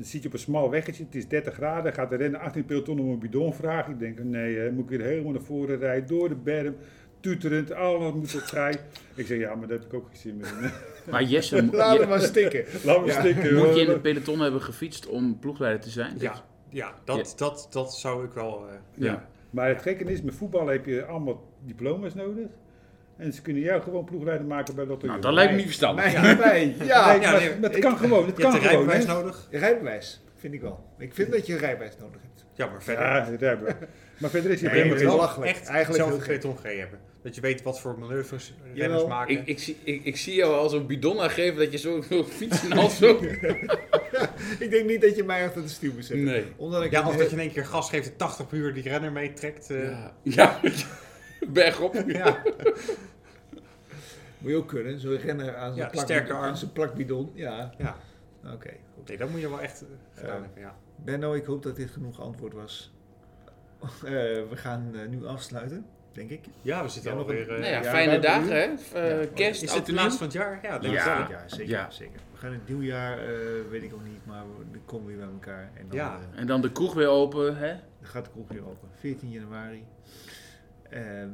[SPEAKER 1] eh, zit je op een smal weggetje, het is 30 graden, gaat de renner 18 peloton om een bidon vragen. Ik denk, nee, eh, moet ik weer helemaal naar voren rijden, door de berm, tuterend, alles moet op vrij. Ik zeg, ja, maar daar heb ik ook geen zin meer in.
[SPEAKER 3] Maar Jesse, mo-
[SPEAKER 4] Laat
[SPEAKER 3] je-
[SPEAKER 4] hem maar stikken.
[SPEAKER 1] [LAUGHS] Laat me
[SPEAKER 4] Ja.
[SPEAKER 1] stikken.
[SPEAKER 3] moet je in
[SPEAKER 1] hoor.
[SPEAKER 3] de peloton hebben gefietst om ploegleider te zijn?
[SPEAKER 2] Ja, ja, dat, Dat, dat zou ik wel... eh,
[SPEAKER 3] Ja.
[SPEAKER 1] Maar het gekke is, met voetbal heb je allemaal diploma's nodig. En ze kunnen jou gewoon ploegleider maken bij Lotto
[SPEAKER 3] Nou,
[SPEAKER 1] Jong.
[SPEAKER 3] dat lijkt me niet
[SPEAKER 1] Nee.
[SPEAKER 3] verstandig.
[SPEAKER 4] [LAUGHS] Mijn pijn. Ja,
[SPEAKER 1] Nee,
[SPEAKER 2] Ja,
[SPEAKER 1] maar
[SPEAKER 2] nee,
[SPEAKER 1] dat kan gewoon. Dat
[SPEAKER 2] je
[SPEAKER 1] kan
[SPEAKER 2] hebt een
[SPEAKER 1] gewoon.
[SPEAKER 2] rijbewijs
[SPEAKER 1] hè.
[SPEAKER 2] nodig.
[SPEAKER 4] rijbewijs vind ik wel. Ik vind dat je een rijbewijs nodig hebt.
[SPEAKER 2] Ja, maar verder...
[SPEAKER 1] Ja, dat hebben we. Maar verder is
[SPEAKER 2] Ja,
[SPEAKER 1] het
[SPEAKER 2] je
[SPEAKER 1] helemaal
[SPEAKER 2] moet
[SPEAKER 1] geen-
[SPEAKER 2] wel
[SPEAKER 4] belachelijk.
[SPEAKER 2] echt
[SPEAKER 4] Eigenlijk
[SPEAKER 2] zelf
[SPEAKER 4] heel
[SPEAKER 2] een
[SPEAKER 4] gek.
[SPEAKER 2] peloton gereden hebben. Dat je weet wat voor manoeuvres renners
[SPEAKER 4] Jawel.
[SPEAKER 2] maken.
[SPEAKER 3] Ik, ik, zie, ik, ik zie jou als een bidon aangeven dat je zo wil fietsen als zo.
[SPEAKER 4] Ik denk niet dat je mij achter de stuur moet zetten.
[SPEAKER 3] Nee.
[SPEAKER 4] Omdat ik
[SPEAKER 2] ja, of dat je in één keer gas geeft en 80 per uur die renner meetrekt. eh.
[SPEAKER 3] Ja, ja. [LAUGHS] bergop.
[SPEAKER 4] Ja. Moet je ook kunnen, zo'n renner aan zijn
[SPEAKER 2] Ja,
[SPEAKER 4] plak-
[SPEAKER 2] sterke arm.
[SPEAKER 4] aan zijn plakbidon. Ja,
[SPEAKER 2] ja.
[SPEAKER 4] oké. goed.
[SPEAKER 2] Nee, dat moet je wel echt eh, gedaan hebben, ja.
[SPEAKER 4] Benno, ik hoop dat dit genoeg antwoord was. [LAUGHS] Eh, we gaan eh, nu afsluiten, denk ik.
[SPEAKER 2] Ja, we zitten
[SPEAKER 4] Ja, nog
[SPEAKER 2] alweer... eh,
[SPEAKER 3] Nou ja,
[SPEAKER 4] ja,
[SPEAKER 3] fijne
[SPEAKER 4] buiten
[SPEAKER 3] dagen,
[SPEAKER 4] nu.
[SPEAKER 3] hè? Eh, kerst,
[SPEAKER 2] Is
[SPEAKER 3] oud
[SPEAKER 2] dit
[SPEAKER 3] en
[SPEAKER 2] de
[SPEAKER 3] nieuw.
[SPEAKER 2] laatste van het jaar? Ja, denk ik
[SPEAKER 3] Ja.
[SPEAKER 2] wel.
[SPEAKER 4] ja, zeker,
[SPEAKER 3] Ja.
[SPEAKER 4] zeker. We gaan in het nieuwjaar, eh, weet ik nog niet, maar we dan komen we weer bij elkaar. En dan
[SPEAKER 2] Ja.
[SPEAKER 4] eh,
[SPEAKER 3] En dan de kroeg weer open, hè?
[SPEAKER 4] dan gaat de kroeg weer open. 14 januari. Ehm,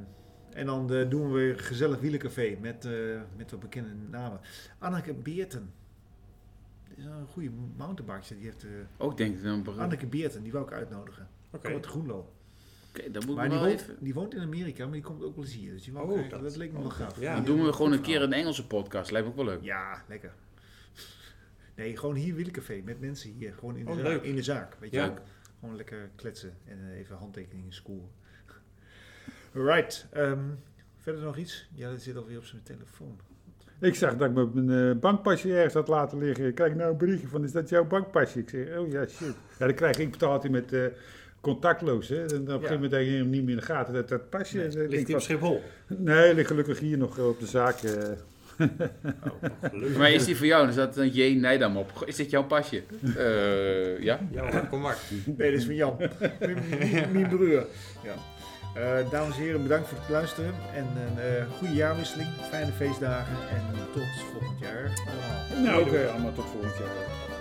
[SPEAKER 4] en dan eh, doen we weer een gezellig wielencafé met, eh, met wat bekende namen. Anneke Beerten. Dat is een goede mountainbike. Die heeft, eh,
[SPEAKER 3] Ook denk ik dan. Oké,
[SPEAKER 4] Anneke Beerten, die wou ik uitnodigen.
[SPEAKER 2] Oké.
[SPEAKER 4] Komt uit Groenlo.
[SPEAKER 3] dan moet ik
[SPEAKER 4] Maar die
[SPEAKER 3] wel
[SPEAKER 4] woont,
[SPEAKER 3] even.
[SPEAKER 4] die woont in Amerika, maar die komt ook wel eens hier. Dus die wou ik
[SPEAKER 2] Oh,
[SPEAKER 4] eigenlijk- dat,
[SPEAKER 2] dat-
[SPEAKER 4] leek me wel gaaf.
[SPEAKER 2] ja.
[SPEAKER 3] Dan
[SPEAKER 2] Dan
[SPEAKER 3] doen we gewoon een keer een Engelse podcast. Lijkt me ook wel leuk.
[SPEAKER 4] Ja, lekker. Nee, gewoon hier wielencafé met mensen hier. Gewoon in de,
[SPEAKER 2] Oh,
[SPEAKER 4] zaak,
[SPEAKER 2] leuk.
[SPEAKER 4] In de zaak. Weet
[SPEAKER 2] Ja.
[SPEAKER 4] je ook. Gewoon lekker kletsen en eh, even handtekeningen scoren. Right. ehm, verder nog iets? Ja, dat zit alweer op zijn telefoon.
[SPEAKER 1] Ik zag dat ik mijn eh, bankpasje ergens had laten liggen. Ik krijg nou een berichtje van, is dat jouw bankpasje? Ik zeg, oh ja, shit. Ja, dan krijg ik, ik betaal altijd met eh, contactloos. Hè. En dan op een gegeven moment heb je hem niet meer in de gaten. Dat, dat pasje.
[SPEAKER 4] Nee,
[SPEAKER 1] En dan
[SPEAKER 2] Ligt
[SPEAKER 1] denk ik
[SPEAKER 2] die op
[SPEAKER 1] van,
[SPEAKER 2] Schiphol?
[SPEAKER 1] nee, ligt gelukkig hier nog eh, op de zaak. eh.
[SPEAKER 2] Oh, Leuk.
[SPEAKER 3] Maar is die voor jou? Dan staat een J Nijdam op. Goh, Is dit jouw pasje? Eh, ja.
[SPEAKER 2] Ja, hoor, kom maar.
[SPEAKER 4] Nee, dat is van
[SPEAKER 2] [LAUGHS]
[SPEAKER 4] Jan. Mijn broer. Ja. Eh, dames en heren, bedankt voor het luisteren. En een eh, goede jaarwisseling. Fijne feestdagen. En tot volgend jaar. allemaal.
[SPEAKER 1] nou, oké, allemaal tot volgend jaar.